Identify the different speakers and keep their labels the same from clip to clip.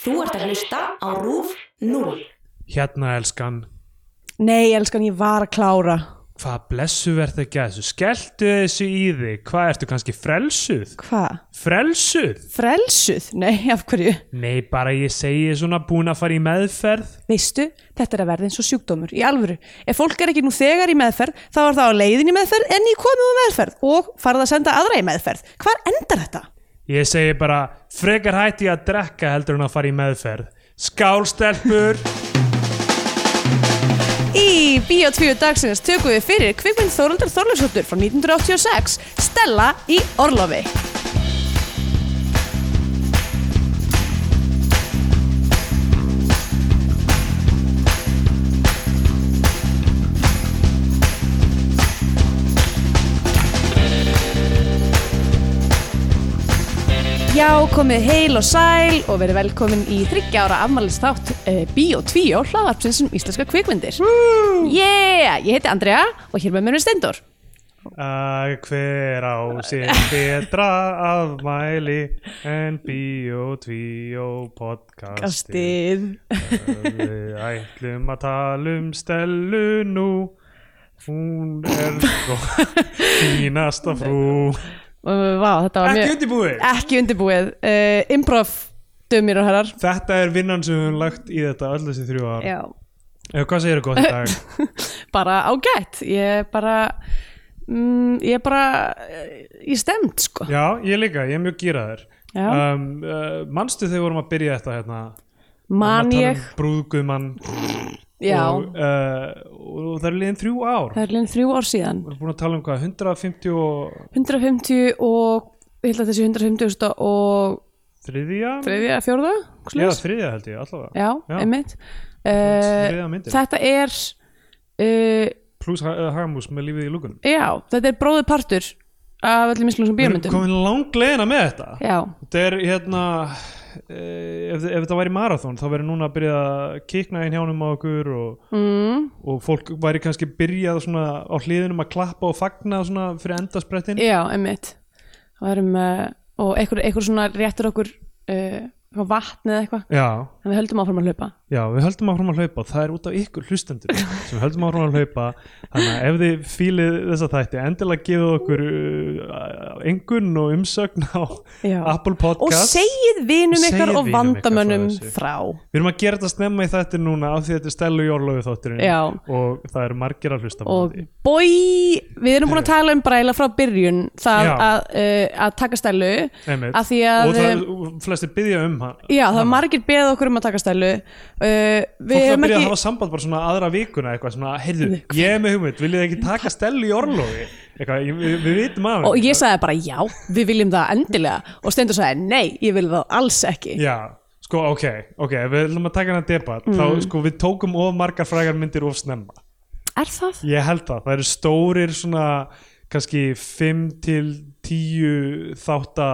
Speaker 1: Þú ert að hlusta á RÚF 0.
Speaker 2: Hérna elskan,
Speaker 3: Nei, elskan, ég var að klára.
Speaker 2: hvað blessu verð ekki að þessu? Skelltu þessu í þig, hvað ertu kannski frelsuð?
Speaker 3: Hvað?
Speaker 2: Frelsuð?
Speaker 3: Frelsuð? Nei, af hverju?
Speaker 2: Nei, bara ég segi svona búin að fara í meðferð.
Speaker 3: Veistu, þetta er að verða eins og sjúkdómur, í alvöru. Ef fólk er ekki nú þegar í meðferð, þá er það á leiðin í meðferð en í komið úr meðferð og farið að senda aðra í meðferð. Hvar endar þetta?
Speaker 2: Ég segi bara, frekar hætti ég að drekka heldur en að fara í meðferð. Skálstelpur!
Speaker 3: Í Bíó 2 dagsins tökum við fyrir kvikmynd Þóraldar Þorlefsóttur frá 1986, Stella í Orlofi. Já, komið heil og sæl og verið velkomin í 30 ára afmælistátt uh, Bíó 2 hlaðarpsins um íslenska kvikmyndir. Yeah, ég heiti Andrea og hér með mér er Steindor.
Speaker 2: Að hver á sér betra afmæli en bíó, tvíó, podcasti. Við ætlum að tala um Stellu nú Hún er sko fínasta frú
Speaker 3: Uh, Vá, þetta var
Speaker 2: Ekki
Speaker 3: mjög...
Speaker 2: undirbúið
Speaker 3: Ekki undirbúið. Uh, improv, dömir og herrar.
Speaker 2: Þetta er vinnan sem við höfum lagt í þetta öll þessi þrjú ár
Speaker 3: Já.
Speaker 2: Eh, Hvað segir þú gott í dag?
Speaker 3: Bara ágætt. Ég er bara... Mm, ég er bara... eh, Ég er stemd, sko.
Speaker 2: Já, ég líka, ég er mjög gýraður
Speaker 3: Já.
Speaker 2: um, uh, Manstu þegar við vorum að byrja þetta hérna
Speaker 3: Man
Speaker 2: Við vorum að tala
Speaker 3: ég...
Speaker 2: um Brúðgumann
Speaker 3: Já.
Speaker 2: og, uh, og það er liðin þrjú ár
Speaker 3: Það er líðan þrjú ár síðan.
Speaker 2: Við erum búin að tala um hvað, 150 og
Speaker 3: 150 og... Ég held að þessi 150 og...
Speaker 2: þriðja?
Speaker 3: Þriðja, fjórða?
Speaker 2: Já,
Speaker 3: Slags?
Speaker 2: þriðja held ég, allavega
Speaker 3: Já,
Speaker 2: Já.
Speaker 3: einmitt.
Speaker 2: Þriðja
Speaker 3: Uh,
Speaker 2: myndin.
Speaker 3: þetta er... Uh,
Speaker 2: Plus uh, Hagamús með lífið í lúkunum
Speaker 3: Já, þetta er bróður partur af öllum íslenskum
Speaker 2: Við erum
Speaker 3: bíómyndum
Speaker 2: komin langlegina með þetta
Speaker 3: Já,
Speaker 2: Þetta er hérna eh, ef, ef þetta væri marathón þá verður núna að byrja að kikna inn hjánum á okkur og,
Speaker 3: mm,
Speaker 2: og fólk væri kannski byrjað svona á hliðinum að klappa og fagna svona fyrir endasprettin
Speaker 3: já einmitt og, erum, uh, og einhver, einhver svona réttur okkur uh, eitthvað vatn eða eitthvað
Speaker 2: Já,
Speaker 3: en við höldum áfram að hlaupa
Speaker 2: já, við höldum áfram að hlaupa og það er út af ykkur hlustendur sem höldum áfram að hlaupa þannig að ef þið fílið þessa þætti endilega gefið okkur uh, engun og umsögn á
Speaker 3: Já.
Speaker 2: Apple
Speaker 3: og
Speaker 2: Podcast
Speaker 3: segið vinum
Speaker 2: Segið
Speaker 3: ykkar og
Speaker 2: vinum
Speaker 3: vandamönnum
Speaker 2: ykkar frá þessu.
Speaker 3: frá
Speaker 2: Við erum að gera þetta snemma í þetta núna af því þetta er stelu jórlögu þátturinn
Speaker 3: Já.
Speaker 2: og það eru margir að hlusta á
Speaker 3: og
Speaker 2: því.
Speaker 3: bói, við erum búin að tala um bræla frá byrjun það
Speaker 2: Já.
Speaker 3: að, uh, að taka stælu
Speaker 2: Einmitt.
Speaker 3: að því að eh,
Speaker 2: og það, flestir byggja um hann
Speaker 3: já, það er margir beðið okkur um að taka stælu uh,
Speaker 2: Fólk
Speaker 3: við
Speaker 2: er að
Speaker 3: erum
Speaker 2: byrja að
Speaker 3: ekki
Speaker 2: hafa samband bara svona aðra vikuna eitthvað svona, heyrðu, ég er með hugmynd, viljið þið ekki taka stelu í orlofi? Eitthvað, ég- við, við vitum af
Speaker 3: og
Speaker 2: henni.
Speaker 3: ég sagði bara já, við viljum það endilega og Steindur sagði nei, ég vil það alls ekki
Speaker 2: Já, sko, ok, ok, ef við ætlum að taka hennar debat,
Speaker 3: Mm.
Speaker 2: þá sko við tókum of margar frægar myndir of snemma.
Speaker 3: er það?
Speaker 2: Ég held það, það eru stórir svona kannski 5 til 10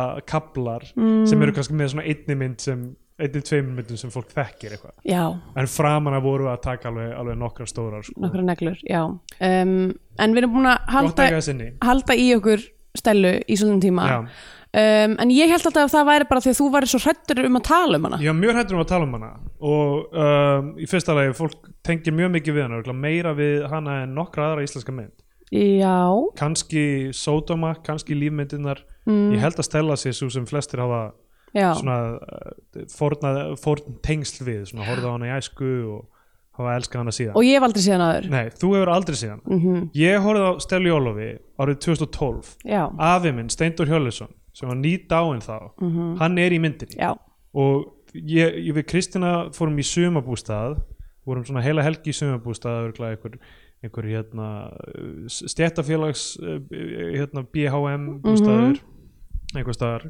Speaker 2: þáttakablar sem eru kannski með svona einni mynd sem, einni tveimur myndum sem fólk þekkir eitthvað.
Speaker 3: já,
Speaker 2: En framan að voru að taka alveg, alveg nokkra stórar sko.
Speaker 3: nokkra neglur, já um, en við erum búin að
Speaker 2: Gott
Speaker 3: halda,
Speaker 2: að eiga sinni.
Speaker 3: halda í okkur stelu í svolítið tíma
Speaker 2: Já.
Speaker 3: um, en ég held alltaf að það væri bara því að þú væri svo hrættur um að tala um hana
Speaker 2: Ég var mjög hættur um að tala um hana og um, í fyrsta lagi fólk tengir mjög mikið við hana, örugglega meira við hana en nokkra aðra íslenska mynd.
Speaker 3: já,
Speaker 2: Kanski Sodoma, kannski lífmyndirnar, ég held að stella sér svo sem flestir hafa
Speaker 3: já,
Speaker 2: svona uh, forna, forn tengsl við, svona horfða á hana í æsku og hafa elskað hana síðan.
Speaker 3: og ég Mhm. hef aldrei séð hana aður
Speaker 2: Nei, þú hefur aldrei síðan. Mm -hmm. Ég horfði á Stelli Ólofi árið 2012
Speaker 3: já,
Speaker 2: afi minn, Steindor Hjörleson sem var nýdáinn þá
Speaker 3: Mhm.
Speaker 2: hann er í myndinni
Speaker 3: já,
Speaker 2: og ég, ég við Kristina fórum í sumabústað vorum svona heila helgi í sumabústað örgulega einhver, einhver hérna stjættafélags hérna BHM bústaður einhver staðar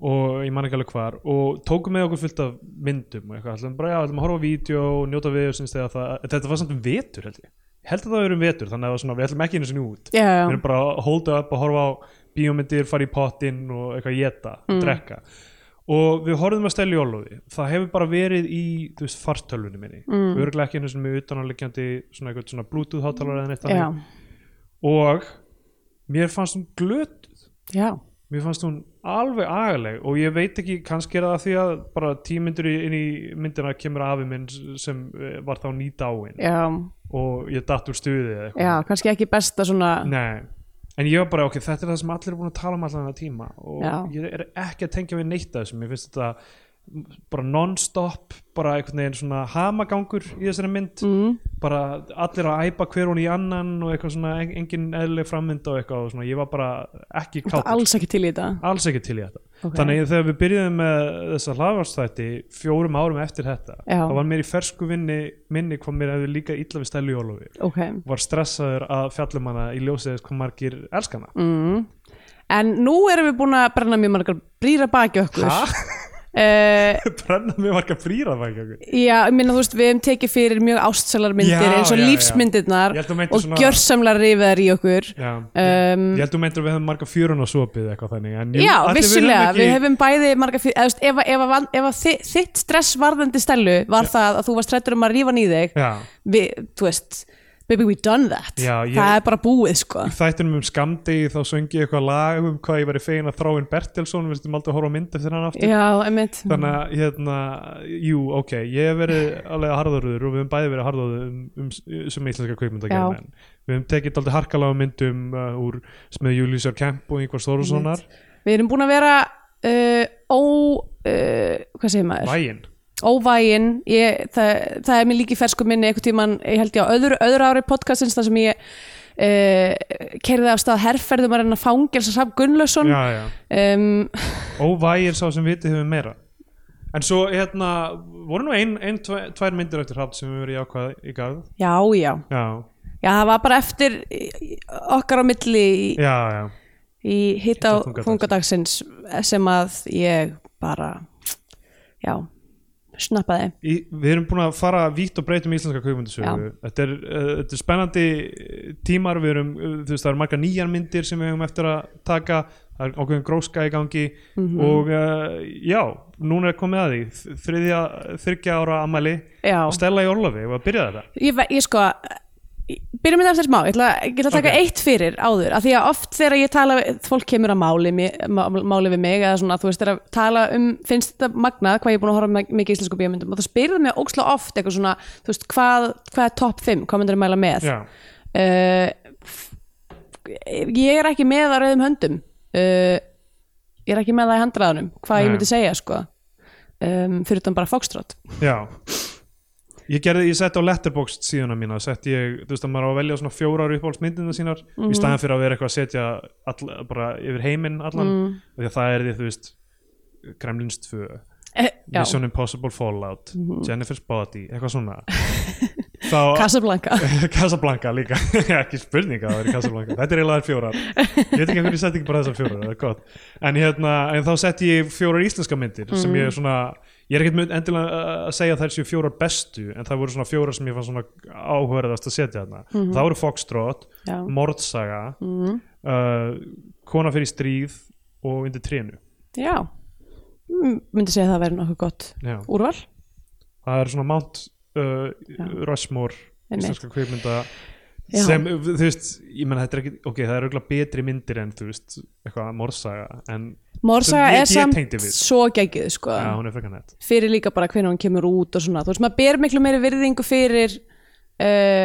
Speaker 2: og ég man ekki alveg hvar og tókum með okkur fullt af myndum og eitthvað, ætlum bara já, ætlum að horfa á vídeo og njóta við þegar það, þetta var samt um vetur held ég, Ég held að það var um vetur þannig að það var svona, við ætlum ekki einu sinni út
Speaker 3: já,
Speaker 2: við
Speaker 3: já.
Speaker 2: erum bara að holda upp og horfa á bíómyndir, fara í pottinn og eitthvað geta,
Speaker 3: Mm.
Speaker 2: drekka og við horfðum að stæla í ólóði það hefur bara verið í, þú veist, fartölvunni minni mm. örglega ekki einu sem er utanáliggjandi svona eitthvað svona bluetooth hátalara eða neitt
Speaker 3: já,
Speaker 2: þannig. og mér fannst hún glötuð
Speaker 3: já.
Speaker 2: mér fannst hún alveg agaleg og ég veit ekki kannski er það af því að bara tímyndur inn í myndina kemur afi minn sem eh, var þá nýdáin
Speaker 3: já,
Speaker 2: og ég datt úr stuði eða eitthvað
Speaker 3: já, kannski ekki besta svona
Speaker 2: Nei, en ég var bara, ok, þetta er það sem allir er búin að tala um allan það tíma og
Speaker 3: Já.
Speaker 2: ég er ekki að tengja við neitt af þessu, mér finnst þetta bara non-stop, bara einhvern veginn svona hamagangur í þessari mynd mm. bara allir að æpa hver hún í annan og eitthvað svona, en- engin eðlileg frammynd og eitthvað og svona, ég var bara ekki kátur,
Speaker 3: alls ekki til í þetta
Speaker 2: alls ekki til í þetta
Speaker 3: Ok.
Speaker 2: þannig að þegar við byrjuðum með þessa hlaðvarstætti fjórum árum eftir þetta
Speaker 3: Já.
Speaker 2: þá var mér í fersku vinni minni hvað mér hefði líka illa við stælu jólufi
Speaker 3: ok,
Speaker 2: var stressaður að fjallum hana í ljósið þess hvað margir elskan hana
Speaker 3: mm. en nú erum við búin að brenna mjög margar brýra baki okkur
Speaker 2: Ha?
Speaker 3: Eh,
Speaker 2: brenna mér marga frýra bæk ég
Speaker 3: Já, ég minna þú veist, við hefum tekið fyrir mjög ástselar myndir
Speaker 2: Já,
Speaker 3: eins og
Speaker 2: já, já.
Speaker 3: lífsmyndirnar
Speaker 2: Ég held þú meintir
Speaker 3: og
Speaker 2: svona-
Speaker 3: gjörsamlar rifaðar í okkur Um,
Speaker 2: held þú meintir að við hefum marga fjörun og sopið eitthvað þannig en jú,
Speaker 3: Já,
Speaker 2: ætli
Speaker 3: vissulega, við
Speaker 2: höfum
Speaker 3: hefum bæði marga fyrir, eða, þú veist, ef, ef, ef, ef að þi, þitt stress varðandi stelu var það að þú varst hrættur um að rífa hann í þig
Speaker 2: ekki já,
Speaker 3: við, þú veist, baby we done that
Speaker 2: Já, ég-
Speaker 3: það er bara búið sko
Speaker 2: í þættinum um skamdegi þá söngi ég eitthvað lag um hvað ég væri fegin að þráin Bertilsson við stum aldrei að horfa á mynd eftir hann aftur
Speaker 3: Já, einmitt
Speaker 2: þannig að hérna, jú, ok ég hef verið alveg harðorður og við hefum bæði verið harðorður um, um, um sem íslenska
Speaker 3: Já.
Speaker 2: kveikmyndagerðmenn við hefum tekið aldrei harkalega myndum uh, úr smið Júlísar Kemp og Ingvar Stórusonar
Speaker 3: Við erum búin að vera uh, ó, uh, hvað segir maður?
Speaker 2: Vægin
Speaker 3: óvægin ég, það, það er mér líki fersku minni einhvern tímann, ég held ég á öðru, öðru ári podcastins þar sem ég uh, kerði af stað herrferðum að reyna fangelsa Sam Gunnlauson
Speaker 2: já, já.
Speaker 3: um,
Speaker 2: Óvægir sá sem vitið hefur meira En svo hérna voru nú ein, ein tve, tvær myndir eftir hrapt sem við verið jákvæð í garð
Speaker 3: já, já,
Speaker 2: Já,
Speaker 3: já það var bara eftir í- í- okkar á milli í,
Speaker 2: já, já
Speaker 3: í hitt á
Speaker 2: Hitt á
Speaker 3: þungadagsins sem að ég bara já, snappaði
Speaker 2: Í, við erum búin að fara vítt og breytt um íslenska kveikmyndasögu þetta, er, uh, þetta er spennandi eh, tímar við erum, uh, þú veist, það eru margar nýjar myndir sem við hefum eftir að taka það er ákveðin gróska í gangi og uh, já, núna er komið að því Þ- þriðja, þryggja ára amæli
Speaker 3: Já.
Speaker 2: og stella í orlofi og að byrja þetta
Speaker 3: ég, ve- ég sko byrjum með eftir smá, ég ætla, ég ætla að taka
Speaker 2: Ok.
Speaker 3: eitt fyrir áður, af því að oft þegar ég tala við- fólk kemur að máli, mi- má- máli við mig eða svona, þú veist, þegar að tala um finnst þetta magnað, hvað ég er búin að horfa á mi- mikið í íslensku bíómyndum og það spyrðum mig óksla oft eitthvað svona, þú veist, hvað, hvað er topp 5 hvað myndir að mæla með
Speaker 2: Já,
Speaker 3: uh, ég er ekki með á rauðum höndum uh, ég er ekki með það í handraðunum hvað ég
Speaker 2: Nei.
Speaker 3: myndi segja, sko um, fyrir utan bara fókstrátt
Speaker 2: Já Ég gerði, ég setti á letterboxd síðuna mína setti ég, þú veist að maður á að velja svona fjórar uppáhaldsmyndina sínar í staðan fyrir að vera eitthvað að setja all, bara yfir heiminn allan mm. því að það er því, þú veist Kremlins 2,
Speaker 3: Eh, já,
Speaker 2: Mission Impossible Fallout Jennifer's Body, eitthvað svona Þá,
Speaker 3: Casablanca
Speaker 2: Casablanca líka ekki spurning að það er Casablanca þetta er eiginlega þær fjórar, ég veit ekki hvernig ég setti ekki bara þessar fjórar, það er gott en, hérna, en þá setti ég fjórar íslenska myndir sem ég er svona ég er ekkert mynd- endilega uh, að segja að þær séu fjórar bestu en það voru svona fjórar sem ég fann svona áhverðast að setja þarna. Það voru Foxtrot,
Speaker 3: Já. mhm,
Speaker 2: Mordsaga uh, Kona fyrir stríð og undir trénu
Speaker 3: Já, M- myndi segja að það verið nokkuð gott
Speaker 2: Já.
Speaker 3: úrval.
Speaker 2: það er svona Mount uh, Rushmore
Speaker 3: Einmitt.
Speaker 2: íslenska kveikmynda
Speaker 3: Já.
Speaker 2: sem, þú veist, ég menn þetta er ekki ok, það er auðvitað betri myndir en þú veist eitthvað morsaga, en
Speaker 3: Morsaga
Speaker 2: Sem ég-
Speaker 3: er
Speaker 2: ég
Speaker 3: samt
Speaker 2: tengdi við.
Speaker 3: svo geggið, sko.
Speaker 2: já, hún er frekar nett
Speaker 3: Fyrir líka bara hvernig hún kemur út og svona. Þú veist, maður ber miklu meiri virðingu fyrir uh,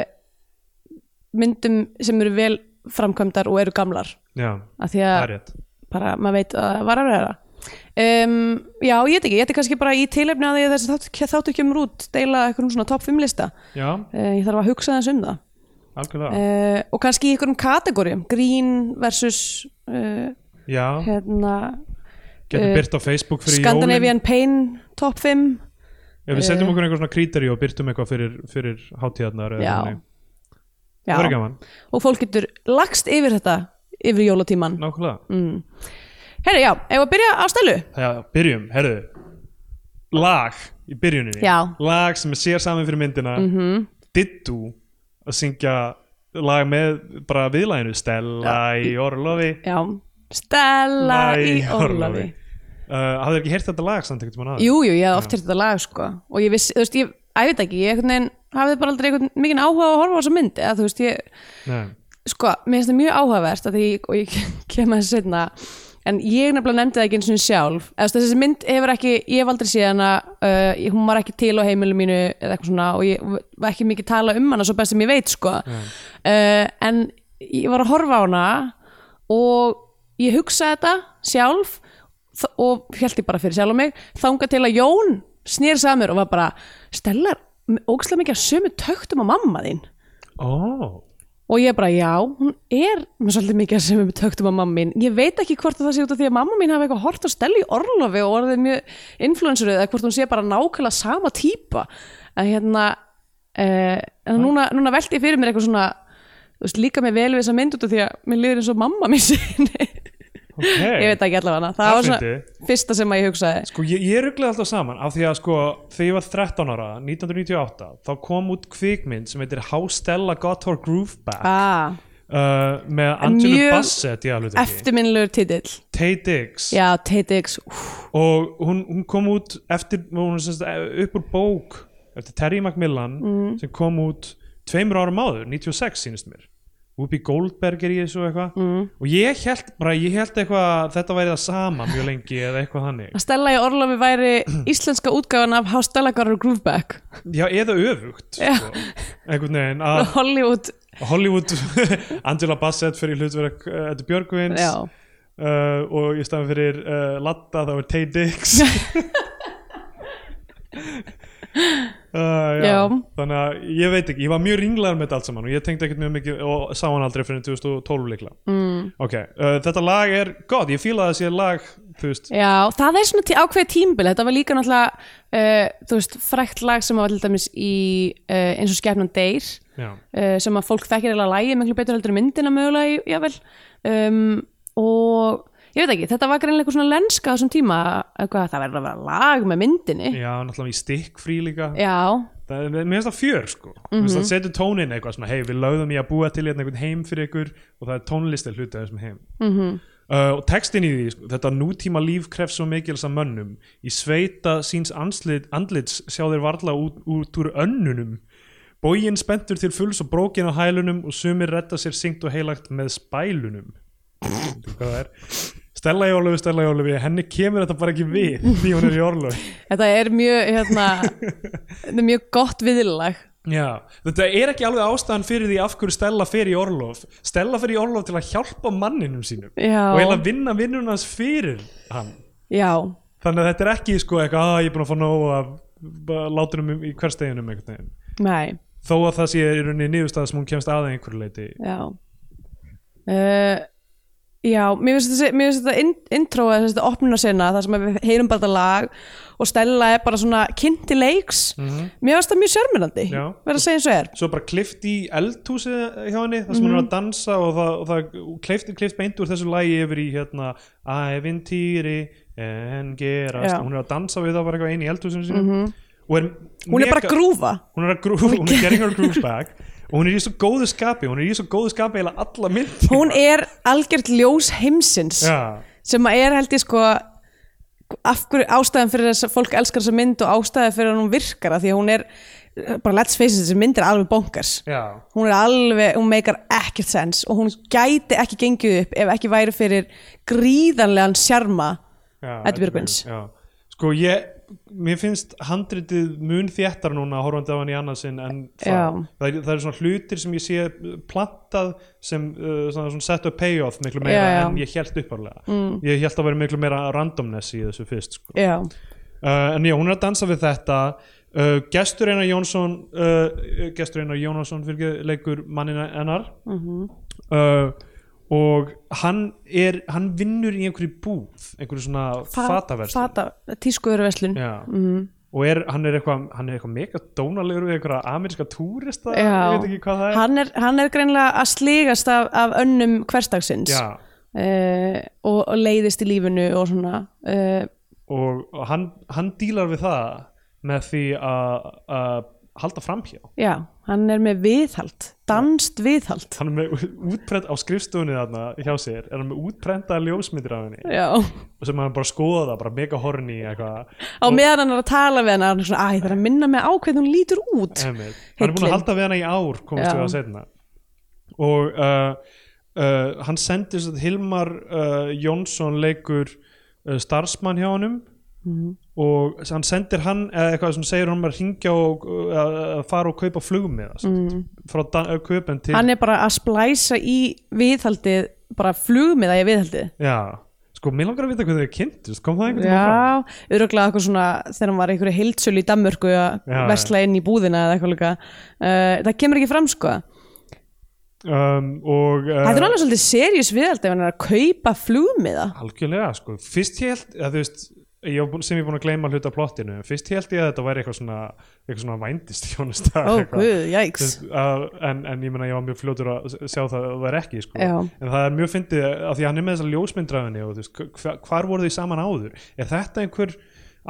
Speaker 3: myndum sem eru vel framkvæmdar og eru gamlar.
Speaker 2: já,
Speaker 3: Af því
Speaker 2: það er
Speaker 3: að
Speaker 2: rétt
Speaker 3: bara, maður veit að það var að vera. Um, já, ég veit ekki, ég ætti kannski bara í tilefni að því að þessi þáttu, þáttu kemur út deila eitthvað svona topp 5 lista.
Speaker 2: já,
Speaker 3: Uh, ég þarf að hugsa þess um það.
Speaker 2: algjörlega,
Speaker 3: uh, og kannski í einhverjum kategórium grín versus uh,
Speaker 2: já,
Speaker 3: hérna
Speaker 2: getum byrt á Facebook fyrir jólin,
Speaker 3: Scandinavian eh, Pain top 5
Speaker 2: ef við setjum okkur einhver svona kríteri og byrtum eitthvað fyrir, fyrir hátíðarnar eða
Speaker 3: Já.
Speaker 2: þannig.
Speaker 3: já,
Speaker 2: það er gaman,
Speaker 3: og fólk getur lagst yfir þetta yfir jólatíman no.
Speaker 2: nákvæmlega
Speaker 3: herru já, ef að byrja á stelu
Speaker 2: Já, byrjum, herðu lag í byrjuninni
Speaker 3: Já. Mhm.
Speaker 2: lag sem er sér saman fyrir myndina mm -hmm. Dittu að syngja lag með bara viðlæginu Stella í orlofi
Speaker 3: já, Stella í Orlofi
Speaker 2: uh, Hafðu ekki heyrt þetta lag samt ekkert mann aðeins?
Speaker 3: jú, jú, ég hafði oft hérta þetta lag sko og ég vissi, þú veist, ég, að ég veit ekki ég einhvern veginn hafði bara aldrei einhvern mikinn áhuga á að horfa á þessa mynd eða þú veist, ég
Speaker 2: Nei,
Speaker 3: sko, mér finnst það mjög áhugavert að því, og ég kem að setna en ég nefnilega nefndi það ekki eins og sjálf eða þú veist, þessi mynd hefur ekki, ég hef aldrei séð hana uh, ég- hún var ekki til á heimilu mínu eða eitthvað svona og ég var ekki mikið tala um hana svo best sem ég veit sko uh, en ég var að horfa á hana og ég hugsaði þetta sjálf þ- og held ég bara fyrir sjálf og mig þanga til að Jón snýr samur og var bara Stellar, ógæslega mikið að sömu töktum á mamma þín
Speaker 2: Ó,
Speaker 3: og ég bara já, hún er með svolítið mikið sem við töktum á mamma mín ég veit ekki hvort að það sé út af því að mamma mín hafi eitthvað hort á stella í orlofi og orðið mjög influenceruð eða hvort hún sé bara nákvæmlega sama típa en hérna eh, en núna, núna velti ég fyrir mér eitthvað svona þú veist, líka mér vel við þessa mynd út af því að mér liður eins og mamma mín sinni
Speaker 2: ok
Speaker 3: ég veit ekki allavega hana, það
Speaker 2: Það
Speaker 3: var svona
Speaker 2: fyndi.
Speaker 3: fyrsta sem að ég hugsaði
Speaker 2: Sko ég, ég rugglaði alltaf saman af því að sko þegar ég var 13 ára 1998 þá kom út kvikmynd sem heitir How Stella Got Her Groove Back
Speaker 3: ah,
Speaker 2: uh, með Angelu
Speaker 3: mjög
Speaker 2: Bassett í alveg ekki
Speaker 3: eftirminnilegur titill
Speaker 2: Tay Diggs
Speaker 3: já, TEDx, úf,
Speaker 2: og hún, hún kom út eftir, hún er sem sagt eh, upp úr bók eftir Terry Macmillan
Speaker 3: Mm.
Speaker 2: sem kom út tveimur árum áður 96 sínist mér Whoopi Goldberg er í þessu og eitthvað mm. og ég held, bara, ég held eitthvað að þetta væri það sama mjög lengi eða eitthvað þannig
Speaker 3: að Stella í Orlofi væri íslenska útgáfan af How Stella Got Her Groove Back
Speaker 2: já, eða öfugt
Speaker 3: Já.
Speaker 2: sko. einhvern veginn að
Speaker 3: Hollywood
Speaker 2: Hollywood Angela Bassett fyrir hlutverk uh, Eddu Björgvins
Speaker 3: já.
Speaker 2: uh, og í staðan fyrir uh, Latta þá er Tay Diggs Uh, já.
Speaker 3: Já.
Speaker 2: þannig að ég veit ekki, ég var mjög ringlaður með þetta allt saman og ég tengdi ekkert mjög mikið og sá hann aldrei fyrir 2012 líkla mm. ok, uh, þetta lag er gott, ég fíla að það sé lag þú veist,
Speaker 3: já, það er svona tí- ákveðið tímbil þetta var líka náttúrulega uh, þú veist, frækt lag sem var til dæmis í uh, eins og skefnan Deyr
Speaker 2: já,
Speaker 3: uh, sem að fólk þekkir eiginlega lægi miklu betur heldur en myndina mögulega í- jável um, og ég veit ekki, þetta var greinlega eitthvað svona lenska á þessum tíma eitthvað, það verður að vera lag með myndinni
Speaker 2: já, náttúrulega í stikkfrí líka
Speaker 3: já,
Speaker 2: það, mér finnst það fjör sko mm -hmm. það setur tónin eitthvað svona hei við lögðum í að búa til hérna einhvern heim fyrir ykkur og það er tónlistir hluti af þessum heim -hmm.
Speaker 3: mhm.
Speaker 2: uh, og textin í því sko, þetta nútíma líf krefst svo mikils að mönnum í sveita síns anslit, andlits sjá þeir varla út, út úr önnunum bógin spendur til fulls og brókin á hælunum og sumir retta sér syngt og heilagt með spælunum hvað það er Stella í orlofi, Stella í orlofi, henni kemur þetta bara ekki við því hún er í orlofi
Speaker 3: þetta er mjög hérna, þetta er mjög gott viðlag
Speaker 2: Já, þetta er ekki alveg ástæðan fyrir því af hverju Stella fer í Orlof Stella fer í Orlof til að hjálpa manninum sínum
Speaker 3: Já.
Speaker 2: og eiginlega vinna vinnun hans fyrir hann
Speaker 3: já,
Speaker 2: þannig að þetta er ekki sko eitthvað að ég er búin að fá nóg af bara látunum í hversteginum einhvern veginn
Speaker 3: nei
Speaker 2: þó að það sé í rauninni niðurstað sem hún kemst að að einhverju leiti
Speaker 3: Já uh, Já, mér finnst þessi- mér finnst þetta in, intro eða þessi opnuna sinna þar sem að við heyrum bara þetta lag og Stella er bara svona kynnti leiks Mér finnst það mjög sjörmyrandi
Speaker 2: Mhm. Já.
Speaker 3: verð að segja eins og er
Speaker 2: svo bara klift í eldhúsi hjá henni þar sem hún er
Speaker 3: Mhm.
Speaker 2: að dansa og það, og það klift, klift beint úr þessu lagi yfir í hérna ævintýri en gerast
Speaker 3: Já. Mhm.
Speaker 2: hún er að dansa við það bara eitthvað einn í eldhúsinu sínum og er
Speaker 3: Hún er bara að grúfa
Speaker 2: hún er, að grú, hún er getting her groove back og hún er í svo góðu skapi hún er í svo góðu skapi eða alla mynd
Speaker 3: Hún er algjört ljós heimsins
Speaker 2: já,
Speaker 3: sem að er held ég sko af hverju ástæðan fyrir þess að fólk elskar þessa mynd og ástæðan fyrir að hún virkar af því að hún er, bara let's face it þessi mynd er alveg bonkars
Speaker 2: já,
Speaker 3: hún er alveg, hún meikar ekkert sens og hún gæti ekki gengið upp ef ekki væri fyrir gríðanlegan sjarma
Speaker 2: já
Speaker 3: Eddu Björgvins.
Speaker 2: já. sko ég, mér finnst handritið mun þéttar núna horfandi á hann í annarsinn en það,
Speaker 3: Já.
Speaker 2: það, það er svona hlutir sem ég sé plantað sem uh, svona, svona set up payoff miklu meira
Speaker 3: Já, já.
Speaker 2: en ég held upparlega mm. ég held að vera miklu meira randomness í þessu fyrst sko.
Speaker 3: já,
Speaker 2: uh, en já, hún er að dansa við þetta uh, gestur Einar Jónsson uh, gestur Einar Jónsson fyrir leikur mannina ennar uh, og hann er hann vinnur í einhverju búð einhverju svona fataverst
Speaker 3: fata, tískuververslun já.
Speaker 2: já og er, hann er eitthvað hann er eitthvað mega dónalegur við einhverja ameríska túrista ég veit ekki hvað það er
Speaker 3: hann er, hann er greinlega að sligast af, af önnum hverstagsins
Speaker 2: já,
Speaker 3: Eh, og, og leiðist í lífinu og svona uh,
Speaker 2: og, og hann, hann dílar við það með því að að halda framhjá
Speaker 3: já, hann er með viðhald danst viðhald
Speaker 2: hann er með útprent á skrifstofunni þarna hjá sér, er hann með útprenta ljósmyndir af henni
Speaker 3: já. á
Speaker 2: og sem hann bara skoða það, bara mega horni eitthvað,
Speaker 3: meðan hann er að tala við hann er hann svona, æ, það er að minna mig á hvernig hún lítur út
Speaker 2: einmitt. hann er búin
Speaker 3: Heillin.
Speaker 2: að halda við hana í ár komist
Speaker 3: Já.
Speaker 2: við að setna og uh, uh, hann sendi þess að Hilmar uh, Jónsson leikur uh, starfsmann hjá honum
Speaker 3: Mhm.
Speaker 2: og hann sendir hann eða eitthvað sem segir honum að ringja og uh, að fara og kaupa flugum með það mm. frá Dan- uh, köpen til
Speaker 3: Mhm. hann er bara að splæsa í viðhaldið bara flugmiða í viðhaldið
Speaker 2: já, sko, mér langar að vita hvað þau kynntust kom það einhvern veginn fram?
Speaker 3: Já, öruglega eitthvað svona þegar hann var í einhverju heildsölu í Danmörku að
Speaker 2: Já,
Speaker 3: versla inn í búðina eða eitthvað líka uh, það kemur ekki fram sko
Speaker 2: Eh. Um, og uh,
Speaker 3: það er alveg svolítið seriós viðhald ef hann er að kaupa flugmiða
Speaker 2: algjörlega, sko, fyrst ég held að þú veist, ég var búinn- sem ég er búin að gleyma hluta af plottinu, fyrst ég held ég að þetta væri eitthvað svona eitthvað svona vændist hjónusta
Speaker 3: ó guð, jæks
Speaker 2: en, en ég meina ég var mjög fljótur að s- sjá það að það er ekki sko.
Speaker 3: Já.
Speaker 2: en það er mjög fyndið að því að hann er með þessa ljósmyndrafinni og þú veist, hva, hvar voru þau saman áður er þetta einhver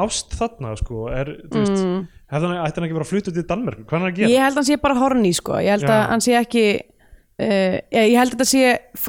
Speaker 2: ást þarna sko, er, þú veist mm. ætti hann ætti hann ekki bara að fluta til Danmörk hvað er hann að gera?
Speaker 3: ég held að hann sé bara horni sko ég held
Speaker 2: Já.
Speaker 3: að hann sé ekki uh, ég held að þetta sé,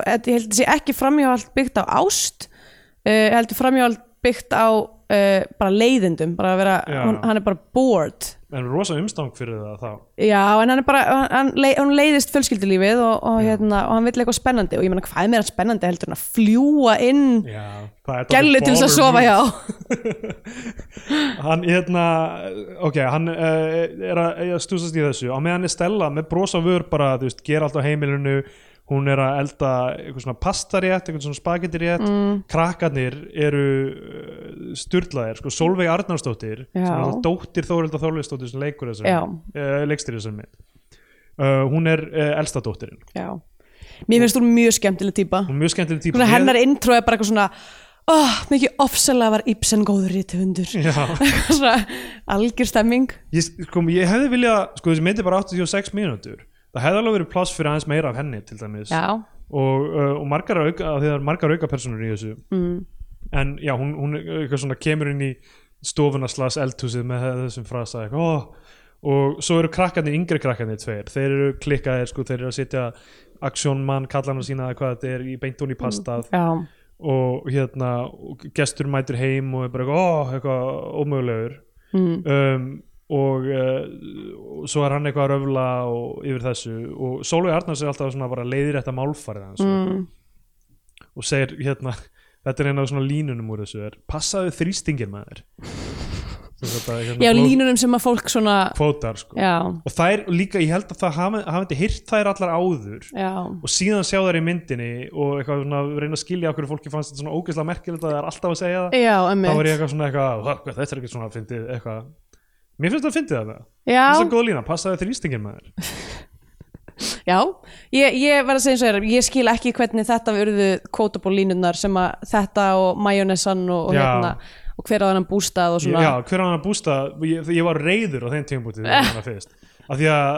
Speaker 3: að- ég held að þetta sé ekki framhjáhald byggt á ást uh, ég held að framhjáhald byggt á uh, bara leiðindum bara að vera,
Speaker 2: Já.
Speaker 3: hún, hann er bara bored
Speaker 2: en rosa umstang fyrir það þá
Speaker 3: Já, en hann er bara, hann, hann, lei- hún leiðist fjölskyldulífið og, og, hérna, og hann vill eitthvað spennandi og ég meina hvað er meira spennandi heldur en að fljúa inn
Speaker 2: Já, það er
Speaker 3: gælu
Speaker 2: dálítið
Speaker 3: til þess að
Speaker 2: baller
Speaker 3: sofa hjá
Speaker 2: move. hann hérna ok, hann uh, er að, er að stúsast í þessu á meðan er Stella með brosa vör bara, þú veist, gera allt á heimilinu hún er að elda eitthvað svona pastarétt eitthvað svona spagettirétt mm. krakkarnir eru uh, styrlaðir, sko, Solveig Arnarsdóttir sem
Speaker 3: Já.
Speaker 2: er alltaf dóttir Þórilda Þórildsdóttir sem leikur þessum,
Speaker 3: Já.
Speaker 2: uh, leikstir þessum mynd. uh, hún er uh, elsta dóttirin
Speaker 3: Já, mér finnst hún mjög skemmtileg típa
Speaker 2: hún er mjög skemmtileg típa
Speaker 3: Svona hennar intro er bara eitthvað svona oh, mikið ofsalega var Ibsen góður í töfundur
Speaker 2: Já.
Speaker 3: svona algjör stemming
Speaker 2: ég, sko, ég hefði vilja sko þessi myndi bara 86 mínútur það hefði alveg verið pláss fyrir aðeins meira af henni til dæmis
Speaker 3: Já,
Speaker 2: og, uh, og margar auka af því það er margar auka personur í þessu mm. en já, hún, hún eitthvað svona kemur inn í stofuna slags eldhúsið með þessum frasa eitthvað, oh. og svo eru krakkarnir, yngri krakkarnir tveir þeir eru klikkaðir, sko, þeir eru að sitja aksjónmann, kallana sína eða hvað þetta er í beint hún í pastað
Speaker 3: já,
Speaker 2: og hérna og gestur mætir heim og er bara eitthvað, ó, eitthvað ómögulegur
Speaker 3: Mm.
Speaker 2: um, og, uh, og svo er hann eitthvað að röfla og, yfir þessu og Sólveig Arnars er alltaf svona bara leiðir þetta málfarið hans
Speaker 3: mm,
Speaker 2: og segir hérna þetta er eina af svona línunum úr þessu er passaðu þrýstingin maður Sem sagt að, hérna,
Speaker 3: já
Speaker 2: blóð-
Speaker 3: línunum sem að fólk svona
Speaker 2: kvótar sko
Speaker 3: Já,
Speaker 2: og þær líka, ég held að það hafi- hafi þetta hýrt þær allar áður
Speaker 3: já
Speaker 2: og síðan sjá þær í myndinni og eitthvað svona reyna að skilja okkur fólki fannst þetta svona ógeðslega merkilegt að það er alltaf að segja það
Speaker 3: Já,
Speaker 2: þá var ég
Speaker 3: emmitt
Speaker 2: eitthvað svona eitthvað, "Hva, hvað, þetta er ekki svona að fyndið eitthvað, mér finnst það að fyndið það
Speaker 3: Já,
Speaker 2: þess að góða lína, passaði þrýstingin maður
Speaker 3: Já, ég, ég verð að segja eins og þér, ég skil ekki hvernig þetta verðu quotable línunar sem að þetta og majónessan og, og
Speaker 2: Já.
Speaker 3: hérna og hver á þennan bústað og svona
Speaker 2: já, hver á hann að bústa, ég, ég var reyður á þeim tímpútið þegar ég var hana fyrst af því að,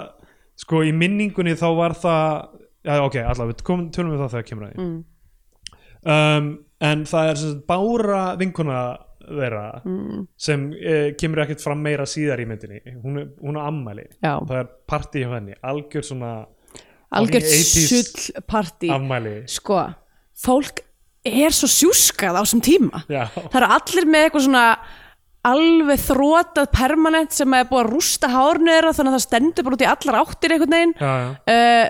Speaker 2: sko, í minningunni þá var það, já, ok, allavega við komum, tölum við það þegar kemur að því
Speaker 3: Mm.
Speaker 2: um, en það er sem sagt bára vinkuna þeirra
Speaker 3: Mm.
Speaker 2: sem eh, kemur ekkert fram meira síðar í myndinni hún, er- hún á ammæli,
Speaker 3: Já.
Speaker 2: það er partí hjá henni algjör svona
Speaker 3: algjört
Speaker 2: 80s
Speaker 3: sull partí
Speaker 2: ammæli
Speaker 3: sko, fólk er svo sjúskað á sem tíma
Speaker 2: Já.
Speaker 3: það eru allir með eitthvað svona alveg þrótað permanent sem er búið að rústa hárnu þeirra þannig að það stendur bara út í allar áttir einhvern veginn
Speaker 2: já, já
Speaker 3: uh,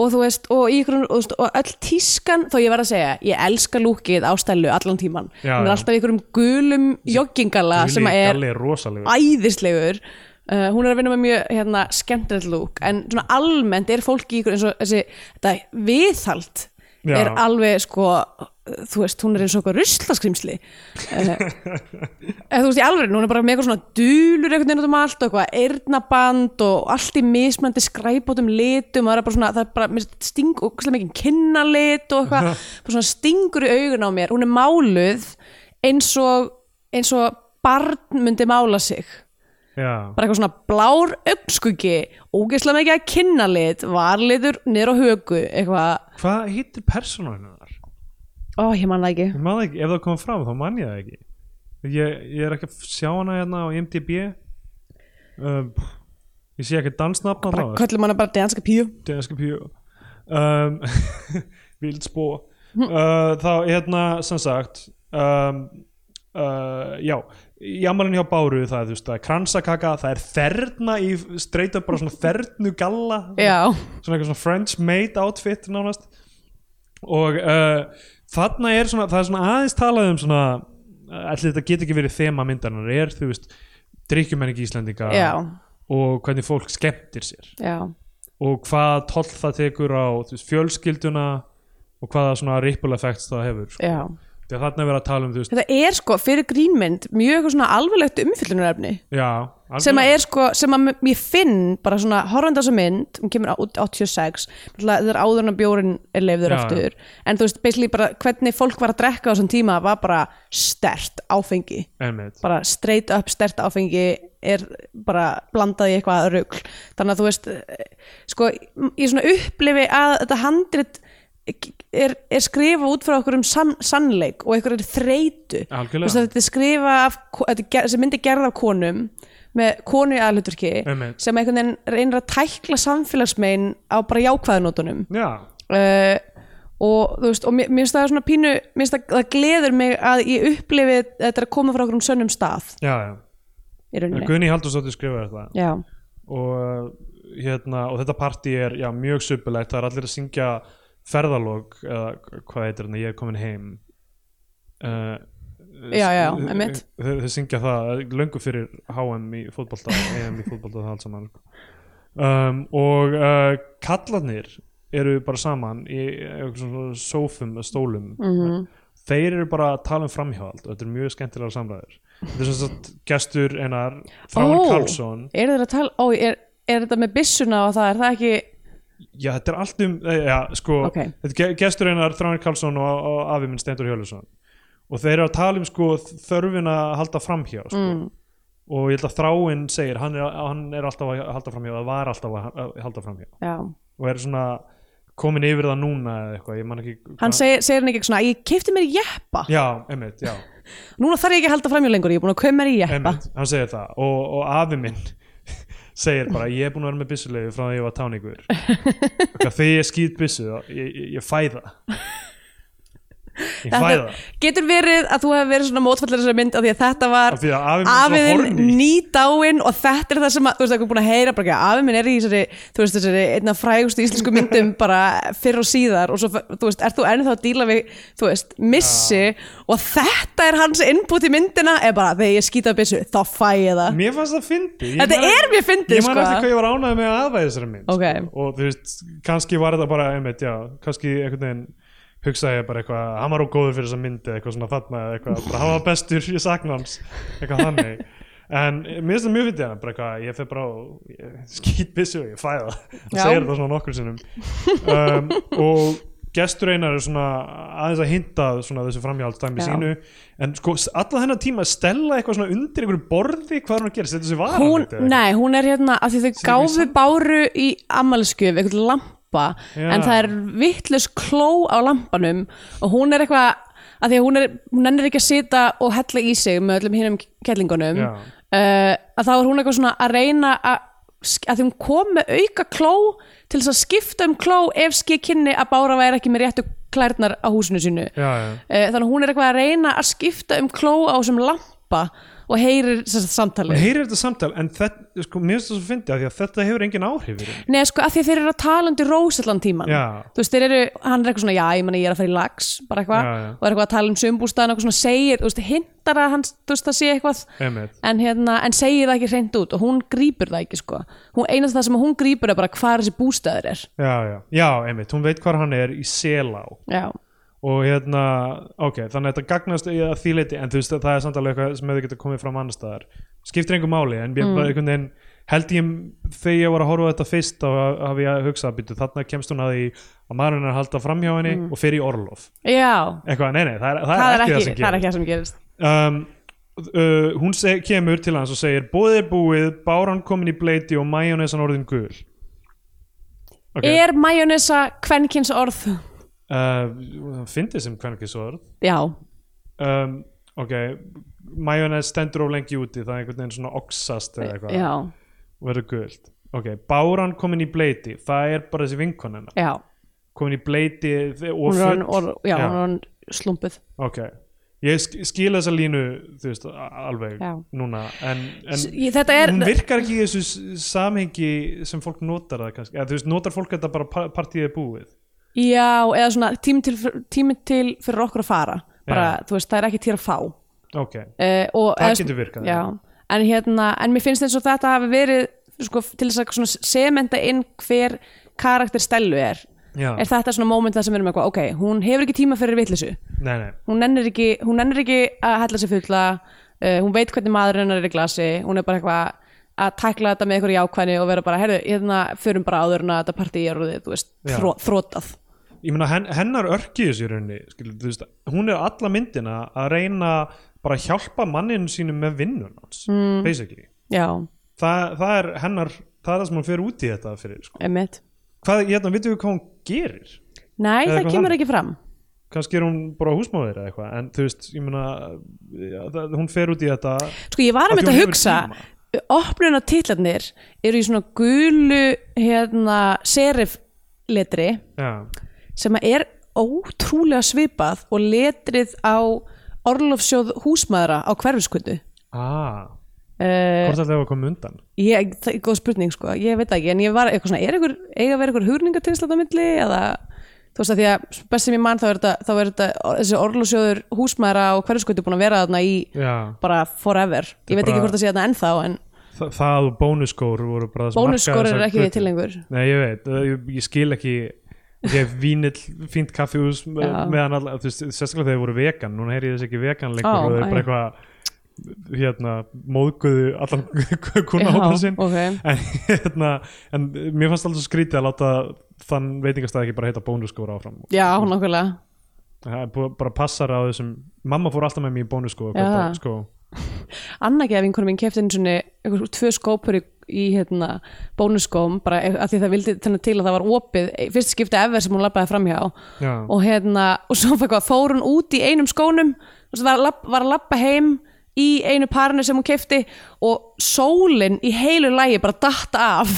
Speaker 3: og þú veist og, í ykkur, og, þú veist, og öll tískan þó ég verð að segja, ég elska lúkið ástælu allan tíman,
Speaker 2: Já,
Speaker 3: hún
Speaker 2: já.
Speaker 3: er alltaf í einhverjum gulum joggingala
Speaker 2: Gulli
Speaker 3: sem að er
Speaker 2: Galli er rosalegur
Speaker 3: æðislegur uh, hún er að vinna með mjög hérna, skemmtilegt lúk en svona almennt er fólki í ykkur eins og þessi, þetta viðhald
Speaker 2: Já.
Speaker 3: er alveg sko þú veist, hún er eins og eitthvað ruslaskrimsli uh, eða þú veist í alveg hún er bara með eitthvað svona dulur einhvern veginn út um allt og eitthvað eyrnaband og allt í mismandi skræpótum litum það er bara svona, það er bara mér finnst sting og mikið kinnalit og eitthvað bara svona stingur í augun á mér, hún er máluð eins og eins og barn myndi mála sig
Speaker 2: já,
Speaker 3: bara eitthvað svona blár augnskugi ógeðslega mikið að kinnalit varlitur niður á högu eitthvað,
Speaker 2: hvað hittir persónunum þar?
Speaker 3: ó ég man það ekki
Speaker 2: ég man það ekki, ef það kom fram þá man ég það ekki ég, ég er ekki að sjá hana hérna á IMDb um, ég sé ekki dansnafna
Speaker 3: bara köllum hana bara danska píu
Speaker 2: danske píu um, vild spó uh, þá hérna sem sagt um, uh, já jamalinn hjá Báru það er þú veist það er kransakaka, það er þerna í streyta bara svona þernu galla
Speaker 3: já,
Speaker 2: svona eitthvað svona French maid outfit nánast og uh, þarna er svona, það er svona aðeins talað um svona allir þetta geti ekki verið þema myndarinnar er þú veist drikkjumenningi Íslendinga
Speaker 3: já,
Speaker 2: og hvernig fólk skemmtir sér
Speaker 3: já,
Speaker 2: og hvað toll það tekur á þú veist, fjölskylduna og hvaða svona ripple effects það hefur sko.
Speaker 3: já
Speaker 2: þegar þarna er verið að tala um þú veist
Speaker 3: þetta er sko fyrir grínmynd mjög eitthvað svona alvarlegt umfyllunarefni
Speaker 2: já,
Speaker 3: sem að
Speaker 2: algjörlega.
Speaker 3: er sko, sem að m- ég finn bara svona horfandi á þessa mynd, hún kemur á út 86 náttúrulega það er áður en að bjórin er leifður
Speaker 2: Já,
Speaker 3: aftur, en þú veist, basically bara hvernig fólk var að drekka á þessum tíma var bara stert áfengi,
Speaker 2: Einmitt.
Speaker 3: bara straight up stert áfengi er bara blandað í eitthvað rugl, þannig að þú veist eh, sko, m- ég svona upplifi að þetta handrit er, er skrifa út frá okkur um sann, sannleik og eitthvað er þreytu Þú veist,
Speaker 2: algjörlega,
Speaker 3: að þetta er skrifa af, þetta er ger- þessi mynd er gerð af konum með konu í aðhlutverki
Speaker 2: Einmitt.
Speaker 3: sem einhvern veginn reynir að tækla samfélagsmein á bara jákvæðunótunum
Speaker 2: já,
Speaker 3: uh, og þú veist og mér mér finnst það svona pínu, mér finnst það, það gleður mig að ég upplifi þetta er að koma frá okkur um sönnum stað
Speaker 2: já, já
Speaker 3: í rauninni
Speaker 2: Gunni Halldórsdóttir skrifaði þetta
Speaker 3: Já,
Speaker 2: og, hérna, og þetta partí er já, mjög söpulegt, það er allir að syngja ferðalog eða hvað heitir hérna, ég er komin heim uh,
Speaker 3: Já, já,
Speaker 2: þau-
Speaker 3: einmitt.
Speaker 2: þau þau syngja það eh, löngu fyrir HM í fótbolta EM í fótbolta það allt saman sko. um, og uh, kallarnir eru bara saman í einhverjum svona sófum eða stólum
Speaker 3: Mhm.
Speaker 2: þeir eru bara að tala um framhjáhald og þetta er mjög skemmtilega samræður þetta er svona gestur einar Þráin
Speaker 3: Ó.
Speaker 2: Karlsson
Speaker 3: er þetta að tala, ó, er, er þetta með byssuna og það, er það ekki
Speaker 2: Já, þetta er allt um, eh, já, sko,
Speaker 3: Ok.
Speaker 2: þetta er ge- gestur einar Þráin Karlsson og, og afi minn Steindur Hjölusson og þeir eru að tala um sko þörfin að halda framhjá sko.
Speaker 3: mm,
Speaker 2: og ég held að Þráin segir hann er, hann er alltaf að halda framhjá það var alltaf að að halda framhjá
Speaker 3: Já,
Speaker 2: og er svona komin yfir það núna eða eitthvað, ég man ekki
Speaker 3: hann segir, segir hann ekki svona, ég kefti mér
Speaker 2: Ah.
Speaker 3: jeppa
Speaker 2: Já, einmitt, já,
Speaker 3: núna þarf ég ekki að halda framjá lengur, ég er búin að koma mér í jeppa
Speaker 2: einmitt, hann segir það og, og afi minn segir bara ég er búin að vera með byssulegu frá því ég var táningur Eitthvað, þegar ég skýt byssu þá- ég, ég, ég fæða ég fæða
Speaker 3: þetta, getur verið að þú hefur verið svona mótfallir þessari mynd af því að þetta var
Speaker 2: af því að afi minn er svo
Speaker 3: afiðin
Speaker 2: horni
Speaker 3: nýdáin og þetta er það sem að, þú veist, það er búin að heyra bara ekki að afið minn er í þessari, þú veist, þessari einna frægustu íslensku myndum bara fyrr og síðar og svo, þú veist, ert þú ennþá að díla við, þú veist, missi og þetta er hans input í myndina er bara, þegar ég skýta byssu, þá fæ ég það
Speaker 2: mér fannst það fyndi
Speaker 3: Þetta er mjög fyndið,
Speaker 2: ég man
Speaker 3: sko.
Speaker 2: eftir hvað ég var ánægð með aðvæði þessari mynd
Speaker 3: Ok.
Speaker 2: sko. og þú veist, kannski var þetta bara einmitt, já, kannski einhvern veginn hugsaði ég bara eitthvað, hann var ógóður fyrir þessa mynd eða eitthvað svona þarna, eða eitthvað, bara hann var bestur ég sakna hans, eitthvað þannig en eh, mér finnst það mjög fyndið hana, bara eitthvað ég fer bara og ég skýt byssu og ég fæða það
Speaker 3: Já.
Speaker 2: segir það svona nokkur sinnum um, og gestur einar er svona aðeins að hinta að svona þessu framhjálpstæmi
Speaker 3: Já.
Speaker 2: sínu en sko alla þennan tíma stella eitthvað svona undir einhverju borði hvað er hún að gera, setja sig varan
Speaker 3: hún, nei, hún er hérna, af því þau gáfu
Speaker 2: sam-
Speaker 3: báru í ammælskjöf, eitthvað lampa
Speaker 2: Já.
Speaker 3: en það er vittlus kló á lampanum og hún er eitthvað af því að hún er, hún ennir ekki að sita og hella í sig með öllum hinnum kellingunum
Speaker 2: Já.
Speaker 3: uh, að þá er hún eitthvað svona að reyna að sk- að því hún kom með auka kló til þess að skipta um kló ef skið kynni að bára væri ekki með réttu klærnar á húsinu sínu
Speaker 2: já, já.
Speaker 3: Eh, þannig að hún er eitthvað að reyna að skipta um kló á þessum lampa og heyrir þess að samtali
Speaker 2: Hún heyrir þetta samtal en þetta, sko, mér finnst það svo fyndið af því að þetta hefur engin áhrif í raun.
Speaker 3: Nei, sko, af því að þeir eru að tala undir rós allan tíman
Speaker 2: Já.
Speaker 3: Þú veist, þeir eru, hann er eitthvað svona, já, ég meni, ég er að fara í lags bara
Speaker 2: Já,
Speaker 3: eitthvað,
Speaker 2: já.
Speaker 3: og er eitthvað að tala um sömbústaðan og eitthvað svona segir, þú veist, hindar að hann þú veist, það sé eitthvað,
Speaker 2: Einmitt.
Speaker 3: en hérna en segir það ekki hreint út og hún grípur það ekki, sko hún, einast það sem hún grípur er bara hvar þessi bústaður er
Speaker 2: já, já, já, einmitt, hún veit hvað hann er í selá
Speaker 3: Já,
Speaker 2: og hérna, ok, þannig að þetta gagnast í að því leiti, en þú veist að það er samt alveg eitthvað sem hefur getað komið fram annars staðar skiptir einhver máli, en
Speaker 3: Mm.
Speaker 2: ég bara einhvern veginn held ég, þegar ég var að horfa á þetta fyrst þá hafi ég að hugsa, býtu, þarna kemst hún að því að maðurinn er að halda framhjá henni og fer í orlof,
Speaker 3: já
Speaker 2: eitthvað, nei, nei, það er, það
Speaker 3: Mm. það er
Speaker 2: það
Speaker 3: ekki,
Speaker 2: sem
Speaker 3: það er
Speaker 2: gerist.
Speaker 3: ekki það sem gerist
Speaker 2: um, uh, hún seg, kemur til hans og segir bóðið er búið, báran komin í bleiti og majónesan orðin gul ok
Speaker 3: Er majónesa kvenkins orð?
Speaker 2: uh, fyndið sem hvernig svo orð
Speaker 3: Já,
Speaker 2: um, ok majónes stendur of lengi úti það er einhvern veginn svona oxast eða eitthvað
Speaker 3: já,
Speaker 2: og verður gult ok, báran komin í bleiti það er bara þessi vinkonina
Speaker 3: já
Speaker 2: komin í bleiti og
Speaker 3: Hún er hann,
Speaker 2: full
Speaker 3: or, já,
Speaker 2: Já.
Speaker 3: hún er hann slumpuð
Speaker 2: ok, ég sk- skil þessa línu þú veist, a- alveg
Speaker 3: Já.
Speaker 2: núna en, en
Speaker 3: S- ég- Þetta er,
Speaker 2: hún virkar ekki í þessu s- samhengi sem fólk notar það kannski, eða þú veist, notar fólk þetta bara pa- partíið er búið
Speaker 3: já, eða svona tími til, tími til fyrir okkur að fara bara, þú veist, það er ekki til að fá
Speaker 2: ok,
Speaker 3: uh, og,
Speaker 2: Það
Speaker 3: eða-
Speaker 2: getur virkað,
Speaker 3: já, en, hérna, en mér finnst eins og þetta hafi verið sko, til þess að svona semenda inn hver karakter stelu er
Speaker 2: já,
Speaker 3: er þetta svona moment það sem við erum eitthvað ok, hún hefur ekki tíma fyrir vitleysu
Speaker 2: nei, nei
Speaker 3: hún nennir ekki, hún nennir ekki að hella sér fulla uh, hún veit hvernig maðurinn hennar er í glasi hún er bara eitthvað að tækla þetta með eitthvað jákvæðni og vera bara, heyrðu, hérna förum bara áður en að þetta partí er orðið, þú veist,
Speaker 2: Já.
Speaker 3: þró, þrótað
Speaker 2: ég meina hen, hennar örki þessu í rauninni skilur, þú veist, hún er alla myndina að reyna bara að hjálpa manninu sínum með vinnun hans mm. basically,
Speaker 3: Já,
Speaker 2: Þa, það er hennar það er það sem hún fer út í þetta fyrir sko.
Speaker 3: emmitt
Speaker 2: hvað, ég hérna, veitum við hvað hún gerir Eða
Speaker 3: Nei, það
Speaker 2: eitthvað
Speaker 3: kemur
Speaker 2: þannig.
Speaker 3: ekki fram
Speaker 2: kannski er hún bara húsmáður eða eitthvað en þú veist, ég meina ja, það, hún fer út í þetta
Speaker 3: Sko, ég var
Speaker 2: Af
Speaker 3: um
Speaker 2: því hún
Speaker 3: þetta að
Speaker 2: hefur
Speaker 3: hugsa opnun á titlarnir eru í svona gulu hérna, serif letri
Speaker 2: já,
Speaker 3: sem að er ótrúlega svipað og letrið á orlofsjóð húsmaðra á hverfiskundu
Speaker 2: ah,
Speaker 3: Uh,
Speaker 2: hvort alltaf að koma undan
Speaker 3: Ég, það er góð spurning sko, ég veit það ekki en ég var eitthvað svona, er einhver, eiga að vera einhver hugningatinnsla á milli eða þú veist að því að best sem ég mann þá er þetta, þá er þetta or- þessi orlusjóður húsmaðra og hverjuskvöldi búin að vera þarna í
Speaker 2: já,
Speaker 3: bara forever, ég veit
Speaker 2: bara-
Speaker 3: ekki hvort það sé þarna ennþá en
Speaker 2: það, það og bónuskór voru bara það sem markaði
Speaker 3: bónusskor
Speaker 2: þessa
Speaker 3: er ekki
Speaker 2: hluti.
Speaker 3: til lengur
Speaker 2: Nei, ég veit, eh, ég, ég skil ekki ég hef vínill, fínt kaffihús me-
Speaker 3: Já.
Speaker 2: meðan alla, þú veist, sérstaklega þegar þeir voru vegan núna heyri ég þess ekki vegan lengur
Speaker 3: Ó,
Speaker 2: og þeir
Speaker 3: æ.
Speaker 2: bara eitthvað hérna, móðguðu allan kuna
Speaker 3: Já,
Speaker 2: hópa sinn
Speaker 3: ok.
Speaker 2: en, hérna, en mér fannst alltaf svo skrítið að láta þann veitingastæð ekki bara heita bónuskóra áfram
Speaker 3: Já, nákvæmlega
Speaker 2: það er bú- bara passar á þessum mamma fór alltaf með mér í bónuskó
Speaker 3: Já.
Speaker 2: sko.
Speaker 3: Anna gef einhvern minn kefti einu svona einhver, tvö skópur í, í hérna, bónusskóm bara að því það vildi þannig til að það var opið fyrst skipti efer sem hún labbaði framhjá
Speaker 2: Já.
Speaker 3: og hérna, og svo fyrir hvað fór hún út í einum skónum þú veist, var, að labb- var að labba heim í einu parinu sem hún kefti og sólin í heilu lægi bara datt af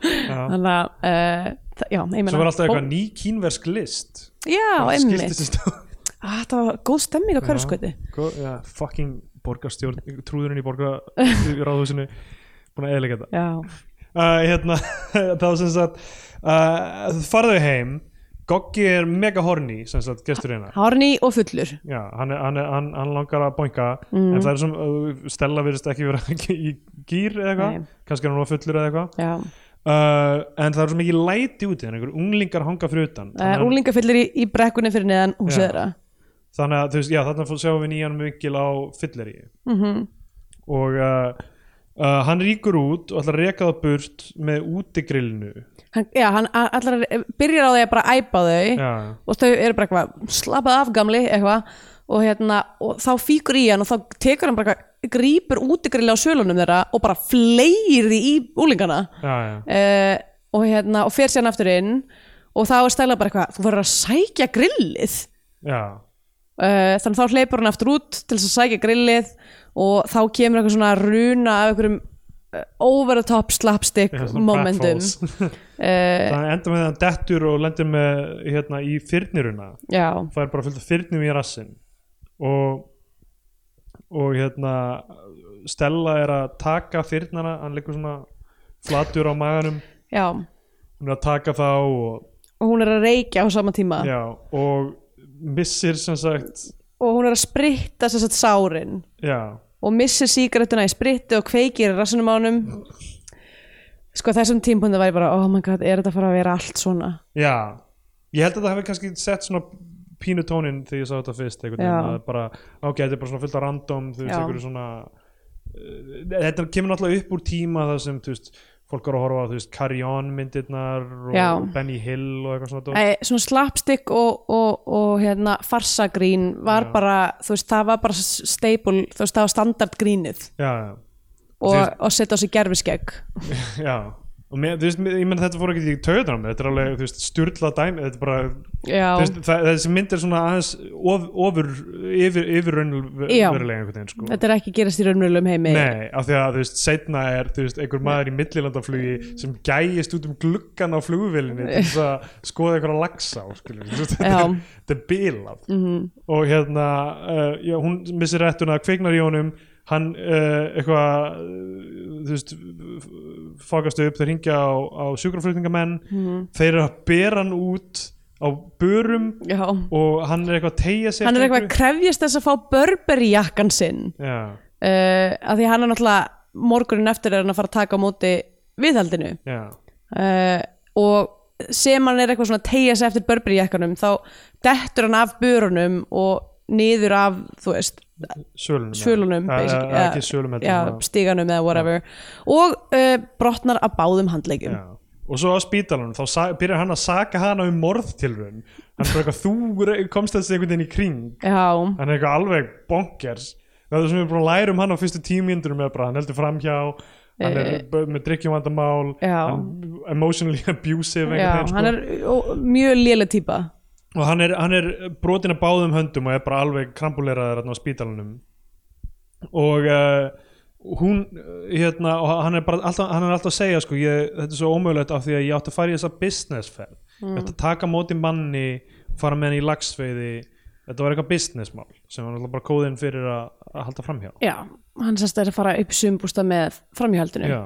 Speaker 3: þannig að uh, það- já, ég meina
Speaker 2: svo var alltaf
Speaker 3: bó-
Speaker 2: eitthvað ný kínversk list
Speaker 3: já, einmitt,
Speaker 2: skiltist í
Speaker 3: ah, það var góð stemming á hverfskvöti
Speaker 2: Gó- Já, fucking borgarstjórn trúðurinn í borgarráðhúsinu búin að eðlega þetta
Speaker 3: já,
Speaker 2: uh, hérna, það var sem sagt uh, farðu heim Goggi er mega horny sem sagt gestur hérna
Speaker 3: hárni og fullur
Speaker 2: Já, hann, er, hann, er, hann, hann langar að boinka en það er sem uh, Stella virðist ekki vera í gýr eða
Speaker 3: Nei.
Speaker 2: eitthvað kannski er hann var fullur eða eitthvað
Speaker 3: já,
Speaker 2: uh, en það er svo mikið læti úti þannig einhver unglingar hanga fyrir utan
Speaker 3: það er úlingafullur í, í brekkunni fyrir neðan húsið
Speaker 2: Já.
Speaker 3: þeirra
Speaker 2: þannig að þú veist, já, þarna fór- sjáum við nýjan vinkil á fylleri -hmm. og uh, uh, hann rýkur út og ætlar að reka það burt með útigrillinu
Speaker 3: hann, já, hann a- allar byrjar á því að bara æpa þau
Speaker 2: já,
Speaker 3: og þau eru bara eitthvað slappað af gamli eitthvað og, hérna, og þá fíkur í hann og þá tekur hann bara eitthvað grípur útigrilli á sölunum þeirra og bara fleir því í úlingana
Speaker 2: já, já,
Speaker 3: uh, og hérna og fer síðan aftur inn og þá er stæla bara eitthvað þú verður að sækja grillið
Speaker 2: já.
Speaker 3: uh, þannig þá hleypur hann aftur út til þess að sækja grillið og þá kemur eitthvað svona runa af einhverjum uh, over the top slapstick
Speaker 2: Já, svona
Speaker 3: momentum
Speaker 2: pratfalls.
Speaker 3: uh,
Speaker 2: þannig endur með hann dettur og lendir með hérna í fyrniruna
Speaker 3: já,
Speaker 2: það er bara fullt af fyrnum í rassin og og hérna Stella er að taka fyrnana hann liggur svona flatur á maganum
Speaker 3: já
Speaker 2: hún er að taka þá og,
Speaker 3: og hún er að reykja á sama tíma
Speaker 2: já, og missir sem sagt
Speaker 3: og hún er að spritta sér satt sárin
Speaker 2: Já,
Speaker 3: og missir sígarettuna í spritti og kveikir í rassinum á honum sko þessum tímpunni var ég bara oh my god, er þetta að fara að vera allt svona
Speaker 2: já Ég held að það hefði kannski sett svona pínu tónin þegar ég sá þetta fyrst einhvern
Speaker 3: Já.
Speaker 2: veginn að bara, ok, þetta er bara svona fullt af random þú veist,
Speaker 3: Já.
Speaker 2: einhverju svona uh, þetta kemur náttúrulega upp úr tíma þar sem, þú veist, fólk eru að horfa á, þú veist, Carry On myndirnar og
Speaker 3: Já.
Speaker 2: Benny Hill og eitthvað svona dót.
Speaker 3: Æ, svona slapstick og, og, og hérna, farsagrín var
Speaker 2: Já.
Speaker 3: bara þú veist, það var bara staple þú veist, það var standardgrínið
Speaker 2: Já, já,
Speaker 3: og,
Speaker 2: Þú veist-
Speaker 3: og setja á sig gerfiskegg
Speaker 2: já og mér, þú veist, ég menn þetta fór ekki í töðunum þetta er alveg, þú veist, styrla dæmi þetta er bara,
Speaker 3: já,
Speaker 2: Þú veist, það, þessi mynd er svona aðeins of, ofur, yfir, yfir
Speaker 3: Já.
Speaker 2: raunverulega einhvern veginn sko.
Speaker 3: þetta er ekki gerast í raunverulegum heimi
Speaker 2: Nei, af því að þú veist, setna er þú veist, einhver maður í millilandaflugi sem gæjist út um gluggan á flugvélinni til þess að skoða einhverja lagsa á skilur, við. Þú veist, þetta, er- þetta er bilað -hmm.
Speaker 3: Mhm.
Speaker 2: og hérna uh, já, hún missir eh, réttuna, kveiknar í honum hann uh, eitthvað uh, þú eh, veist fagast upp, þeir ringja á, á sjúkraflutningamenn
Speaker 3: Mhm.
Speaker 2: þeir eru að bera hann út á börum
Speaker 3: Já.
Speaker 2: og hann er eitthvað að tegja sig
Speaker 3: hann er
Speaker 2: eftir
Speaker 3: eitthvað að krefjast þess að fá Burberry jakkan sinn
Speaker 2: einhverju. já,
Speaker 3: uh, af því hann er náttúrulega morgunin eftir er hann að fara að taka á móti viðhaldinu
Speaker 2: já,
Speaker 3: uh, og sem hann er eitthvað svona að tegja sig eftir Burberry jakkanum þá dettur hann af börunum og niður af, þú veist,
Speaker 2: sölunum
Speaker 3: svölunum
Speaker 2: já,
Speaker 3: basic-
Speaker 2: já, ekki sölum
Speaker 3: já, stíganum eða whatever og uh, brotnar að báðum handlegjum
Speaker 2: Já. og svo á spítalunum þá sa- byrjar hann að saka hana um morðtilrun hann er bara eitthvað þú re- komst þessi einhvern veginn í kring
Speaker 3: já.
Speaker 2: hann er eitthvað alveg bonkers það er það sem við erum búin að læra um hann á fyrstu tímyndurum er bara hann heldur framhjá hann er b- með drikkjumvandamál
Speaker 3: Eh. Já.
Speaker 2: hann emotionally abusive einhvern
Speaker 3: Já,
Speaker 2: veginn, sko.
Speaker 3: hann er ó, mjög léle típa
Speaker 2: og hann er, hann er brotin að báðum höndum og er bara alveg krampuleraður þarna á spítalunum og uh, hún uh, hérna, og hann er bara alltaf, hann er alltaf að segja sko, ég, þetta er svo ómögulegt af því að ég átti að fara í þessa businessferð ég átti að taka á móti manni fara með hann í lagsveiði þetta var eitthvað businessmál sem var alltaf bara kóðinn fyrir að, að halda framhjá
Speaker 3: Já, hann sérst er að fara upp í sumbústa með framhjöldinu
Speaker 2: Já.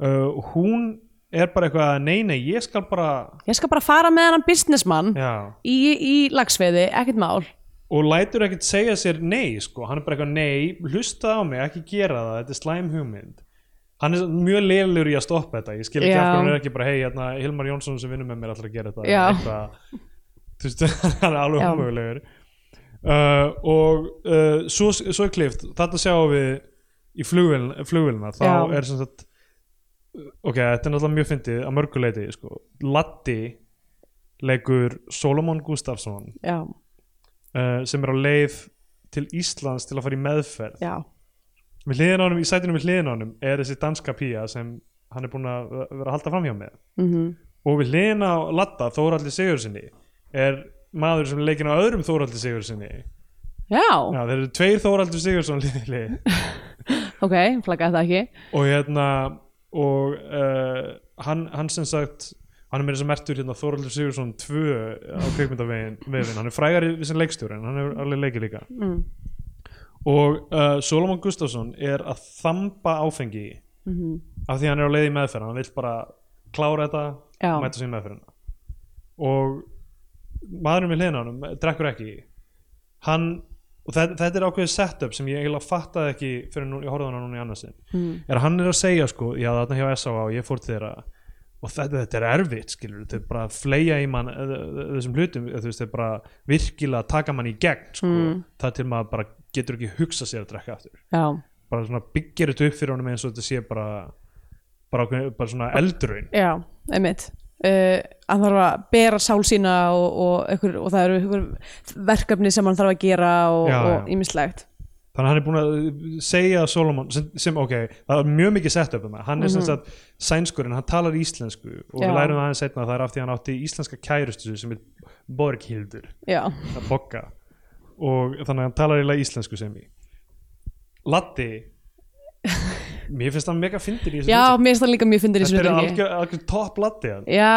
Speaker 2: Uh, hún er bara eitthvað að nei nei ég skal bara
Speaker 3: Ég skal bara fara með hann businessman
Speaker 2: Já.
Speaker 3: í, í lagsveiði, ekkert mál
Speaker 2: og lætur ekkert segja sér nei sko, hann er bara eitthvað nei hlusta á mig, ekki gera það, þetta er slæm hugmynd hann er mjög leilur í að stoppa þetta ég skil ekki
Speaker 3: Já.
Speaker 2: af hverju hann er ekki bara hei, hérna, Hilmar Jónsson sem vinnur með mér allar að gera þetta
Speaker 3: Já.
Speaker 2: eitthvað, þú veist, hann er alveg
Speaker 3: Já.
Speaker 2: umögulegur uh, og uh, svo, svo er klift þetta sjáum við í flugvélina, flugvélina þá
Speaker 3: Já.
Speaker 2: er sem sagt ok, þetta er náttúrulega mjög fyndið að mörguleiti sko. Latti leikur Solomon Gustafsson
Speaker 3: Já,
Speaker 2: uh, sem er á leið til Íslands til að fara í meðferð
Speaker 3: já,
Speaker 2: við hliðin á honum, í sætinu við hliðin á honum er þessi danska pía sem hann er búin að vera að halda framhjá með
Speaker 3: mhm,
Speaker 2: og við hliðin á Latta Þóraldi Sigurðssoni er maður sem er leikinn á öðrum Þóraldi Sigurðssoni já,
Speaker 3: já,
Speaker 2: þeir eru tveir Þóraldi Sigurðsson liðið lið
Speaker 3: ok, flaggaði það ekki
Speaker 2: og hérna og uh, hann, hann sem sagt hann er meira sem mertur hérna Þóraldur Sigurðsson 2 á kveikmyndavegin vefinn. hann er frægari sem leikstjóri en hann er alveg leikið líka
Speaker 3: mm.
Speaker 2: og uh, Solomon Gustafsson er að þamba áfengi
Speaker 3: Mhm.
Speaker 2: af því hann er á leið í meðferð hann vill bara klára þetta
Speaker 3: Já.
Speaker 2: og mæta sér í meðferðina og maðurinn við hliðina á honum drekkur ekki hann, og þetta, þetta er ákveðið setup sem ég eiginlega fattaði ekki fyrir nú, ég horfði á hann núna í annarsinn
Speaker 3: Mm.
Speaker 2: er að hann er að segja sko, já þarna hjá S.A.A. og ég fór til þeirra og þetta, þetta er erfitt skilur þetta er bara að fleja í mann eh, eh, þessum hlutum, eh, þú veist, þetta er bara virkilega að taka mann í gegn sko,
Speaker 3: Mm.
Speaker 2: það til maður bara getur ekki hugsa sér að drekka aftur
Speaker 3: Já,
Speaker 2: bara svona byggir þetta upp fyrir honum eins og þetta sé bara bara, ákveðin- bara svona eldurinn
Speaker 3: já, einmitt uh, Hann þarf að bera sál sína og, og, einhver, og það eru einhver verkefni sem hann þarf að gera og,
Speaker 2: Já,
Speaker 3: og
Speaker 2: já.
Speaker 3: ýmislegt
Speaker 2: þannig að hann er búin að segja að Solomon sem, sem ok, það er mjög mikið sett upp um það hann er sem sagt sænskurinn, hann talar íslensku og við
Speaker 3: Mhm. Já.
Speaker 2: lærum það aðeins setna að það er af því að hann átti íslenska kærustu sem er Borghildur
Speaker 3: Já,
Speaker 2: að bogga og þannig að hann talar eiginlega íslensku sem í Latti mér finnst hann mega fyndir í þessu
Speaker 3: já,
Speaker 2: hlutverki.
Speaker 3: mér finnst það líka mjög fyndir í
Speaker 2: þetta er
Speaker 3: hlutverki.
Speaker 2: algjör, algjör topp Latti hann.
Speaker 3: Já,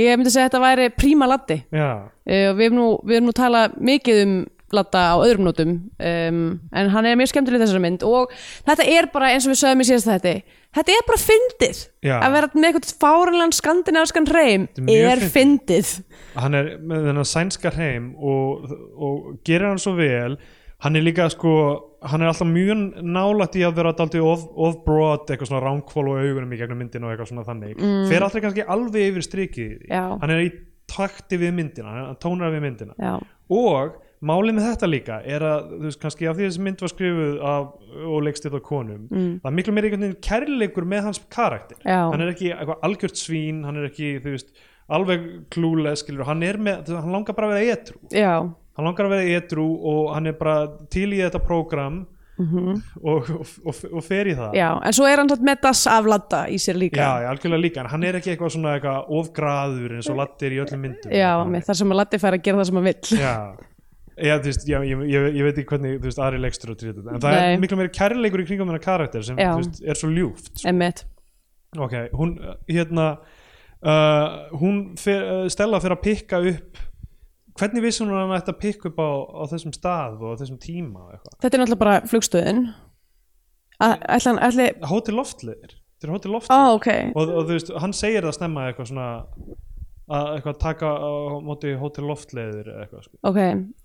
Speaker 3: ég myndi segja að þetta væri príma laddi
Speaker 2: já,
Speaker 3: uh, við, erum nú, við erum nú talað mikið um Latta á öðrum nótum um, en hann er mjög skemmtileg í þessari mynd og þetta er bara eins og við sögum í síðast þetta þetta er bara fyndið
Speaker 2: Já.
Speaker 3: að vera með eitthvað fáranlegan skandinavskan reym
Speaker 2: Þetta er mjög
Speaker 3: er fyndið
Speaker 2: hann er með þennan sænska heim og, og gerir hann svo vel hann er líka sko hann er alltaf mjög nálægt í að vera daldið of, of broad, eitthvað svona ránkvól og augunum í gegnum myndin og eitthvað svona þannig fer alltaf kannski alveg yfir strikið í því.
Speaker 3: Já.
Speaker 2: hann er í takti við myndina hann tónar við myndina
Speaker 3: já,
Speaker 2: og málið með þetta líka er að þú veist kannski af því þessi mynd var skrifuð af, og leikst þetta konum mm. það er miklu meira einhvern veginn kærleikur með hans karakter
Speaker 3: Já.
Speaker 2: hann er ekki eitthvað algjört svín hann er ekki þú veist alveg klúlega skilur hann er með þú veist, hann langar bara að vera etru
Speaker 3: já,
Speaker 2: hann langar að vera etru og hann er bara til í þetta prógram og, og, og, og fer í það
Speaker 3: Mhm. já en svo er hann satt með das af Latta í sér líka
Speaker 2: Já, já, algjörlega líka, en hann er ekki eitthvað svona eitthvað ofgraður eins og lattir í öllum myndum
Speaker 3: já
Speaker 2: Þannig.
Speaker 3: með þar sem að Latti fær að gera það sem að vill
Speaker 2: já, já, þú veist, já ég, ég, ég veit ekki hvernig þú veist, aðri leikstur og trýta þetta en það
Speaker 3: Nei.
Speaker 2: er miklu meiri kærleikur í kringum þennan karakter sem
Speaker 3: Já.
Speaker 2: þú veist, er svo ljúft
Speaker 3: emmitt,
Speaker 2: ok, hún uh, hérna uh, hún fer, uh, Stella fyrir að pikka upp hvernig vissi hún að hann ætti að pikka upp á, á þessum stað og á þessum tíma og eitthvað
Speaker 3: þetta er náttúrulega bara flugstöðin Að- ætli hann, ætli,
Speaker 2: Hótel Loftleðir þeir eru hótið loft
Speaker 3: Ó, ok,
Speaker 2: og, og þú veist, hann segir það snemma eitthvað svona að eitthvað taka á móti hótel loftleiðir eða eitthvað sko.
Speaker 3: ok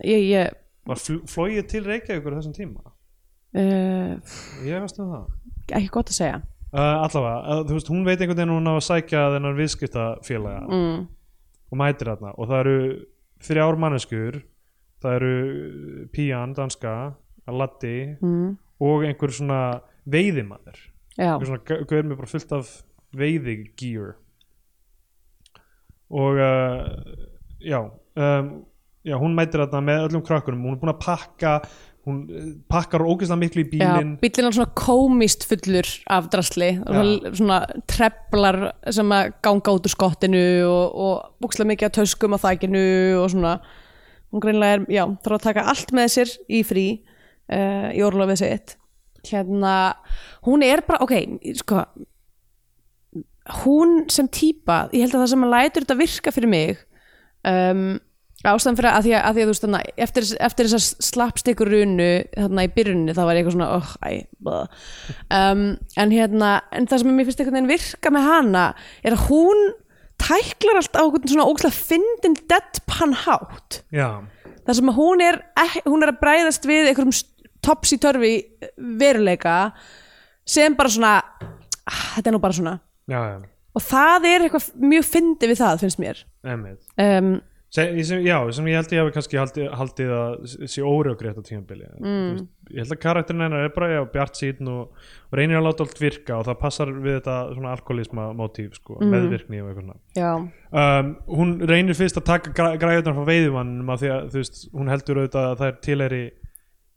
Speaker 3: Ég, ég
Speaker 2: var fl flóið til Reykjavíkur á þessum tíma
Speaker 3: uh,
Speaker 2: ég veist um það
Speaker 3: ekki gott að segja
Speaker 2: uh, allavega, uh, þú veist, hún veit einhvern veginn hún á að sækja þennan viðskiptafélaga
Speaker 3: mm.
Speaker 2: og mætir þarna og það eru þrjár manneskur það eru Pían, danska Latti
Speaker 3: Mm.
Speaker 2: og einhver svona veiðimaður
Speaker 3: Já,
Speaker 2: einhver svona gau- gaur með bara fullt af veiðigýr og uh, já um, já, hún mætir þarna með öllum krökkunum hún er búin að pakka hún eh, pakkar ógeðslega miklu í
Speaker 3: já
Speaker 2: bílinn
Speaker 3: bíllinn er svona komist fullur af drasli og svona- svona treflar sem að ganga út úr skottinu og, og búkslega mikið að töskum á þækinu og svona hún greinlega er, já, þarf að taka allt með sér í frí uh, í orlofið sitt hérna, hún er bara, ok, sko hún sem típa, ég held að það sem hann lætur þetta virka fyrir mig um, ástæðan fyrir að því að, að, því að þú veist, þannig, eftir, eftir þessar slappstikur runu þarna í byrjunni þá var ég eitthvað svona oh, æ, blah." um, en hérna en það sem mér finnst einhvern veginn virka með hana er að hún tæklar allt á einhvern svona ógæslega fyndin deadpan hátt
Speaker 2: já,
Speaker 3: þar sem að hún er, ek- hún er að bræðast við einhverjum topsy-turvy veruleika sem bara svona ah, þetta er nú bara svona
Speaker 2: já, já,
Speaker 3: og það er eitthvað mjög fyndi við það finnst mér
Speaker 2: emið
Speaker 3: um,
Speaker 2: Sem, sem, já, sem ég held ég hafi kannski haldið, haldið að s- sé órökrétt á tímabili mm. ég held að karakterin hennar er bara já, bjart síðan og, og reynir að láta allt virka og það passar við þetta svona alkoholisma mótíf, sko, meðvirkni og eitthvað svona
Speaker 3: já,
Speaker 2: um, hún reynir fyrst að taka græ, græðunar frá veiðumannum af því að þú veist, hún heldur auðvitað að það er tileri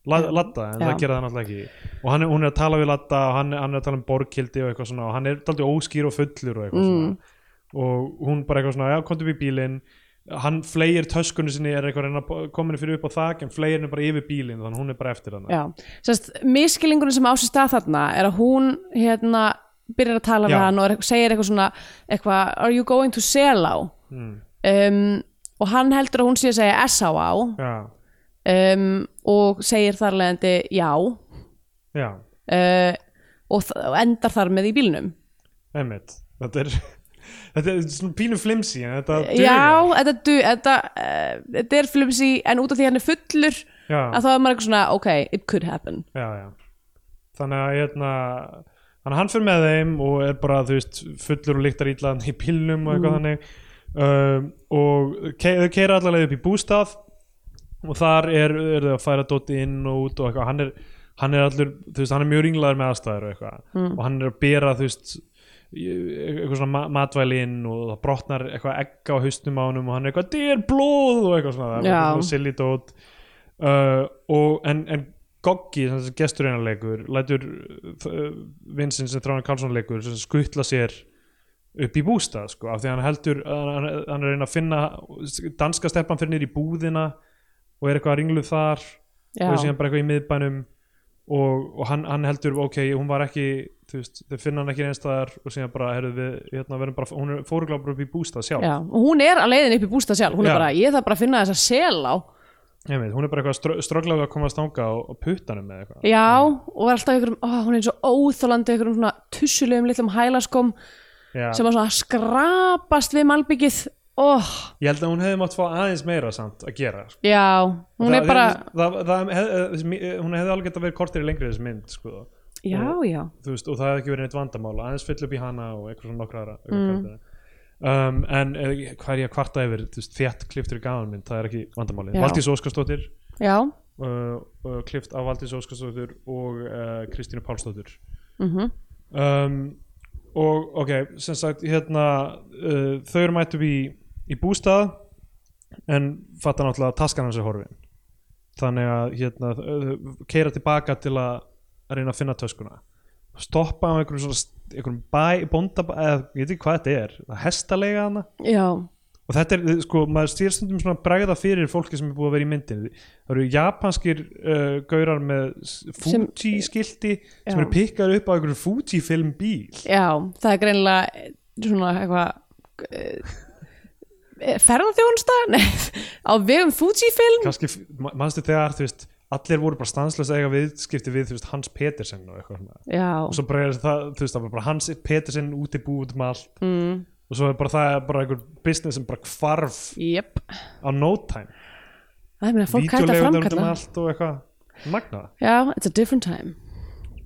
Speaker 2: Latta, en
Speaker 3: Já.
Speaker 2: það gera það náttúrulega ekki og hann, er- hún er að tala við Latta og hann, hann er að tala um borgkildi og eitthvað svona og hann er daldið óskýr og fullur og eitthvað
Speaker 3: Mm.
Speaker 2: svona og hún bara eitthvað svona, já, komdu upp í bílinn hann fleir töskunni sinni er eitthvað að reyna að komin fyrir upp á þak en fleir henni bara yfir bílinn þannig að hún er bara eftir hann
Speaker 3: já Sest, miskilingunum sem á sér stað þarna er að hún hérna byrjar að tala
Speaker 2: Já.
Speaker 3: við hann og er, segir eitthvað svona eitthvað, are you going to Selá
Speaker 2: Mm.
Speaker 3: um, og hann heldur að hún sé að segja S.A.A.
Speaker 2: já,
Speaker 3: Um, og segir þar leðandi já uh,
Speaker 2: já,
Speaker 3: og, þ- og endar þar með í bílnum
Speaker 2: einmitt þetta er, þetta er svona pínu flimsi en þetta
Speaker 3: já,
Speaker 2: dugar.
Speaker 3: þetta, du, þetta, uh, þetta er flumsi en út af því hann er fullur
Speaker 2: já.
Speaker 3: að þá er maður eitthvað svona, ok, it could happen
Speaker 2: já, já. þannig að hérna, þannig að hann fyrir með þeim og er bara þú veist fullur og líktar ítlaðan í pílnum og eitthvað þannig um, og ke þau keira allavega upp í bústað og þar er, er þau að færa Dóti inn og út og eitthvað hann er, hann er allur, þú veist, hann er mjög ringlaður með aðstæður og eitthvað og hann er að bera þú veist eitthvað svona ma- matvæli inn og það brotnar eitthvað egg á haustum á honum og hann er eitthvað, þetta er blóð og eitthvað svona, það er
Speaker 3: Já.
Speaker 2: eitthvað svona silly dót uh, og en, en Goggi, sem þessi gesturinaleikur lætur uh, vinsinn sem Þrána Karlsson leikur sem skuttla sér upp í bústað sko, af því að hann heldur hann, hann er að reyna að finna danska steppan fyrir niður í búðina og er eitthvað að ringluð þar
Speaker 3: já,
Speaker 2: og er síðan bara eitthvað í miðbænum og, og hann, hann heldur, ok, hún var ekki þú veist, þau finna hann ekki einstæðar og síðan bara, heyrðu við, hérna verðum bara hún er fóruglega bara upp í bústað sjálf
Speaker 3: já. og hún er að leiðin upp í bústað sjálf hún
Speaker 2: Já.
Speaker 3: er bara, ég þarf bara að finna þessa sel á
Speaker 2: Ég veit, hún er bara eitthvað að str strögglega að komast þangað á, á puttanum eða eitthvað
Speaker 3: já, og er alltaf ykkur ó, hún er eins og óþólandi ykkur svona tussulegum litlum hælaskom
Speaker 2: Já.
Speaker 3: sem að svona skrapast við malbyggið oh,
Speaker 2: ég held að hún hefði mátt fá aðeins meira samt að gera sko.
Speaker 3: já, hún
Speaker 2: það,
Speaker 3: er bara
Speaker 2: það, það, hef, hún hefði alveg gett að vera kortir í lengri þessi mynd sko.
Speaker 3: já, já,
Speaker 2: Þú veist, og það hefði ekki verið neitt vandamál aðeins fyll upp í hana og eitthvað svona nokkra aðra mm. um, en eh, hvað er ég að kvarta yfir þú veist, þétt kliftur í gaman mynd, það er ekki vandamálið
Speaker 3: Já.
Speaker 2: Valdís Óskarsdóttir
Speaker 3: já
Speaker 2: uh, uh, klift af Valdís Óskarsdóttir og uh, Kristínu Pálsdóttir
Speaker 3: mm
Speaker 2: um, og ok, sem sagt hérna, uh, þau eru mætt upp í, í bústað en fatta náttúrulega að taskan hans er horfin þannig að hérna, keira tilbaka til að að reyna að finna töskuna stoppa á einhverjum svona einhverjum bæ, bónda, eða ég veit ekki hvað þetta er það er hestalega hana
Speaker 3: já,
Speaker 2: og þetta er, sko, maður stýr stundum svona bregða fyrir fólki sem er búið að vera í myndinni það eru japanskir uh, gaurar með
Speaker 3: Sem-
Speaker 2: fúti skilti sem
Speaker 3: Já.
Speaker 2: eru pikkar upp á einhverju fúti film bíl
Speaker 3: já það er greinilega svona eitthvað ferðarþjónsta á vegum Fujifilm
Speaker 2: kannski, ma- manstu þegar, þú veist allir voru bara stanslösa eiga viðskipti við þú veist, Hans Petersen og eitthvað svona
Speaker 3: já,
Speaker 2: og svo bara er það, þú veist, það var bara Hans Petersen út í búið út um allt mm. og svo er bara það er bara einhver business sem bara hvarf
Speaker 3: jöp
Speaker 2: á no time
Speaker 3: það er mér að fólk hægt að
Speaker 2: Vídeóleigurnar út um
Speaker 3: framkalla
Speaker 2: allt og eitthvað magnað
Speaker 3: já, it's a different time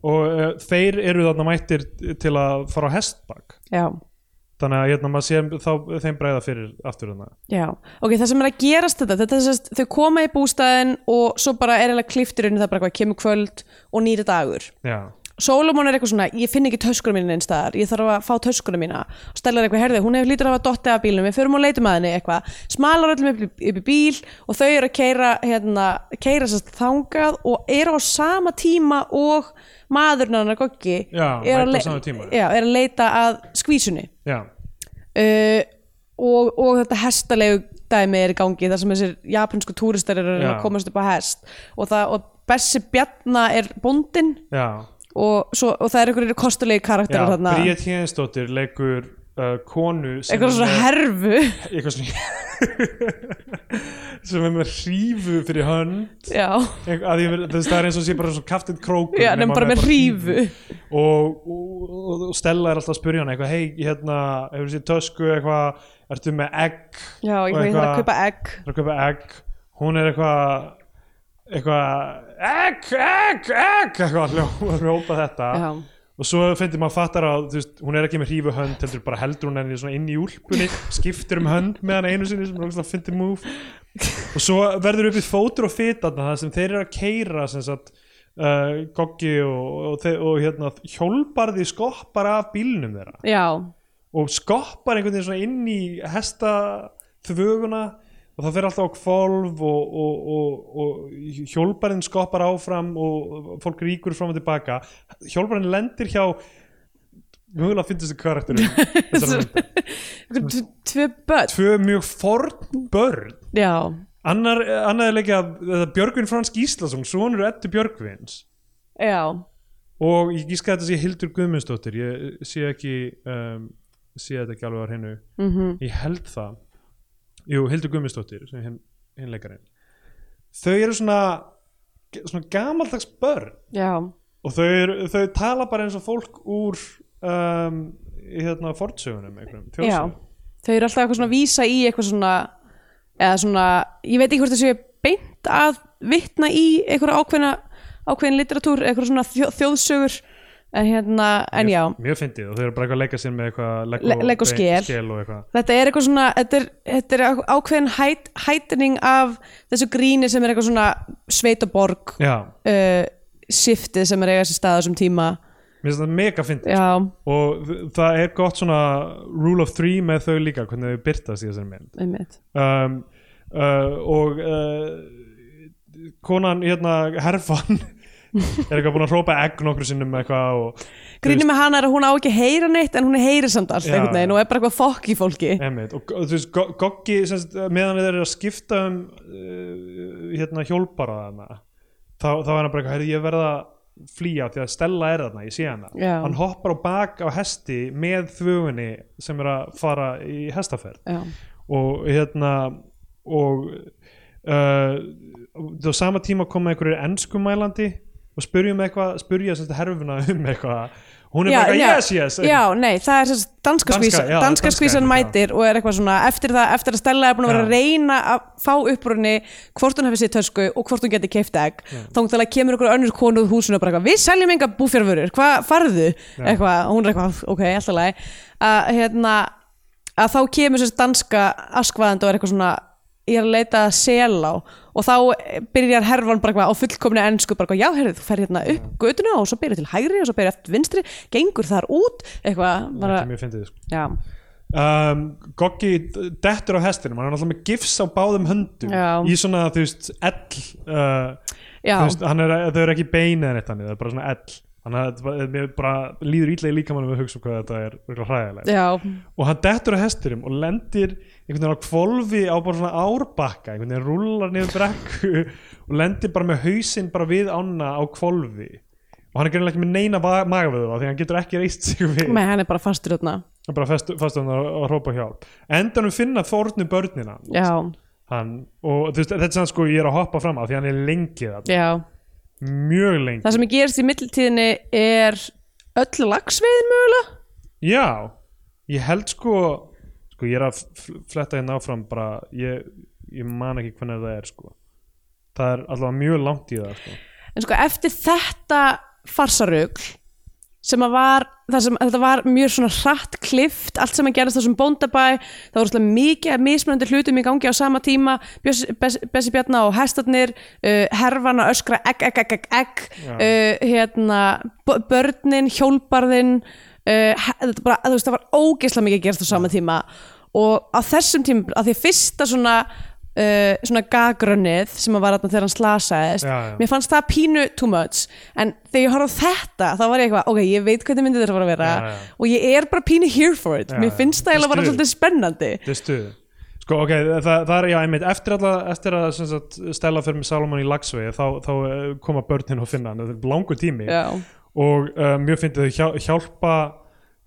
Speaker 2: og uh, þeir eru þarna mættir til að fara á hestbak
Speaker 3: já,
Speaker 2: þannig að hérna maður sé þá þeim bregða fyrir aftur þarna
Speaker 3: já, ok, það sem er að gerast þetta þetta er þess að þau koma í bústæðin og svo bara er eiginlega klifturinn það er bara hvað kemur kvöld og nýri dagur
Speaker 2: já,
Speaker 3: Solomon er eitthvað svona, ég finn ekki töskuna mína einn staðar, ég þarf að fá töskuna mína og Stella er eitthvað, herði, hún hefur lítur að hafa dottið af bílnum við förum og leitum að henni eitthvað smalar öllum upp, í- upp í bíl og þau eru að keira hérna, keira sérst þangað og eru á sama tíma og maðurinn hann að goggi
Speaker 2: Já,
Speaker 3: er,
Speaker 2: mæta á
Speaker 3: að le-
Speaker 2: sama tíma.
Speaker 3: já, er að leita að skvísunni
Speaker 2: já,
Speaker 3: uh, og, og þetta hestalegu dæmi er í gangi þar sem þessir japansku túristar eru að reyna
Speaker 2: Já.
Speaker 3: að komast upp á hest og, það, og Bessi Bjarna er bóndinn
Speaker 2: já,
Speaker 3: og, svo, og það er einhverjir kostulegi
Speaker 2: já.
Speaker 3: karakterar þarna
Speaker 2: Bríet Hjeðinsdóttir leikur uh, konu sem
Speaker 3: eitthvað
Speaker 2: er
Speaker 3: svona
Speaker 2: með-
Speaker 3: herfu
Speaker 2: eitthvað svona sem er með hrífu fyrir hönd
Speaker 3: já,
Speaker 2: Einhver- að ég, þess, það er eins og sé bara svo kaftin krókur
Speaker 3: já nefnum bara með hrífu
Speaker 2: og, og, og, og Stella er alltaf að spyrja hann eitthvað hei, hérna, hefur sér tösku eitthvað, ertu með egg
Speaker 3: já,
Speaker 2: Og
Speaker 3: ég veit það að kaupa egg
Speaker 2: það er að kaupa egg hún er eitthvað eitthvað egg, egg, egg eitthvað að hljópa þetta
Speaker 3: já,
Speaker 2: og svo finnir maður fattar að þú veist, hún er ekki með hrífu hönd heldur bara heldur hún henni svona inn í úlpunni skiptir um hönd með hann einu sinni sem er finnir move og svo verður uppið fótur og fita það sem þeir eru að keira sem sagt Uh, goggi og, og, þe- og hérna, hjólbarði skoppar af bílnum þeirra
Speaker 3: já,
Speaker 2: og skoppar einhvern veginn svona inn í hesta þvöguna og það fer alltaf á kvolf og, og, og, og hjólbarinn skoppar áfram og fólk ríkur fram og tilbaka hjólbarinn lendir hjá mögulega finnst þessi karakterum
Speaker 3: Einhver tv- tvö börn
Speaker 2: tvö mjög forn börn
Speaker 3: já,
Speaker 2: annar, annar er leika þetta Björgvin Fransk Íslasson sonur Eddu Björgvins
Speaker 3: já,
Speaker 2: og ég gíska að þetta sé Hildur Guðmundsdóttir ég sé ekki um, sé þetta ekki alveg á hennu
Speaker 3: mhm,
Speaker 2: -hmm. ég held það Jú, Hildur Guðmundsdóttir sem hinn, hinn leikarinn þau eru svona svona gamaldags börn
Speaker 3: já
Speaker 2: og þau, eru, þau tala bara eins og fólk úr um, hérna fortsögunum einhverjum,
Speaker 3: já,
Speaker 2: þjóðsögunum
Speaker 3: þau eru alltaf eitthvað svona að vísa í eitthvað svona eða svona, ég veit ekki hvort þessu er beint að vitna í eitthvað ákveðna ákveðin literatúr, eitthvað svona þjó, þjóðsögur en hérna, en já
Speaker 2: Mjög- mjög fyndið og þau eru bara eitthvað að leika sér með eitthvað Lego,
Speaker 3: Le- Lego
Speaker 2: bein-
Speaker 3: skel.
Speaker 2: skel og eitthvað
Speaker 3: Þetta er eitthvað svona, þetta er, þetta er ákveðin hæt, hætning af þessu gríni sem er eitthvað svona sveit og borg
Speaker 2: já,
Speaker 3: uh, shiftið sem er eiga sér stað á þessum tíma.
Speaker 2: mér finnst þetta mega fyndið
Speaker 3: Já,
Speaker 2: og þ- það er gott svona rule of three með þau líka hvernig þau byrtast í þessari mynd
Speaker 3: einmitt.
Speaker 2: um, uh, og uh, konan hérna herfan er eitthvað búin að hrópa egg nokkru sinnum eitthvað og
Speaker 3: Gríni með hana er að hún á ekki að heyra neitt en hún er heyri samt allt
Speaker 2: Já,
Speaker 3: einhvern veginn
Speaker 2: já.
Speaker 3: og er bara eitthvað fokk í fólki.
Speaker 2: Einmitt. og go- þú veist, Go- Goggi sem sagt, meðan þeir eru að skipta um uh, hérna hjólbara þarna þá, þá er hann bara eitthvað, "Heyrðu, ég verða að flýja því að Stella er þarna, ég sé hana
Speaker 3: Já.
Speaker 2: hann hoppar á bak á hesti með þvögunni sem er að fara í hestaferð
Speaker 3: Já,
Speaker 2: og hérna og uh, á sama tíma koma einhverjir enskumælandi og spyrjum eitthvað, spyrja sem þetta herfuna um eitthvað hún er
Speaker 3: já,
Speaker 2: bara
Speaker 3: já.
Speaker 2: eitthvað, yes, yes
Speaker 3: já, nei, það er sérst danska,
Speaker 2: Danska,
Speaker 3: skvísa,
Speaker 2: já, danska
Speaker 3: danska skvísan
Speaker 2: er þetta,
Speaker 3: mætir og er eitthvað svona eftir, það, eftir að Stella er búin að vera
Speaker 2: Já.
Speaker 3: að reyna að fá upprunni hvort hún hefði sér tösku og hvort hún geti keift egg þá til að kemur einhver önnur konu úr húsinu og bara eitthvað, við seljum enga búfjárvörur, hvað farðu eitthvað, og hún er eitthvað, ok, alltaf læg að hérna að þá kemur sérst danska askvaðandi og er eitthvað svona ég er að leita að sel á og þá byrjar herfan bara eitthvað á fullkomni ennsku bara eitthvað, já herrið, þú fer hérna upp götuna og svo byrjar til hægri og svo byrjar eftir vinstri gengur þar út, eitthvað
Speaker 2: Þetta
Speaker 3: bara,
Speaker 2: er mjög fyndið sko
Speaker 3: já.
Speaker 2: um, Goggi dettur á hestinum hann er alltaf með gifs á báðum höndum
Speaker 3: Já.
Speaker 2: í svona þú veist ell uh,
Speaker 3: Já.
Speaker 2: þú veist, hann er, þau eru ekki bein eða neitt hann, það er bara svona ell þannig að þetta bara- mér bara líður ítlega líka mannum að hugsa um hvað þetta er örugglega hræðilegt
Speaker 3: Já,
Speaker 2: og hann dettur á hestinum og lendir einhvern veginn á kvolfi á bara svona árbakka einhvern veginn rúlar niður brekku og lendir bara með hausinn bara við ána á kvolfi og hann er greinlega ekki með neina magavöðu því hann getur ekki reist sig við
Speaker 3: með hann er bara fastur þarna
Speaker 2: Það er bara fast, fast hann að, að hrópa hjálp endanum finna þórnu börnina
Speaker 3: Já,
Speaker 2: hann og þú veist, þetta er sann sko ég er að hoppa fram á því hann er lengi það
Speaker 3: já
Speaker 2: mjög lengi
Speaker 3: það sem gerist í mittiltíðinni er öll lagsveiðin mögulega
Speaker 2: Já, ég held sko sko ég er að fl- fletta hérna áfram bara, ég, ég man ekki hvernig það er sko það er allavega mjög langt í það sko.
Speaker 3: en sko eftir þetta farsarugl sem að var, það sem, þetta var mjög svona hratt klift, allt sem að gerast þessum bóndabæ, það voru svolítið mikið af mismunandi hlutum í gangi á sama tíma Bjössi, Bess- Bessi Bjarna og Hestarnir uh, herfan að öskra egg, egg, egg, egg, egg
Speaker 2: Já.
Speaker 3: uh, hérna b- börnin, hjólbarðin uh, he- þetta bara, þú veist, það var ógeðslega mikið að gerast á sama tíma og á þessum tíma, að því fyrsta svona uh, svona gagrönnið sem að var þarna þegar hann slasaðist
Speaker 2: Já, já.
Speaker 3: mér fannst það pínu too much en þegar ég horfði á þetta þá var ég eitthvað, ok, ég veit hvernig myndi þetta var að vera
Speaker 2: Já, já.
Speaker 3: og ég er bara pínu here for it
Speaker 2: Já,
Speaker 3: mér
Speaker 2: já.
Speaker 3: finnst það eiginlega bara
Speaker 2: Stuð.
Speaker 3: svolítið spennandi
Speaker 2: þetta er stuð sko ok, það, það er já einmitt eftir, alla, eftir að sem sagt, stella fyrir mig Salomon í lagsvegi þá, þá eh, koma börnin og finna hann, þetta er langur tími
Speaker 3: já,
Speaker 2: og uh, mjög fyndið þau hjá- hjálpa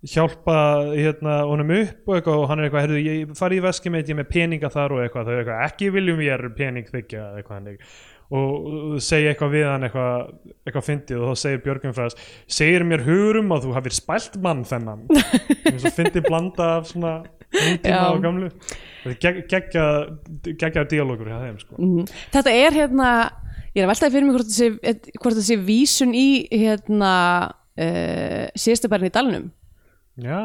Speaker 2: hjálpa hérna honum upp og eitthvað og hann er eitthvað, herrðu, ég farið í veski mitt ég er með peninga þar og eitthvað, þau eru eitthvað ekki viljum ég er pening þykja eða eitthvað hannig og og segja eitthvað við hann eitthvað, eitthvað fyndið og þá segir Björgum fræðis segir mér hugurum að þú hafir spælt mann þennan eins og fyndið blanda af svona nútíma
Speaker 3: Já.
Speaker 2: og gamlu þetta er gegg- geggjað geggjað dialógur hjá þeim sko.
Speaker 3: mhm. þetta er hérna ég er að veltaði fyrir mig hvort það sé, hvort það sé vísun í hérna uh, síðustu bærin í dalnum
Speaker 2: já,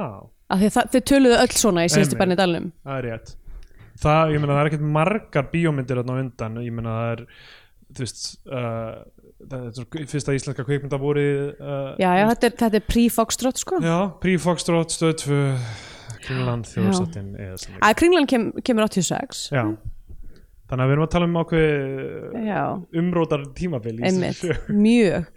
Speaker 3: af því að það- þau töluðu öll svona í síðustu
Speaker 2: Einmitt.
Speaker 3: bærin í dalnum
Speaker 2: það er rétt það, ég meina, það er ekkert margar bíómyndir þarna á undan, ég meina, það er þú veist uh, það er svo- fyrsta íslenska kvikmynda voru uh,
Speaker 3: já, já, þetta er, þetta er pre-Foxtrot sko
Speaker 2: já Prífokstrót, Stöð 2 Kringland, Þjóðsattin eða sem ekki.
Speaker 3: að Kringlan kem, kemur 86
Speaker 2: já, þannig að við erum að tala um ákveð
Speaker 3: já,
Speaker 2: umrótar tímabil í þessari
Speaker 3: einmitt,
Speaker 2: sögu.
Speaker 3: mjög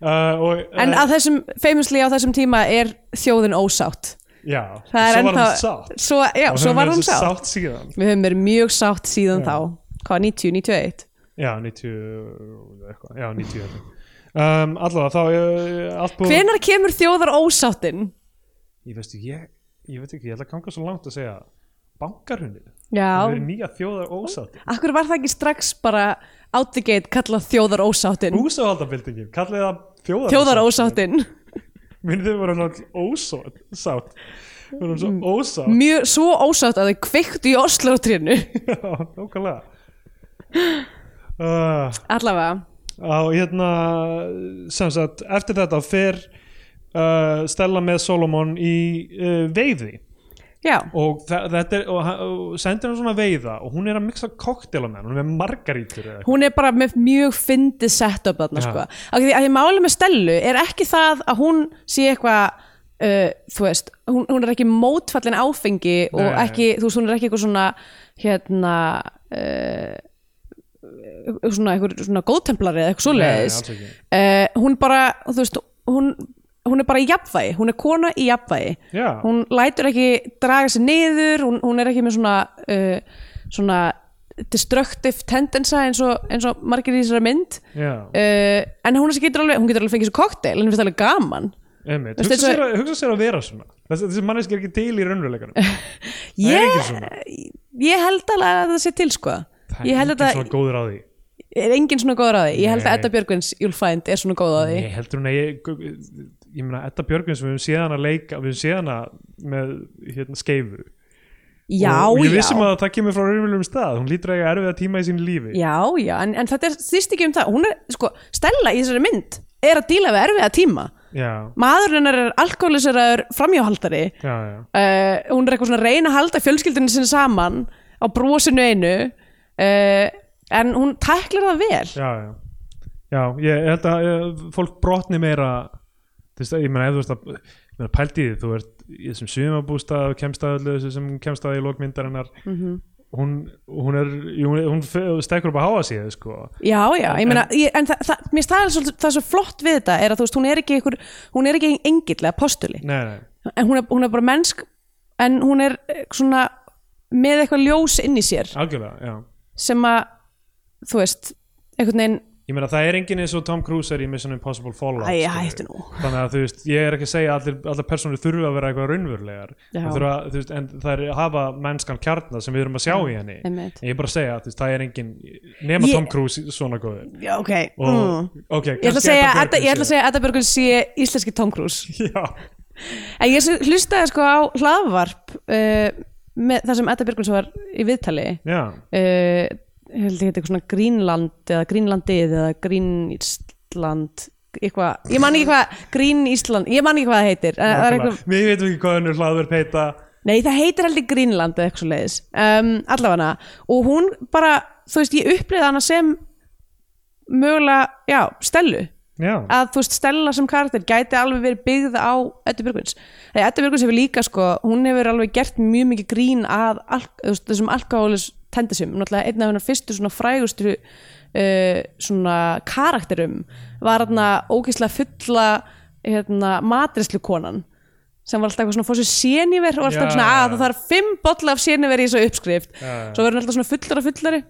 Speaker 2: uh, og, uh,
Speaker 3: En á þessum, famously á þessum tíma er þjóðin ósátt
Speaker 2: já,
Speaker 3: Það er
Speaker 2: svo var hann
Speaker 3: ennþá-
Speaker 2: sátt
Speaker 3: Svo, já,
Speaker 2: Og
Speaker 3: svo
Speaker 2: höfum
Speaker 3: var
Speaker 2: við
Speaker 3: hún
Speaker 2: þessu
Speaker 3: sátt
Speaker 2: sátt síðan
Speaker 3: Við höfum verið mjög sátt
Speaker 2: Já.
Speaker 3: síðan þá Hvað, 90, 91?
Speaker 2: já, 90 eitthvað, já, 90 held ég. um, allavega, þá uh, allt búið
Speaker 3: Hvenær kemur þjóðar ósáttin?
Speaker 2: ég veistu, ég, ég veit ekki, ég ætla að ganga svo langt að segja bankarhunnið
Speaker 3: Já,
Speaker 2: það er nýja þjóðar ósátt
Speaker 3: akkur var það ekki strax bara out the gate kallað þjóðar ósáttin
Speaker 2: búsáhaldabildingin, kallið það þjóðar
Speaker 3: Þjóðar ósáttin
Speaker 2: minnið þau voru hann ósátt sátt, voru hann
Speaker 3: Mm.
Speaker 2: svo ósátt
Speaker 3: Mjög, svo ósátt að þau kveiktu í Oslo-trínu
Speaker 2: já, nákvæmlega uh,
Speaker 3: Allavega
Speaker 2: á hérna sem sagt, eftir þetta fer uh, Stella með Solomon í uh, veiði
Speaker 3: Já,
Speaker 2: og, þa- þetta er, og, hann- og sendir hann svona veiða og hún er að mixa koktel á með hann, hún er með margarítur eða eitthvað.
Speaker 3: hún er bara með mjög fyndið setup þarna
Speaker 2: Já.
Speaker 3: sko að því, að því máli með Stellu er ekki það að hún sé eitthvað uh, þú veist, hún, hún er ekki mótfallin áfengi og
Speaker 2: Nei.
Speaker 3: ekki, þú veist, hún er ekki eitthvað svona hérna uh, svona eitthvað svona góðtemplari eða eitthvað svoleiðis
Speaker 2: Nei, alls ekki.
Speaker 3: uh, hún bara, þú veist hún, hún er bara í jafnvægi, hún er kona í jafnvægi
Speaker 2: Já.
Speaker 3: hún lætur ekki draga sig niður, hún, hún er ekki með svona uh, svona destructive tendensa eins og, eins og margir í þessari mynd
Speaker 2: Já,
Speaker 3: uh, en hún, þessi getur alveg, hún getur alveg fengið svo kokteil, henni finnst það alveg gaman
Speaker 2: einmitt,
Speaker 3: Veistu,
Speaker 2: hugsa
Speaker 3: eins og-
Speaker 2: sér, að, hugsa sér að vera svona þessi, þessi manneski er ekki til í raunveruleikanum það er
Speaker 3: ég,
Speaker 2: ekki svona
Speaker 3: ég held alveg að það sé til sko
Speaker 2: það
Speaker 3: ég
Speaker 2: er
Speaker 3: held
Speaker 2: ekki
Speaker 3: að það
Speaker 2: svona góður á því
Speaker 3: er engin svona góð ráði ég held að
Speaker 2: Nei.
Speaker 3: Edda Björgvins You'll Find er svona góð ráði
Speaker 2: ég heldur hún að ég ég meina Edda Björgvins, við höfum séð hana leika við höfum séð hana með hérna, skeifu
Speaker 3: já,
Speaker 2: og ég
Speaker 3: já
Speaker 2: vissum að það kemur frá raunverulegum stað hún lítur að eiga erfiða tíma í sínu lífi
Speaker 3: Já, já, en, en þetta er þýst ekki um það hún er, sko, Stella í þessari mynd er að díla við erfiða tíma
Speaker 2: já,
Speaker 3: maðurinn hennar er alkoholiseraður framhjáhaldari uh,
Speaker 2: já, já.
Speaker 3: hún er eitthvað svona að reyna að halda fjölskyldinu sinni saman á brosinu einu uh, en hún tæklar það vel
Speaker 2: já, já. já ég held að eh, fólk brotni meira þú veist, ég meina ef þú veist að ég meina, pældi í því, þú ert í þessum sumabústað og kemst að öllu þessu sem hún kemst að í lókmyndarinnar mm -hmm. hún, hún er jú, hún, hún fe- stekkur upp að háa sig sko.
Speaker 3: Já, já, ég meina, ég, en það, það, mér staðar svo, það er svo flott við þetta er að þú veist, hún er ekki einhver, hún er ekki engill eða postuli,
Speaker 2: nei, nei,
Speaker 3: en hún er, hún er bara mennsk, en hún er eh, svona með eitthvað ljós inn í sér
Speaker 2: algjörlega já.
Speaker 3: sem að þú veist, einhvern veginn
Speaker 2: ég meina það er enginn eins og Tom Cruise er í Mission Impossible Fallout
Speaker 3: Æ,
Speaker 2: skilurðu.
Speaker 3: hættu nú.
Speaker 2: þannig að þú veist, ég er ekki að segja að allir, allar personur þurfa að vera eitthvað raunverulegar
Speaker 3: Já.
Speaker 2: Þær þurfa, þú veist, en það er að hafa mennskan kjarnar sem við erum að sjá í henni
Speaker 3: Einmitt.
Speaker 2: en ég er bara að segja, þú veist, það er enginn nema
Speaker 3: Ég-
Speaker 2: Tom Cruise svona góður
Speaker 3: Já, ok.
Speaker 2: og,
Speaker 3: mm.
Speaker 2: ok,
Speaker 3: Ég ætla að segja, Edda, ég ætla að segja að Edda Björgun sé íslenski Tom Cruise.
Speaker 2: segja
Speaker 3: En ég s- hlustaði sko á hlaðvarp uh, með það sem Edda Björgun var í viðtali.
Speaker 2: já, já,
Speaker 3: Uh, ég held ég heiti eitthvað svona Grínland eða Grínlandið eða Grínísland eitthvað, ég man ekki hvað Grín Ísland, ég man ekki hvað það heitir en það er
Speaker 2: nákvæmlega.
Speaker 3: eitthvað
Speaker 2: mér veitum ekki hvað hennur hlaðverð peita
Speaker 3: Nei, það heitir heldur Grínland eða eitthvað svo leiðis um, allafana og hún bara, þú veist, ég upplýði hana sem mögulega, já, Stellu
Speaker 2: já,
Speaker 3: að þú veist, Stella sem karakter gæti alveg verið byggð á Eddu Björgvins Þegar Eddu Björgvins hefur líka, sko, hún hefur alveg gert mjög mikið grín að al, þú veist, þessum alkohólis tendisum náttúrulega einn af hennar fyrstu svona frægustu uh, svona karakterum var hérna ógeðslega fulla hérna, matrislu konan sem var alltaf eitthvað svona fór sér séniver og alltaf
Speaker 2: Já.
Speaker 3: svona að það þarf fimm bolla af séniver í þessu uppskrift
Speaker 2: Já.
Speaker 3: svo verður hún alltaf svona fullar og fullari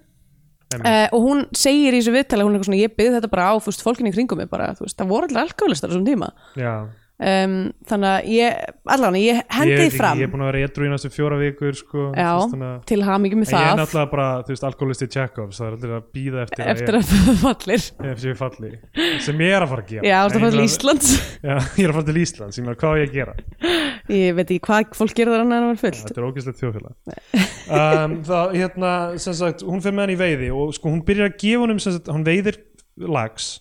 Speaker 2: Einmitt.
Speaker 3: uh, og hún segir í þessu viðtali hún er eitthvað svona ég byggði þetta bara á fúst, fólkinni í kringum mig bara, þú veist, það voru allir alkoholistar á þessum tíma
Speaker 2: já
Speaker 3: um, þannig að ég, allan, ég
Speaker 2: ég,
Speaker 3: hendi
Speaker 2: veit
Speaker 3: því
Speaker 2: ekki,
Speaker 3: fram
Speaker 2: ég er búin að vera edru í næstu fjóra vikur sko, þú
Speaker 3: já,
Speaker 2: veist, þannig að-
Speaker 3: til hafa mikið
Speaker 2: En
Speaker 3: með
Speaker 2: ég er
Speaker 3: það
Speaker 2: náttúrulega bara, þú veist, alkoholisti Tjekovs það er allir að býða eftir,
Speaker 3: eftir að það fallir
Speaker 2: að ég, ef ég falli sem ég er að fara að gera
Speaker 3: já, það
Speaker 2: En ég
Speaker 3: fallir
Speaker 2: meina-
Speaker 3: Íslands
Speaker 2: Já, ég er að fara til Íslands, ég meina, hvað á ég að gera?
Speaker 3: ég veit ekki hvað fólk gerði þar annað en var fullt
Speaker 2: Þetta er ógæslegt þjóðfélag um, Það, hérna, sem sagt, hún fer með hann í veiði og sko, hún byrjar að gefa honum, sem sagt, hún veiðir lags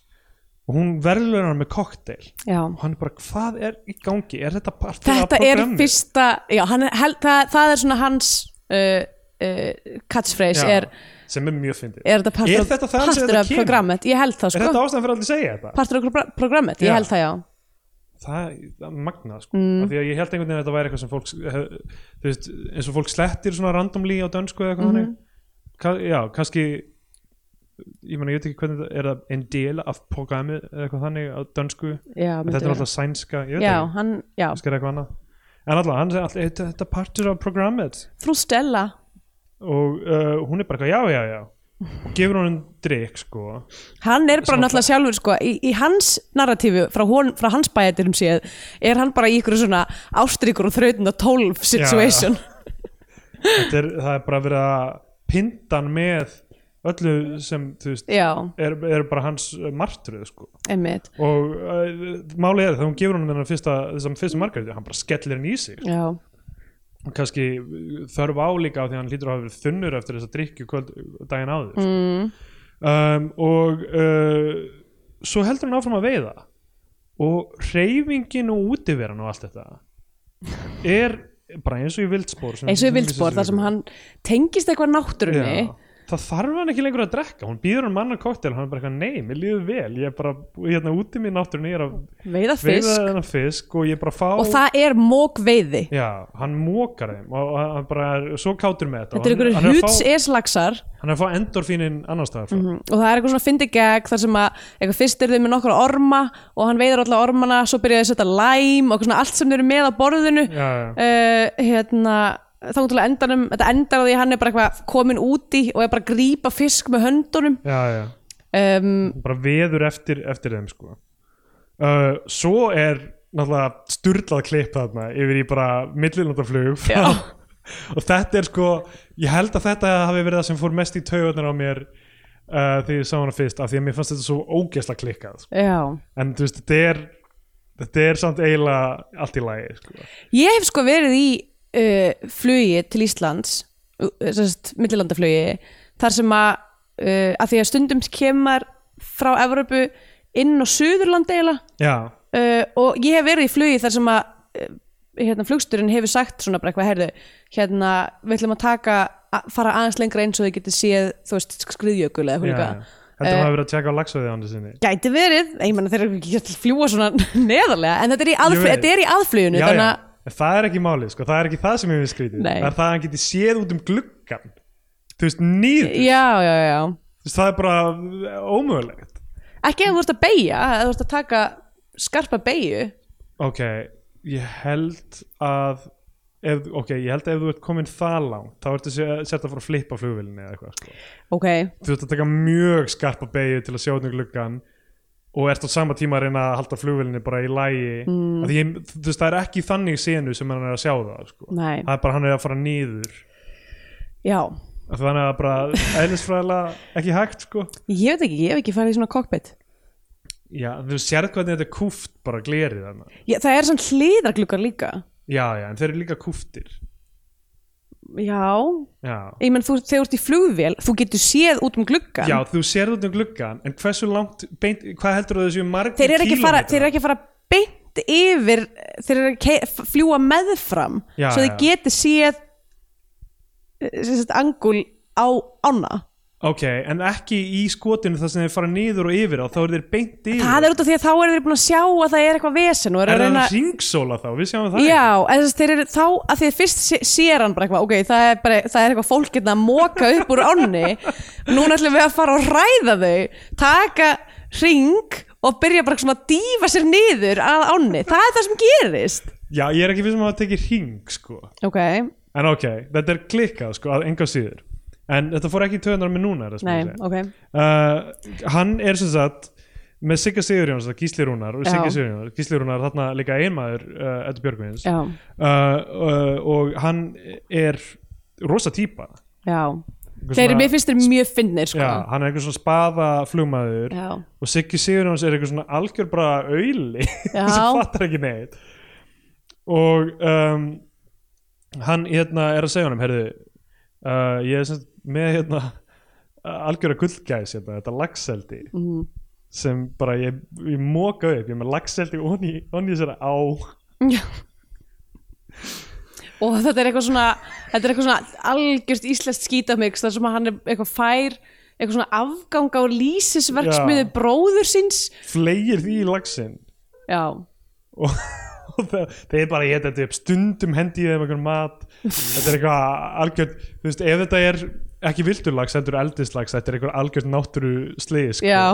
Speaker 2: og hún verður hann með kokteil
Speaker 3: já
Speaker 2: og hann er bara, hvað er í gangi? Er þetta partur af
Speaker 3: þetta er
Speaker 2: programmi?
Speaker 3: fyrsta já, hann, er- held, það, það er svona hans uh, uh, catchphrase er,
Speaker 2: sem er mjög fyndið
Speaker 3: er þetta partur,
Speaker 2: Er
Speaker 3: af-
Speaker 2: þetta það sem
Speaker 3: partur
Speaker 2: þetta
Speaker 3: af
Speaker 2: kemur?
Speaker 3: programmet ég held það
Speaker 2: Er
Speaker 3: sko
Speaker 2: þetta ástæðan fyrir að allir segja þetta?
Speaker 3: partur af pro- programmet,
Speaker 2: Já.
Speaker 3: ég held það já
Speaker 2: það það er magnað sko. mm. því að ég held einhvern veginn að þetta væri eitthvað sem fólk hef, þú veist, eins og fólk slettir svona randomly á dönsku eða
Speaker 3: Mhm.
Speaker 2: eitthvað mm. Ka já, kannski ég meina, ég veit ekki hvernig það er það en del af programmi eða eitthvað þannig á dönsku,
Speaker 3: já,
Speaker 2: en þetta er alltaf sænska ég veit
Speaker 3: já,
Speaker 2: ekki,
Speaker 3: hann, já,
Speaker 2: kannski er eitthvað annað en alltaf, hann segir alltaf, "Þetta- þetta er partur af programmið
Speaker 3: frú Stella
Speaker 2: og uh, hún er bara eitthvað, já, já, já og gefur hún en drikk, sko
Speaker 3: hann er bara
Speaker 2: Sem
Speaker 3: náttúrulega sjálfur sko, í, í hans narratífu, frá, hon, frá hans bæjættirum séð, er hann bara í ykkur svona ástríkur og þrautunda 12 situation
Speaker 2: Þetta er, það er bara verið að pindan með öllu sem, þú veist,
Speaker 3: já,
Speaker 2: er, er bara hans uh, martröð sko.
Speaker 3: emmitt
Speaker 2: og uh, málið er þegar hún gefur hann þennan fyrsta, þessum fyrsta margarið hann bara skellir henni í sig
Speaker 3: já,
Speaker 2: og kannski uh, þörf á líka á því að hann hlýtur að hafa verið þunnur eftir þess að drikju kvöld daginn áður mm. um, og uh, svo heldur hann áfram að veiða og reyfingin og útiveran og allt þetta er bara eins og í vildspor sem-
Speaker 3: eins og í
Speaker 2: sem lýsir
Speaker 3: vildspor
Speaker 2: sér
Speaker 3: þar sem
Speaker 2: líka.
Speaker 3: hann tengist eitthvað náttúrunni
Speaker 2: Já. Það þarf hann ekki lengur að drekka, hún býður hann manna koktel, hann er bara eitthvað nei, mér líður vel, ég er bara hérna úti mér náttúrunni, ég er að
Speaker 3: veiða
Speaker 2: veiða
Speaker 3: fisk
Speaker 2: þennan fisk og ég er bara að fá,
Speaker 3: og það er mók veiði
Speaker 2: já, hann mókar þeim og og hann bara er svo kátur með þetta,
Speaker 3: þetta er
Speaker 2: og
Speaker 3: ykkur
Speaker 2: hann, hann,
Speaker 3: húts
Speaker 2: er að
Speaker 3: eslagsar
Speaker 2: fá, hann er að fá endorfínin annars staðar sko. frá,
Speaker 3: Mhm. og það er eitthvað svona fyndi gegg þar sem að eitthvað fyrst er þau með nokkra orma og hann veiðar alla ormana, svo byrjaði að setja læm og eitthvað svona allt sem þau eru með á borðinu
Speaker 2: já, já,
Speaker 3: uh, hérna þá til að endanum, þetta endar á því að hann er bara eitthvað komin úti og er bara að grípa fisk með höndunum
Speaker 2: já, já.
Speaker 3: um,
Speaker 2: bara veður eftir, eftir þeim sko. uh, svo er náttúrulega sturlað klipp þarna yfir í bara millilandaflug og þetta er sko ég held að þetta hafi verið það sem fór mest í taugarnar á mér uh, þegar ég sá hana fyrst af því að mér fannst þetta svo ógesla klikkað sko.
Speaker 3: já
Speaker 2: en þú veist, þetta er þetta er samt eiginlega allt í lagi sko.
Speaker 3: Ég hef sko verið í uh, flugi til Íslands uh, sérst, millilandaflugi þar sem að, uh, að því að stundum kemur frá Evrópu inn á Suðurland eiginlega
Speaker 2: já,
Speaker 3: uh, og ég hef verið í flugi þar sem að uh, hérna, flugsturinn hefur sagt svona bara eitthvað herðu, hérna, við ætlum að taka að fara aðeins lengra eins og þið getið séð þú veist, skriðjökul eða
Speaker 2: já,
Speaker 3: eitthvað
Speaker 2: já.
Speaker 3: líka. Eh,
Speaker 2: heldur maður hafi verið að tjekka á lagsveði ánni sinni
Speaker 3: gæti verið, ég menna þeir eru ekki að fljúa svona neðarlega, en þetta er í,
Speaker 2: Ég
Speaker 3: aðfl
Speaker 2: veit.
Speaker 3: þetta er í aðfluginu
Speaker 2: já,
Speaker 3: þannig
Speaker 2: já,
Speaker 3: að
Speaker 2: en það er ekki málið sko. það er ekki það sem ég við skrítið
Speaker 3: Nei.
Speaker 2: það er það að hann geti séð út um gluggan þú veist, nýður
Speaker 3: já, já, já
Speaker 2: Þú veist, það er bara ómögulegt
Speaker 3: ekki ef þú ert að beigja, ef þú ert að taka skarpa beigju
Speaker 2: ok, ég held að ef, ok, ég held að ef þú ert komin það langt þá ertu að setja að fara að flippa flugvélni eða eitthvað sko.
Speaker 3: ok,
Speaker 2: þú ert að taka mjög skarpa beigju til að sjá út um gluggan og ert á sama tíma að reyna að halda flugvélni bara í lægi mm. ég, þú veist, það er ekki í þannig senu sem hann er að sjá það sko.
Speaker 3: Nei.
Speaker 2: það er bara hann er að fara nýður
Speaker 3: já
Speaker 2: þannig að bara eðlisfræðilega ekki hægt sko.
Speaker 3: ég veit ekki, ég hef ekki farið í svona cockpit
Speaker 2: já, þú sérð hvernig þetta er kúft bara glerið hann
Speaker 3: ég, það er svona hliðargluggar líka
Speaker 2: já, já, en þeir eru líka kúftir
Speaker 3: já,
Speaker 2: já,
Speaker 3: ég menn þú, þegar þú ert í flugvél þú getur séð út um gluggan
Speaker 2: já þú sérð út um gluggan en hversu langt, beint, hvað heldur þessu margir
Speaker 3: þeir eru ekki að fara, þeir eru ekki að fara beint yfir, þeir eru að kei- f- fljúa meðfram
Speaker 2: Já,
Speaker 3: svo
Speaker 2: já.
Speaker 3: þeir geti séð eh, sem sagt, angul á ána
Speaker 2: ok, en ekki í skotinu þar sem þeir fara niður og yfir á þá eru þeir beint yfir
Speaker 3: það er út af því að þá eru þeir búin að sjá að það er eitthvað vesen og eru
Speaker 2: er
Speaker 3: að
Speaker 2: það
Speaker 3: reyna
Speaker 2: ringsóla þá, við sjáum það
Speaker 3: Já, en þess að þeir eru þá að því að fyrst sé- sér hann bara eitthvað, ok, það er, bara, það er eitthvað fólk getna að móka upp úr ánni núna ætlum við að fara og ræða þau taka ring og byrja bara svona að dýfa sér niður að ánni, það er það sem gerist
Speaker 2: ekki. já, ég er ekki fyrst um að það tekið ring sko.
Speaker 3: Ok,
Speaker 2: en ok, þetta er klikkað sko, að enga síður en þetta fór ekki í töðunar með núna er það sem
Speaker 3: nei,
Speaker 2: ég segi.
Speaker 3: ok
Speaker 2: uh, hann er sem sagt með Sigga Sigurjóns, það Gísli Rúnar og
Speaker 3: Já.
Speaker 2: Sigga Sigurjóns, Gísli Rúnar þarna líka einmaður uh, Eddu Björgvins uh,
Speaker 3: Já,
Speaker 2: uh, og hann er rosa típa
Speaker 3: já
Speaker 2: Einhver
Speaker 3: Þeir eru,
Speaker 2: svona-
Speaker 3: mér finnst þeir mjög finnir sko
Speaker 2: Já, hann er einhver svona spaða flugmaður
Speaker 3: Já.
Speaker 2: og Siggi Sigurjóns er einhver svona algjör bara auðli
Speaker 3: Já.
Speaker 2: sem fattar ekki neitt og um, hann hérna er að segja honum herðu, uh, ég er sem sagt með hérna algjöra gullgæs hérna, þetta lagseldi
Speaker 3: Mhm.
Speaker 2: sem bara ég, ég móka upp ég er með lagseldi onni, onni þessara á
Speaker 3: Já. Og þetta er eitthvað svona þetta er eitthvað svona algjörst íslenskt skítamix þar sem að hann er eitthvað fær eitthvað svona afgang á lýsisverksmiðu
Speaker 2: Já.
Speaker 3: bróður síns
Speaker 2: fleigir því í lagsin
Speaker 3: Já,
Speaker 2: og, og það, þeir bara ég þetta upp stundum hendi í þeim einhvern mat þetta er eitthvað algjörn þú veist, ef þetta er ekki vildurlags þetta er eldislags, þetta er eitthvað algjörn náttúru slið, sko.
Speaker 3: já,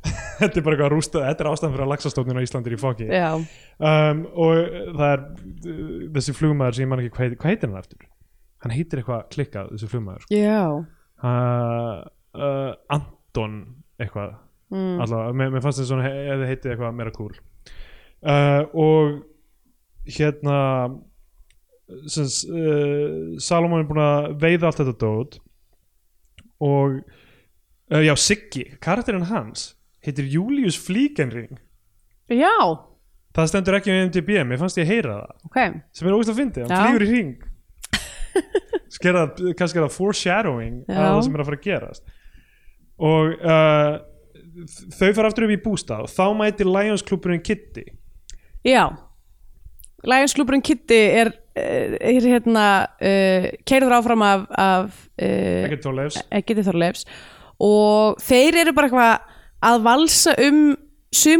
Speaker 2: þetta er bara eitthvað rústað, þetta er ástæðan fyrir að lagsastóknun á Íslandi er í fóki
Speaker 3: já
Speaker 2: um, og það er uh, þessi flugmaður sem ég man ekki hvað, heitir- hvað heitir hann eftir hann heitir eitthvað klikkað, þessi flugmaður
Speaker 3: Já,
Speaker 2: uh, uh, Anton eitthvað mm. allavega, mér, mér fannst þetta svona he- ef þið heitið eitthvað meira cool uh, og hérna sem, s- uh, Salomon er búin að veiða allt þetta dót og uh, já, Siggi, karakterinn hans heitir Julius Flíkenring
Speaker 3: já,
Speaker 2: það stendur ekki um MDB, mér fannst ég heyra það
Speaker 3: ok
Speaker 2: sem er ógust að fyndi, hann
Speaker 3: Já.
Speaker 2: flýgur í ring skera, kannski er það foreshadowing
Speaker 3: Já.
Speaker 2: að það sem er að fara að gerast og uh, þau fara aftur upp í bústað og þá mæti Lions klúburinn Kitty
Speaker 3: Já Lions klúburinn Kitty er, er, er hérna uh, keirður áfram af, af uh,
Speaker 2: ekkert þá leifs
Speaker 3: Eggerti Þorleifs og þeir eru bara eitthvað að valsa um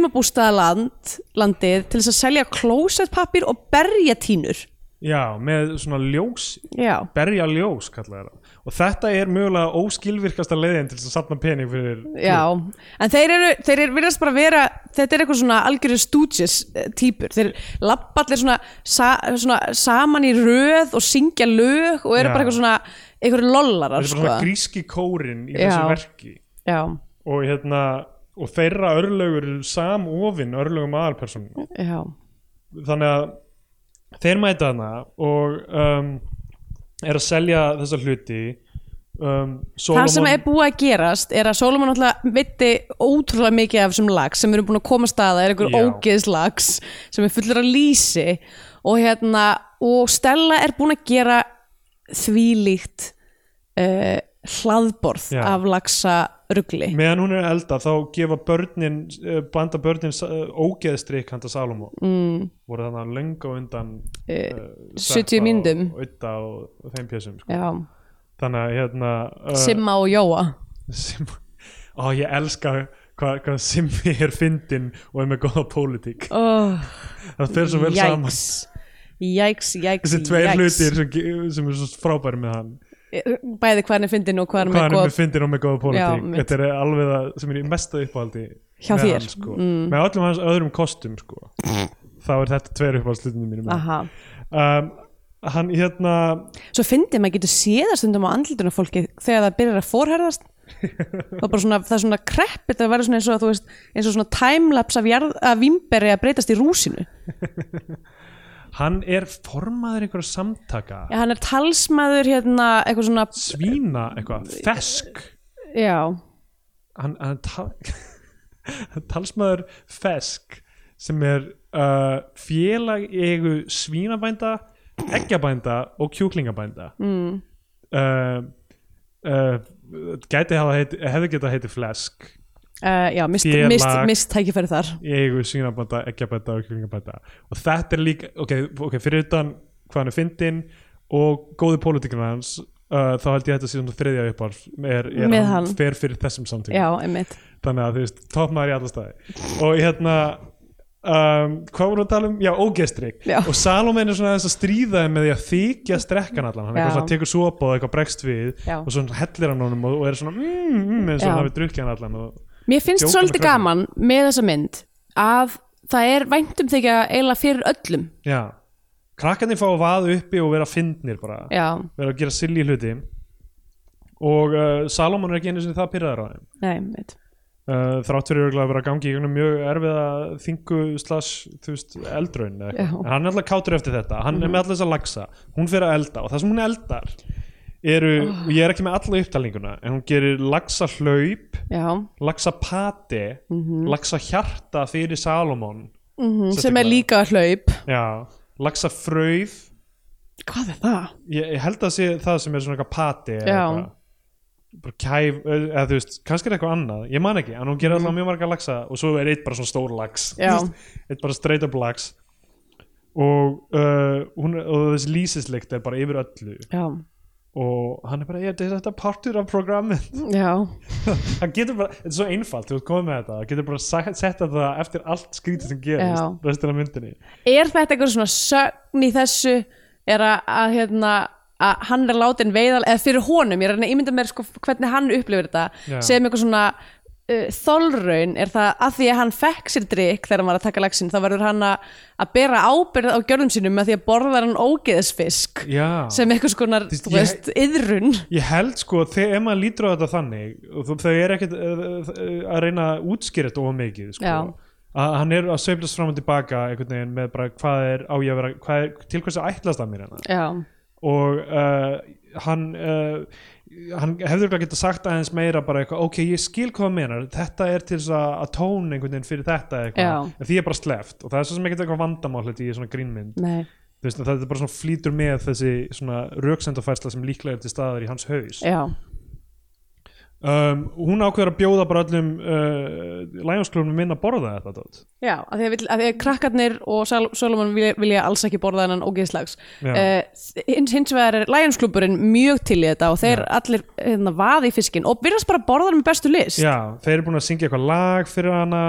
Speaker 3: sumabústaðaland landið til þess að selja klósettpappir og berja tínur
Speaker 2: já, með svona ljós
Speaker 3: já,
Speaker 2: berja ljós kallar það og þetta er mögulega óskilvirkasta leiðin til þess að sapna pening fyrir
Speaker 3: já en þeir eru, þeir eru virðast bara vera þetta er eitthvað svona algjörðu stúdjus eh, týpur, þeir lappa allir svona, sa, svona saman í röð og syngja lög og eru
Speaker 2: Já.
Speaker 3: bara eitthvað svona einhverju
Speaker 2: þetta
Speaker 3: lollarar
Speaker 2: er
Speaker 3: sko.
Speaker 2: bara svona gríski kórin í
Speaker 3: Já.
Speaker 2: þessu verki
Speaker 3: já,
Speaker 2: og hérna og þeirra örlögur eru samofin örlögum aðalpersonu
Speaker 3: já,
Speaker 2: þannig að þeir mæta hana og um, er að selja þessa hluti um, Solomon,
Speaker 3: það sem er búið að gerast er að Solomon alltaf mitti ótrúlega mikið af þessum lags sem við erum búin að koma að staða er einhver
Speaker 2: Já.
Speaker 3: ógeðslags sem er fullur af lýsi og hérna og Stella er búin að gera þvílíkt uh, hlaðborð
Speaker 2: Já.
Speaker 3: af lagsa rugli
Speaker 2: meðan hún er að elda þá gefa börnin eh, blanda börnin eh, ógeðstrykk handa Salomon mm. voru þannig að löngu undan
Speaker 3: Eh,
Speaker 2: uh,
Speaker 3: 70 mínútum.
Speaker 2: og, Udda og, og þeim pjössum sko.
Speaker 3: Já.
Speaker 2: þannig að hérna eh,
Speaker 3: Simma og Jóa
Speaker 2: Sim Ó, ég elska hvað hva Simmi er fyndinn og er með góða pólitík
Speaker 3: oh,
Speaker 2: það fer svo vel saman
Speaker 3: Jæks Jæks, jæks,
Speaker 2: þessi tveir
Speaker 3: jæks
Speaker 2: hlutir sem, ge- sem er svo frábæri með hann
Speaker 3: Eh, Bæði hvað hann er fyndin og hvað hann
Speaker 2: hvað hann
Speaker 3: er
Speaker 2: er með
Speaker 3: góð
Speaker 2: fyndin og með góða pólitík
Speaker 3: Já, mitt.
Speaker 2: þetta er alveg það sem er í mesta uppáhaldi
Speaker 3: Hjá
Speaker 2: með
Speaker 3: þér.
Speaker 2: hann,
Speaker 3: Mm.
Speaker 2: sko. með öllum hans öðrum kostum sko. þá er þetta tveir uppáhaldslutinu mínum
Speaker 3: Aha,
Speaker 2: um, hann hérna
Speaker 3: svo fyndið maður getur séða stundum á andlutunum fólki þegar það byrjar að forherðast og bara svona, það er svona kreppið það verður svona eins og, þú veist, eins og svona timelapse af, jarð, af vimberi að breytast í rúsinu
Speaker 2: hann er formaður einhverja samtaka
Speaker 3: já, hann er talsmaður hérna eitthvað svona,
Speaker 2: svína eitthvað, fesk
Speaker 3: já
Speaker 2: hann, hann er tal, talsmaður fesk sem er uh, félag eigu svínabænda eggjabænda og kjúklingabænda mm. uh, uh, gæti hafa heiti, hefði geta heiti flesk
Speaker 3: uh, já, mist,
Speaker 2: Félag.
Speaker 3: mist, mist tækifæri þar
Speaker 2: í eigu svínabænda, eggjabænda og kjúklingabænda og þetta er líka, ok, okay fyrir utan hvað hann er fyndinn og góði pólitíkina hans uh, þá held ég að þetta sé svona þriðja uppar er, er
Speaker 3: Með
Speaker 2: hann
Speaker 3: hann.
Speaker 2: fer fyrir þessum samtíma
Speaker 3: já, einmitt
Speaker 2: þannig að þú veist, toppmaður í alla staði og hérna um, hvað vorum við að tala um? Já, ógestrygg
Speaker 3: Já.
Speaker 2: og Salomon er svona þess að stríða þeim með því að þykja strekkan allan, hann
Speaker 3: Já.
Speaker 2: eitthvað svona tekur sopa og eitthvað bregst við
Speaker 3: Já.
Speaker 2: og svona hellir hann honum og, og er svona mm, mm, eins og
Speaker 3: Já.
Speaker 2: hann hafi drukkið hann allan og,
Speaker 3: Mér finnst
Speaker 2: Jókan og
Speaker 3: svolítið
Speaker 2: Kröflu.
Speaker 3: gaman með þessa mynd að það er væntum þykja eiginlega fyrir öllum
Speaker 2: já, krakkarnir fá að vaða uppi og vera fyndnir bara,
Speaker 3: Já,
Speaker 2: vera að gera silly hluti og uh, Salomon er ekki einu sinni það pyrraður á þeim
Speaker 3: nei, veit
Speaker 2: uh, þrátt fyrir örugglega að vera að gangi í gegnum mjög erfiða þingu slash þú veist, eldraun eða eitthvað.
Speaker 3: Já.
Speaker 2: en hann er alltaf kátur eftir þetta, hann er með alltaf þess að lagsa hún fyrir að elda og það sem hún eldar eru, og ég er ekki með alla upptalninguna en hún gerir lagsa hlaup
Speaker 3: Já,
Speaker 2: lagsa pati lagsa hjarta fyrir Salomon
Speaker 3: mm,
Speaker 2: Svolítið
Speaker 3: sem er
Speaker 2: gaman.
Speaker 3: líka hlaup
Speaker 2: já, lagsa frauð
Speaker 3: Hvað er það?
Speaker 2: ég, ég held að sé það sem er svona eitthvað pati eða
Speaker 3: Já.
Speaker 2: eitthvað. bara kæf, eða þú veist kannski er eitthvað annað, ég man ekki, en hún gerir alltaf mjög marga lagsa og svo er eitt bara svona stór lags þú
Speaker 3: Mhm. Já.
Speaker 2: veist, eitt bara straight up lags og, uh, hún, og þessi lýsisleikt er bara yfir öllu
Speaker 3: Já,
Speaker 2: og hann er bara, ég, er þetta partur af programmið
Speaker 3: já,
Speaker 2: hann getur bara, þetta er svo einfalt, þú ert komið með þetta hann getur bara sa- sett þetta eftir allt skrítið sem gerist,
Speaker 3: Já.
Speaker 2: restina af myndinni
Speaker 3: Er þetta eitthvað svona sögn í þessu er að, að hérna að hann er látin veiðal eða fyrir honum, ég er að reyna að ímynda mér sko hvernig hann upplifir þetta
Speaker 2: Já.
Speaker 3: sem eitthvað svona uh, þolraun er það að því að hann fekk sér drikk þegar hann var að taka lagsin þá verður hann að, að bera ábyrð á gjörðum sínum með því að borðar hann ógeðsfisk
Speaker 2: Já.
Speaker 3: sem eitthvað skonar,
Speaker 2: Þú veist,
Speaker 3: þú veist, yðrun
Speaker 2: Ég held sko, þegar ef maður lítur á þetta þannig og þau- þau er ekkert uh, uh, að reyna að útskýra þetta of mikið sko.
Speaker 3: Já.
Speaker 2: að hann er að sveiflast fram og tilbaka einhvern veginn með bara hvað er á ég að vera hvað er, til hvers að ætlast að mér hérna
Speaker 3: Já,
Speaker 2: og uh, hann uh, hann hefður ekki getað sagt aðeins meira bara eitthvað, ok, ég skil hvað það menar þetta er til þess að, að tón einhvern veginn fyrir þetta eitthvað,
Speaker 3: Já.
Speaker 2: en því er bara sleft og það er svo sem ekkert eitthvað vandamállið í svona grínmynd
Speaker 3: nei,
Speaker 2: Þú veist, það er bara svona flýtur með þessi svona röksendafærsla sem líklega er til staðar í hans haus
Speaker 3: já,
Speaker 2: um, hún ákveður að bjóða bara öllum uh, Lionsklunum minn að borða þetta dót.
Speaker 3: já að því að, vill, að því að krakkarnir og Sal Solomon vilja, vilja alls ekki borða hennan ógeðslags
Speaker 2: Já.
Speaker 3: uh, hins, hins vegar er Lions klubburinn mjög til í þetta og þeir allir hérna, vaði í fiskin og virðast bara borða hann með bestu list
Speaker 2: Já, þeir eru búin að syngja eitthvað lag fyrir hana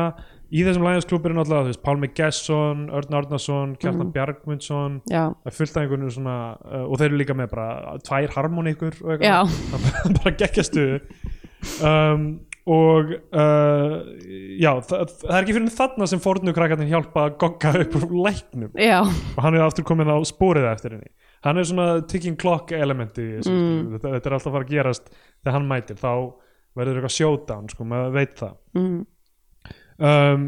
Speaker 2: í þessum Lionsklubur er náttúrulega þú veist, Pálmi Gesson, Örn Árnason Kjartan Bjargmundsson
Speaker 3: já,
Speaker 2: það er fullt af einhvern veginn svona uh, og þeir eru líka með bara tvær harmonikur og
Speaker 3: já,
Speaker 2: eitthvað bara, bara geggjastu um, og uh, já, það, það er ekki fyrir þarna sem fórnu krakkarnir hjálpa að gogga upp úr læknum
Speaker 3: já,
Speaker 2: og hann er aftur komin á spórið eftir henni hann er svona ticking clock elementi í þessu, mm. þetta, þetta er alltaf að fara að gerast þegar hann mætir, þá verður eitthvað showdown, sko, maður veit það
Speaker 3: Mm.
Speaker 2: um,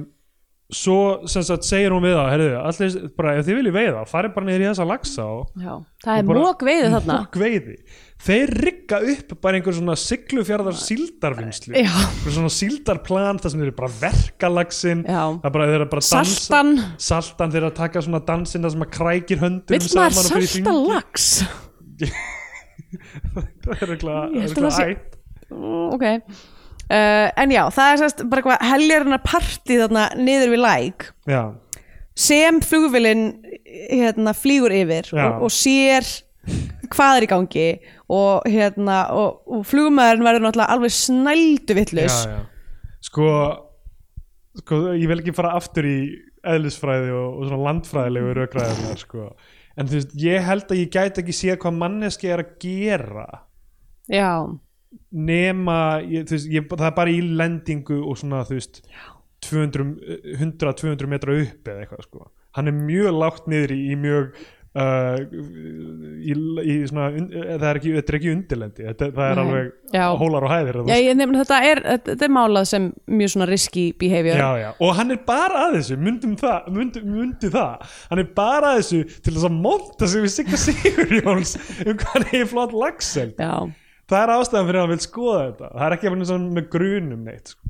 Speaker 2: svo sem sagt segir hún við það herriðu, allir, bara ef þið viljið veiða farið bara niður í þessa laxa og
Speaker 3: já. það
Speaker 2: Og
Speaker 3: er
Speaker 2: bara-
Speaker 3: mók veiði þarna
Speaker 2: fokk veiði þeir rigga upp bara einhver svona siglufjörðar síldarvinnslu
Speaker 3: Já.
Speaker 2: Einhver svona síldarplan þar sem þeir eru bara að verka laxinn
Speaker 3: Já.
Speaker 2: það er bara, þeir eru bara að dansa-
Speaker 3: Saltan.
Speaker 2: saltan þeir eru að taka svona dansinn þar sem að krækir höndum
Speaker 3: vill maður
Speaker 2: saman og fer í
Speaker 3: salta
Speaker 2: hringi.
Speaker 3: lags
Speaker 2: það er
Speaker 3: Ég held að
Speaker 2: eitthvað
Speaker 3: það sé-
Speaker 2: ætt
Speaker 3: Mm, ok Uh, en já, það er sérst bara eitthvað heljarinnar partí þarna niður við læk
Speaker 2: já,
Speaker 3: sem flugvillin hérna, flýgur yfir
Speaker 2: Já.
Speaker 3: og, og sér hvað er í gangi og, hérna, og, og flugmaðurinn verður náttúrulega alveg snældu
Speaker 2: já,
Speaker 3: vitlaus
Speaker 2: já. Sko, sko ég vil ekki fara aftur í eðlisfræði og, og svona landfræðilegu raukræðinar sko. en þú veist, ég held að ég gæti ekki séð hvað manneski er að gera
Speaker 3: Já,
Speaker 2: nema ég, þú veist, ég, það er bara í lendingu og svona þú veist eh, 200, 100-200 metra upp eða eitthvað sko hann er mjög lágt niður í, í mjög uh, í, í svona, un- eh, það er ekki, þetta er ekki undirlendi þetta, það er
Speaker 3: Nei.
Speaker 2: alveg
Speaker 3: Já.
Speaker 2: hólar og hæðir að þú
Speaker 3: Já, ég nefnir þetta er, þetta er málað sem mjög svona risky behavior
Speaker 2: já, já. og hann er bara að þessu myndum það, myndum, myndi það hann er bara að þessu til þess að monta sig við Sigga Sigurjóns um hvað hann er flott lagsel
Speaker 3: Já.
Speaker 2: það er ástæðan fyrir að hann vil skoða þetta það er ekki að vera svona með grunum neitt sko.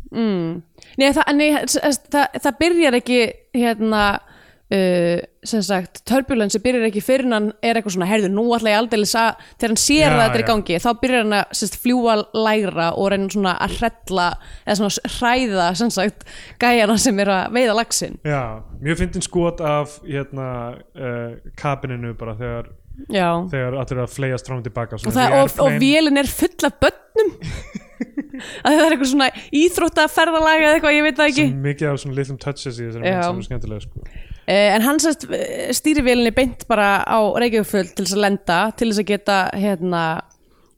Speaker 3: Nei, það, nei, það, það, það byrjar ekki hérna uh, sem sagt, turbulensi byrjar ekki fyrir hann er eitthvað svona, herðu, nú ætla ég aldrei að, þegar hann sér
Speaker 2: Já,
Speaker 3: að þetta er í
Speaker 2: já.
Speaker 3: gangi þá byrjar hann að sem sagt, fljúa lægra og reyna svona að hrella eða svona að hræða sem sagt, gæjana sem er að veiða laxin
Speaker 2: já, mjög fyndin skot af hérna uh, kabininu bara þegar,
Speaker 3: Já,
Speaker 2: þegar allir eru að fleiðast fram og tilbaka
Speaker 3: og, það, og, og vélin er full af börnum að það er eitthvað svona íþróttaferðalag eða eitthvað, ég veit það ekki
Speaker 2: mikið af svona litlum touches í þessari
Speaker 3: Já.
Speaker 2: mynd sem er skemmtilega sko.
Speaker 3: Eh, En hann sérst stýrivélinni beint bara á Reykjavíkfjöld til þess að lenda, til þess að geta hérna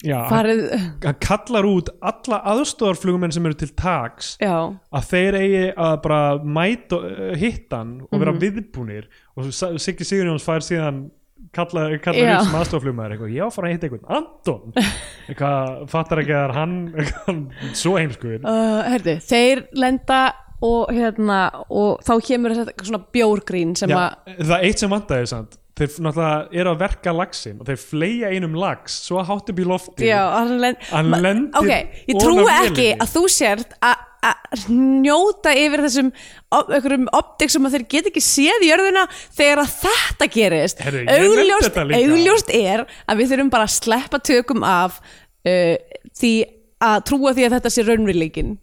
Speaker 2: já, hann,
Speaker 3: farið,
Speaker 2: hann kallar út alla aðstofarflugumenn sem eru til taks
Speaker 3: já,
Speaker 2: að þeir eigi að bara mæta hittan og
Speaker 3: Mhm.
Speaker 2: vera viðbúnir og S- Siggi Sigurjóns fær síðan kallaði kalla
Speaker 3: Já.
Speaker 2: upp sem aðstoflugmaður eitthvað, ég á að fara að hitta einhvern Anton eitthvað, fattar ekki að það er hann eitthvað, svo heimskuður
Speaker 3: uh, herðu, þeir lenda og hérna og þá kemur þetta eitthvað svona bjórgrín sem
Speaker 2: Já,
Speaker 3: að,
Speaker 2: það er eitt sem vantaði samt þeir náttúrulega eru að verka laxin og þeir fleja einum lax, svo hátt upp í lofti
Speaker 3: já, hann, lend,
Speaker 2: Hann
Speaker 3: ma-
Speaker 2: lendir
Speaker 3: Ok, ég
Speaker 2: ofan
Speaker 3: trúi
Speaker 2: af
Speaker 3: ekki
Speaker 2: vélinni.
Speaker 3: að þú sért að að njóta yfir þessum op- einhverjum optik sem að þeir get ekki séð í jörðina þegar að þetta gerist
Speaker 2: Herru, ég nefndi
Speaker 3: augljóst,
Speaker 2: þetta líka.
Speaker 3: augljóst er að við þurfum bara að sleppa tökum af uh, því að trúa því að þetta sé raunveruleikin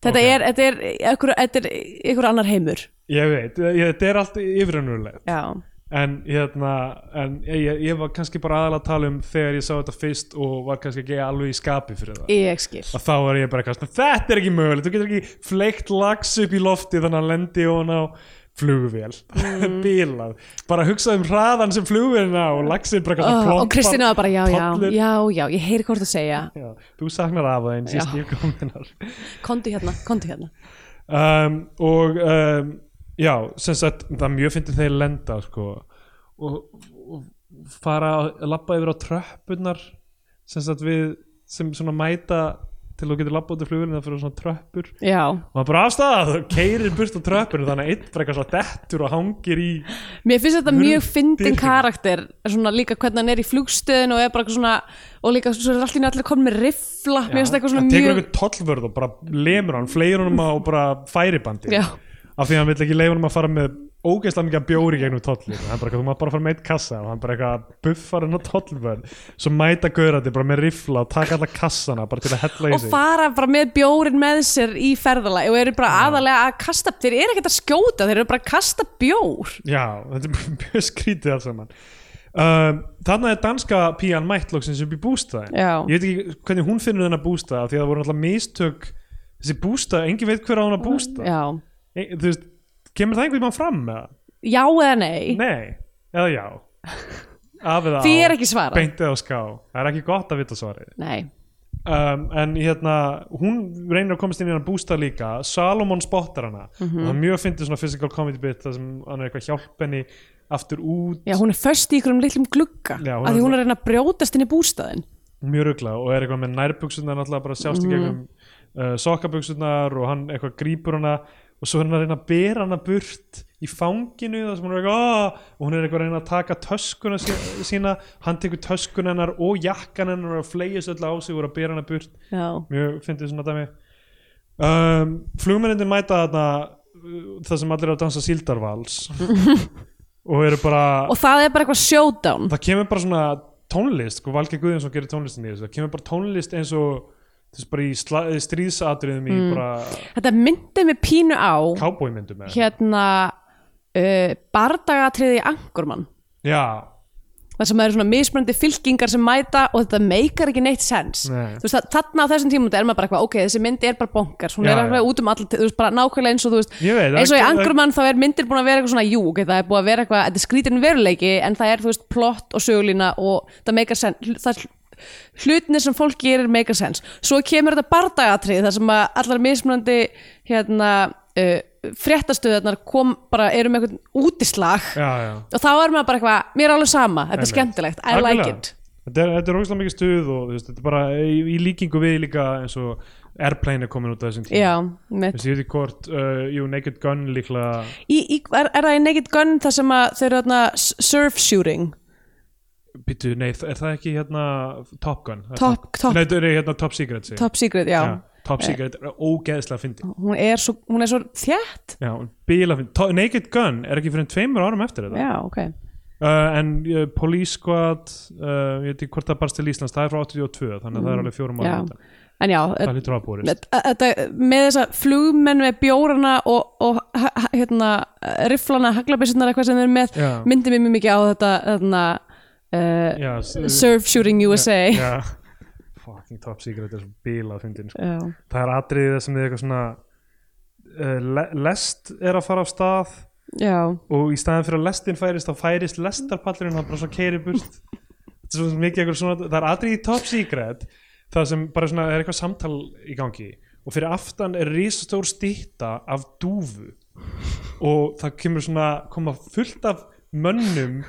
Speaker 3: þetta,
Speaker 2: Ok.
Speaker 3: er, þetta er einhver, þetta er einhver annar heimur
Speaker 2: ég veit, ég, þetta er allt yfirrönnulegt
Speaker 3: já,
Speaker 2: en, hérna, en ég, ég, ég var kannski bara aðalega að tala um þegar ég sá þetta fyrst og var kannski ekki alveg í skapi fyrir það
Speaker 3: ég skil
Speaker 2: og þá var ég bara eitthvað svona, þetta er ekki mögulegt þú getur ekki fleikt lags upp í lofti þannig að hann lendi og hann á flugvél
Speaker 3: Mm.
Speaker 2: bílað, bara hugsaðu um hraðan sem flugvélin á og lagsin bara eitthvað
Speaker 3: oh,
Speaker 2: svona
Speaker 3: og Kristina var bara já, já,
Speaker 2: pollur.
Speaker 3: já, já ég heyri hvort þú segja,
Speaker 2: Já, þú saknar af það einn síst
Speaker 3: Já.
Speaker 2: ég kom hennar
Speaker 3: kondu hérna, kondu hérna
Speaker 2: um, og um, já, sem sagt það er mjög fyndið þeir lenda sko, og, og fara að labba yfir á tröppurnar sem sagt við sem svona mæta til þú getur labba út í flugvélina fyrir svona tröppur
Speaker 3: já,
Speaker 2: og maður bara afstæða það keirir burt á tröppinu þannig að einn bara eitthvað svo dettur og hangir í
Speaker 3: Mér finnst þetta
Speaker 2: Mjög
Speaker 3: mjög fyndin
Speaker 2: dýrkeypt.
Speaker 3: karakter svona líka hvernig hann er í flugstöðin og er bara eitthvað svona og líka svo er allir allir komin með riffla mér finnst eitthvað svona
Speaker 2: það tekur
Speaker 3: mjög
Speaker 2: eitthvað tollvörð og bara lemur hann fleir honum á bara færibandi
Speaker 3: Já.
Speaker 2: af því að hann vill ekki leifa honum að fara með ógeðslega mikið bjóri gegnum tollin hann bara, eitthvað, þú maður bara að fara með eitt kassa og hann bara eitthvað buffar hann á tollvörð svo mæta gaurandi bara með rifla og taka alla kassana bara til að hella í
Speaker 3: og
Speaker 2: sig
Speaker 3: fara bara með bjórin með sér í ferðalagi og eru bara aðalega að kasta þeir eru ekkert að skjóta, þeir eru bara að kasta bjór
Speaker 2: Já, þetta er mjög skrítið alls saman um, Þannig er danska pían mættloksins upp í bústaðin
Speaker 3: Já.
Speaker 2: Ég veit ekki hvernig hún finnur þennan bústað af því að það voru alltaf mistök þessi bústað, engin veit hver á hana bústað
Speaker 3: Já,
Speaker 2: e, Þú veist, kemur það einhvern mann fram með það?
Speaker 3: já eða nei,
Speaker 2: Nei, eða já Af eða á,
Speaker 3: því er ekki svarað
Speaker 2: beint eða á ská Það er ekki gott að vita svarið
Speaker 3: Nei,
Speaker 2: um, en hérna hún reynir að komast inn í hann bústað líka Salomon spottar hana og það er mjög fyndið svona physical comedy bit þar sem hann er eitthvað hjálp henni aftur út
Speaker 3: já hún er föst í ykkur um litlum glugga
Speaker 2: Já, hún
Speaker 3: að
Speaker 2: er-
Speaker 3: því hún er að reyna að brjótast inn í bústæðin
Speaker 2: mjög ruggla og er eitthvað með nærbuksunar náttúrulega bara sjást í gegnum uh, sokkabuksunar og hann eitthvað grípur hana og svo er hann að reyna að bera hana burt í fanginu þar sem hún er eitthvað "Ah!" og hún er eitthvað að reyna að taka töskuna sí- sína, hann tekur töskuna hennar og jakkan hennar og er að fleygist öll á sig og er að bera hana burt
Speaker 3: Já,
Speaker 2: mjög fyndið svona dæmi um, flugmennindin mæta þarna uh, það sem allir eru að dansa síldarvals og eru bara
Speaker 3: og það er bara eitthvað showdown
Speaker 2: það kemur bara svona tónlist sko, Valgeir Guðjónsson gerir tónlistin í þessu það kemur bara tónlist eins og þess bara í sla, stríðsatriðum í
Speaker 3: Mm.
Speaker 2: bara
Speaker 3: Þetta myndi mig pínu á
Speaker 2: cowboymyndum eða-
Speaker 3: hérna uh, bardagatriði í angurmann
Speaker 2: já,
Speaker 3: þar sem það eru svona mismunandi fylkingar sem mæta og þetta meikar ekki neitt sens
Speaker 2: Nei.
Speaker 3: Þú veist, þa- þarna á þessum tímundi er maður bara eitthvað ok, þessi myndi er bara bonkars, hún
Speaker 2: Já,
Speaker 3: er
Speaker 2: já.
Speaker 3: alveg út um allir, þú veist, bara nákvæmlega eins og þú veist
Speaker 2: Ég veit, það-
Speaker 3: eins og í
Speaker 2: það-
Speaker 3: angurmann þá er myndir búin að vera eitthvað svona jú, okay, það er búin að vera eitthvað, þetta er skrítin veruleiki en það er, þú veist, plott og sögulína og það meikar sens, hl- það hlutinir sem fólk gerir meikar sens svo kemur þetta bardagatrið þar sem að allar mismunandi hérna, uh, fréttastöðarnar kom bara, eru með eitthvað útislag
Speaker 2: já, já
Speaker 3: og þá er maður bara eitthvað, mér er alveg sama þetta er
Speaker 2: Einmitt.
Speaker 3: skemmtilegt, I like
Speaker 2: Algjörlega.
Speaker 3: it
Speaker 2: Þetta er, þetta er ógæslega mikið stuð og þú veist, þetta er bara í, í líkingu við líka eins og Airplane er komin út af þessum tíma
Speaker 3: já, mitt
Speaker 2: Þessi ég veit ekki hvort, uh, jú, Naked Gun líklega
Speaker 3: í, í, er, er það í Naked Gun þar sem að þau eru þarna surf shooting
Speaker 2: Býtu, nei, þ- er það ekki hérna Top Gun? Það er
Speaker 3: Top- Top-
Speaker 2: Nei, þetta er hérna Top Secret segi ég.
Speaker 3: Top Secret, já, Eh.
Speaker 2: Já, Top Secret er ógeðslega fyndi
Speaker 3: Hún, er svo, hún er svo þjætt
Speaker 2: Já, bíla fyndi To- Naked Gun er ekki fyrir en tveimur árum eftir þetta
Speaker 3: já, ok
Speaker 2: uh, En uh, Police Squad, uh, ég veit ekki hvort það barst til Íslands Það er frá 82, þannig að það er alveg fjórum
Speaker 3: Mm. já.
Speaker 2: árum
Speaker 3: en já,
Speaker 2: Það er lítur ábúrist
Speaker 3: Með- Þetta, með þessa flugmenn með bjórana og, og ha- ha- hérna, riflana, haglabissunar eitthvað sem þeir eru með,
Speaker 2: Já.
Speaker 3: myndi mér mjög mikið á þetta þarna, uh,
Speaker 2: Já, s-
Speaker 3: Surf Shooting USA
Speaker 2: Já,
Speaker 3: já,
Speaker 2: fucking Top Secret er svo bíla fyndin sko. Það er atriðið þar sem þið eitthvað svona uh, le lest er að fara af stað
Speaker 3: já,
Speaker 2: og í staðin fyrir að lestin færist þá færist lestarpallurinn hann bara svo keiri burt Þetta er svo mikið eitthvað svona það er atriðið í Top Secret það sem bara svona er eitthvað samtal í gangi og fyrir aftan er risastór stýta af dúfu og það kemur svona koma fullt af mönnum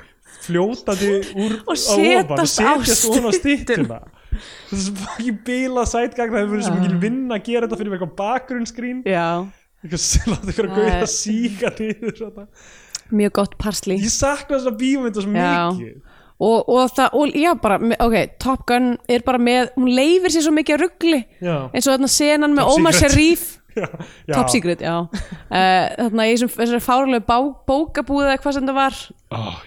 Speaker 2: fljótandi úr
Speaker 3: Og
Speaker 2: á ofan og
Speaker 3: setjast á
Speaker 2: setjast ofan á
Speaker 3: styttuna.
Speaker 2: stýttuna það er svo fucking bila sætgagn það hefur verið svo
Speaker 3: Já.
Speaker 2: mikil vinn að gera þetta fyrir með eitthvað bakgrunnsgrín
Speaker 3: já
Speaker 2: eitthvað láta ykkur að
Speaker 3: Það
Speaker 2: gauða
Speaker 3: er-
Speaker 2: síka niður þetta.
Speaker 3: mjög gott parslí
Speaker 2: ég sakna þess að bíómynda svo
Speaker 3: Já.
Speaker 2: mikið
Speaker 3: og, og það, og, já bara, me- ok, Top Gun er bara með, hún leifir sér svo mikið að ruggli
Speaker 2: já,
Speaker 3: eins og þarna senan með
Speaker 2: Top
Speaker 3: Omar
Speaker 2: Secret.
Speaker 3: Sharif
Speaker 2: já, já.
Speaker 3: Top Secret, já uh, þarna í þessum- þessari fárlegu bá, bókabúða eða hvað sem það var
Speaker 2: oh,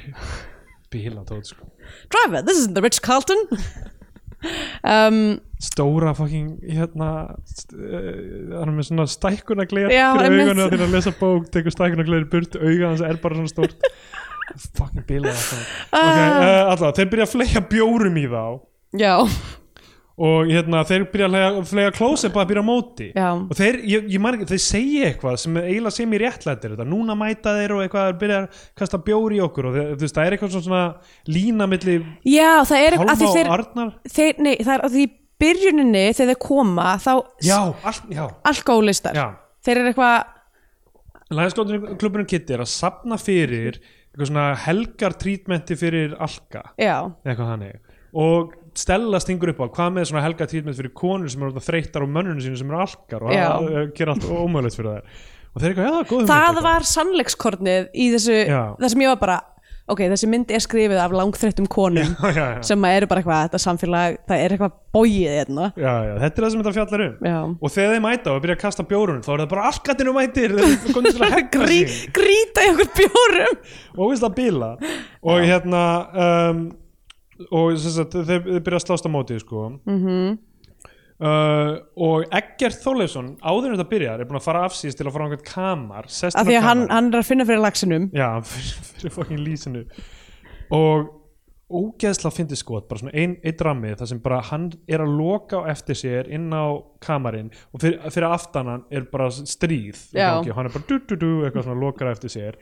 Speaker 2: bila tótt sko
Speaker 3: driver, this isn't the Rich Carlton um,
Speaker 2: stóra fucking hérna st- eh, hann er með svona stækkunagleir
Speaker 3: Já,
Speaker 2: fyrir
Speaker 3: einmitt.
Speaker 2: augunum þegar að lesa bók tekur stækkunagleir burt, auga hans er bara svona stórt fucking bila það ok,
Speaker 3: Ah.
Speaker 2: uh, alltaf, þeir byrja að fleja bjórum í þá
Speaker 3: já,
Speaker 2: og hérna, þeir byrja að fleygja- fleygja klósepa að byrja á móti
Speaker 3: Já.
Speaker 2: og þeir, ég, ég man ekki, þeir segja eitthvað sem eiginlega sem ég réttlættir þetta núna mæta þeir og eitthvað, þeir byrja að kasta bjóri í okkur og þeir, þú veist, það er eitthvað svona, svona lína milli
Speaker 3: já það er að
Speaker 2: Pálma
Speaker 3: því
Speaker 2: og
Speaker 3: þeir,
Speaker 2: Arnar
Speaker 3: þeir nei, það er að því í byrjuninni þegar þeir koma þá
Speaker 2: já, allt, já,
Speaker 3: alkoholistar
Speaker 2: já
Speaker 3: þeir eru eitthvað,
Speaker 2: Læðisklubunum Kitty er að sapna fyrir eitthvað svona helgar trítmenti fyrir alka
Speaker 3: já
Speaker 2: eða eitthvað þannig og Stella stingur upp á hvað með svona helga trítmynd fyrir konur sem eru orðnar þreyttar á mönnunum sínum sem eru alkar og
Speaker 3: Já.
Speaker 2: það eh, gera allt ómögulegt fyrir þær og þeir eru eitthvað, já, góðum
Speaker 3: það var sannleikskornið í þessu,
Speaker 2: Mm, Já.
Speaker 3: það sem ég var bara ok, þessi mynd er skrifið af langþreyttum konum
Speaker 2: já, já, já.
Speaker 3: sem eru bara eitthvað, þetta samfélag það er eitthvað bóið hérna
Speaker 2: já, já, þetta er það sem þetta fjallar um
Speaker 3: Já.
Speaker 2: og þegar þeir mæta og byrja að kasta bjórunum þá er það bara alkatinu mætir þeir eru komin til að hegga
Speaker 3: Grí,
Speaker 2: sig
Speaker 3: grýta í okkur bjórum
Speaker 2: og veist að bíla og hérna um, og sem sagt, þeir, þeir byrja að slást á móti sko mm
Speaker 3: Mhm.
Speaker 2: Uh, og Eggert Þóleifsson áður en þetta byrjar er búin að fara afsýst til að fara á einhvern kamar sest inn
Speaker 3: af því
Speaker 2: á
Speaker 3: að hann,
Speaker 2: kamar.
Speaker 3: hann er að finna fyrir laxinum
Speaker 2: Já, hann fyrir, fyrir fokkin lísinu og ógeðslega fyndi skot, bara svona ein, einn rammi þar sem bara hann er að loka á eftir sér inn á kamarinn og fyrir, fyrir aftan hann er bara stríð í
Speaker 3: Já.
Speaker 2: gangi og hann er bara du-du-du eitthvað svona lokar á eftir sér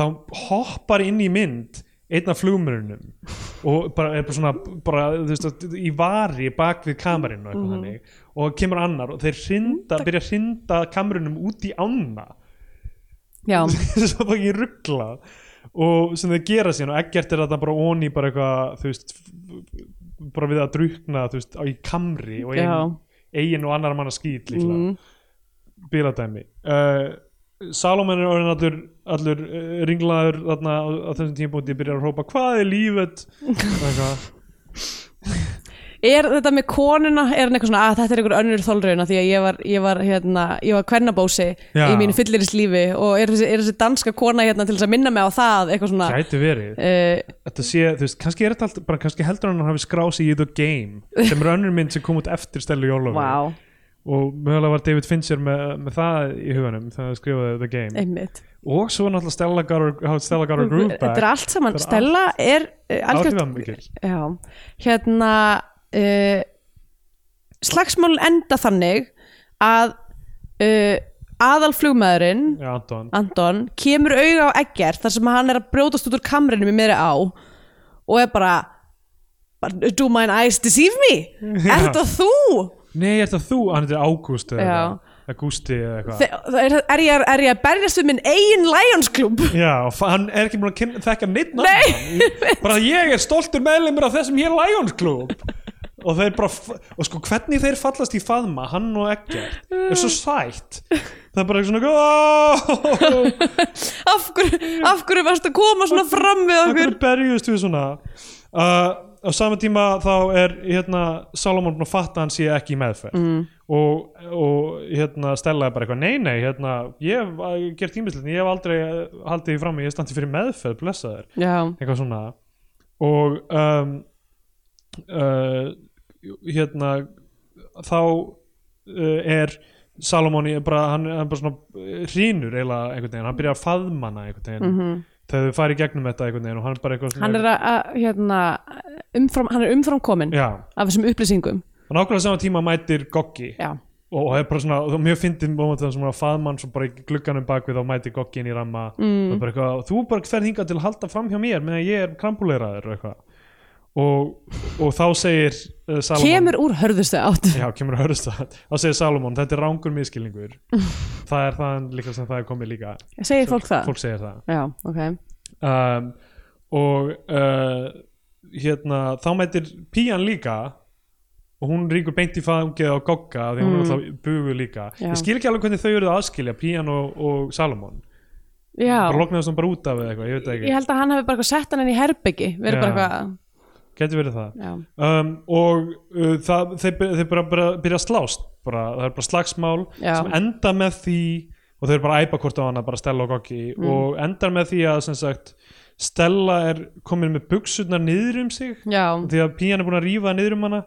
Speaker 2: þá hoppar inn í mynd einn af flugmörunum og bara er bara svona bara, þú veist, í vari bak við kamarinn og eitthvað þannig og kemur annar og þeir hrinda, byrja að hrinda kamerunum út í ána
Speaker 3: já,
Speaker 2: svo fucking ruggla og sem þau gera síðan og ekkert er þetta bara onni bara eitthvað þú veist f- bara við að drukna þú veist á í kamri og eigin, eigin og annar manna skýt líklega mm. bíladæmi uh, Salomon er orðin allur, allur uh, ringlaður þarna á, á þessum tímpúti byrjar að hrópa hvað er lífet eitthvað
Speaker 3: er þetta með konuna er hann eitthvað svona að þetta er einhver önnur þólraun af því að ég var, ég var, hérna, ég var kvennabósi
Speaker 2: Já.
Speaker 3: í mínu fyllirist lífi og er þessi, er þessi danska kona hérna til þess að minna mig á það eitthvað svona
Speaker 2: gæti verið
Speaker 3: uh,
Speaker 2: þetta sé þú veist kannski er þetta allt bara kannski heldur hann að hann hafi skráð sig í The Game sem er önnur mynd sem kom út eftir Stellu Jólofi
Speaker 3: wow,
Speaker 2: og mögulega var David Fincher með, með það í huganum þegar það skrifaði The Game
Speaker 3: einmitt
Speaker 2: og svo náttúrulega Stella Goddard, how Stella Goddard
Speaker 3: Eh. þetta er
Speaker 2: Grooveback
Speaker 3: allt saman,
Speaker 2: Þetta er
Speaker 3: Stella er uh,
Speaker 2: Áhrifamikill.
Speaker 3: já, hérna uh, slagsmál enda þannig að uh, aðalflugmaðurinn
Speaker 2: Já, Anton
Speaker 3: Anton kemur auga á Eggert þar sem hann er að brjótast út úr kamrinum í miðri á og er bara, bara do mine eyes deceive me
Speaker 2: Já.
Speaker 3: er þetta þú
Speaker 2: Nei, er þetta þú? Hann heitir Ágúst eða
Speaker 3: já.
Speaker 2: eitthvað. Augusti eða eitthvað
Speaker 3: Þe- það er, er, ég, er ég að berjast við minn eigin Lions Club
Speaker 2: Já, og fa- hann er ekki búin að kynna, þekka neitt nafn
Speaker 3: Nei.
Speaker 2: hann. Ég- bara ég er stoltur meðlumur af þessum hér Lions Club og þeir bara, f- og sko hvernig þeir fallast í faðma, hann og Eggert er svo
Speaker 3: Ah.
Speaker 2: sætt það er bara svona "Ó,
Speaker 3: af hverju, af hverju varst að koma svona fram við
Speaker 2: af
Speaker 3: okkur
Speaker 2: hverju berjust við svona uh, á sama tíma þá er hérna, Salomon búin að fatta að hann sé ekki í meðferð mm. og, og hérna, Stella er bara eitthvað, nei nei hérna, ég hef uh, gert tímislega ég hef aldrei uh, haldið því fram, ég hef standið fyrir meðferð blessa þér,
Speaker 3: já,
Speaker 2: eitthvað svona og um, uh, hérna þá uh, er Salomon í- bara, hann, hann bara svona hrínur eiginlega einhvern veginn, hann byrjar að faðmana einhvern veginn þegar þau fari í gegnum þetta einhvern veginn og hann er bara eitthvað svona
Speaker 3: Mhm. hann er að, að hérna, umfram, hann er umfram komin
Speaker 2: já,
Speaker 3: af þessum upplýsingum
Speaker 2: hann ákveða saman tíma mætir Goggi
Speaker 3: já,
Speaker 2: og og það er bara svona, og mjög fyndið moment þannig sem hann faðmann svo bara í glugganum bakvið og mætir Goggi inn í ramma mm. og bara eitthvað, þú bara ferð hingað til að halda fram hjá mér meðan ég er krambúleiraður og eitthvað og, og þá segir uh, Salomon
Speaker 3: kemur úr hörðustu átt
Speaker 2: Já, kemur að hörðust það. Þá segir Salomon, þetta er rángur miskilningur. það er það líka sem það er komið líka.
Speaker 3: segir fólk það?
Speaker 2: Fólk segir það.
Speaker 3: já, ok,
Speaker 2: Um, og uh, hérna, þá mætir Pían líka og hún ríkur beint í fangið á Gogga af því hún er alltaf bugu líka.
Speaker 3: Mm. Já.
Speaker 2: Ég skil ekki alveg hvernig þau eru að skilja, Pían og, og Salomon.
Speaker 3: já
Speaker 2: Bara loknaðast hann bara út af eða eitthvað, ég veit það
Speaker 3: ég
Speaker 2: ekki.
Speaker 3: held að hann hefði bara eitthvað sett hann inn í herbyggi verið
Speaker 2: Já.
Speaker 3: bara eitthvað
Speaker 2: Gæti verið það.
Speaker 3: já.
Speaker 2: um, og uh, það, þeir, by- þeir bara, bara byrja að slást bara, það er bara slagsmál
Speaker 3: Já.
Speaker 2: sem enda með því og þeir eru bara að æpa hvort á hana bara Stella og Goggi
Speaker 3: Mm.
Speaker 2: og endar með því að sem sagt Stella er komin með buksurnar niður um sig
Speaker 3: já,
Speaker 2: því að Pían er búin að rífa það niður um hana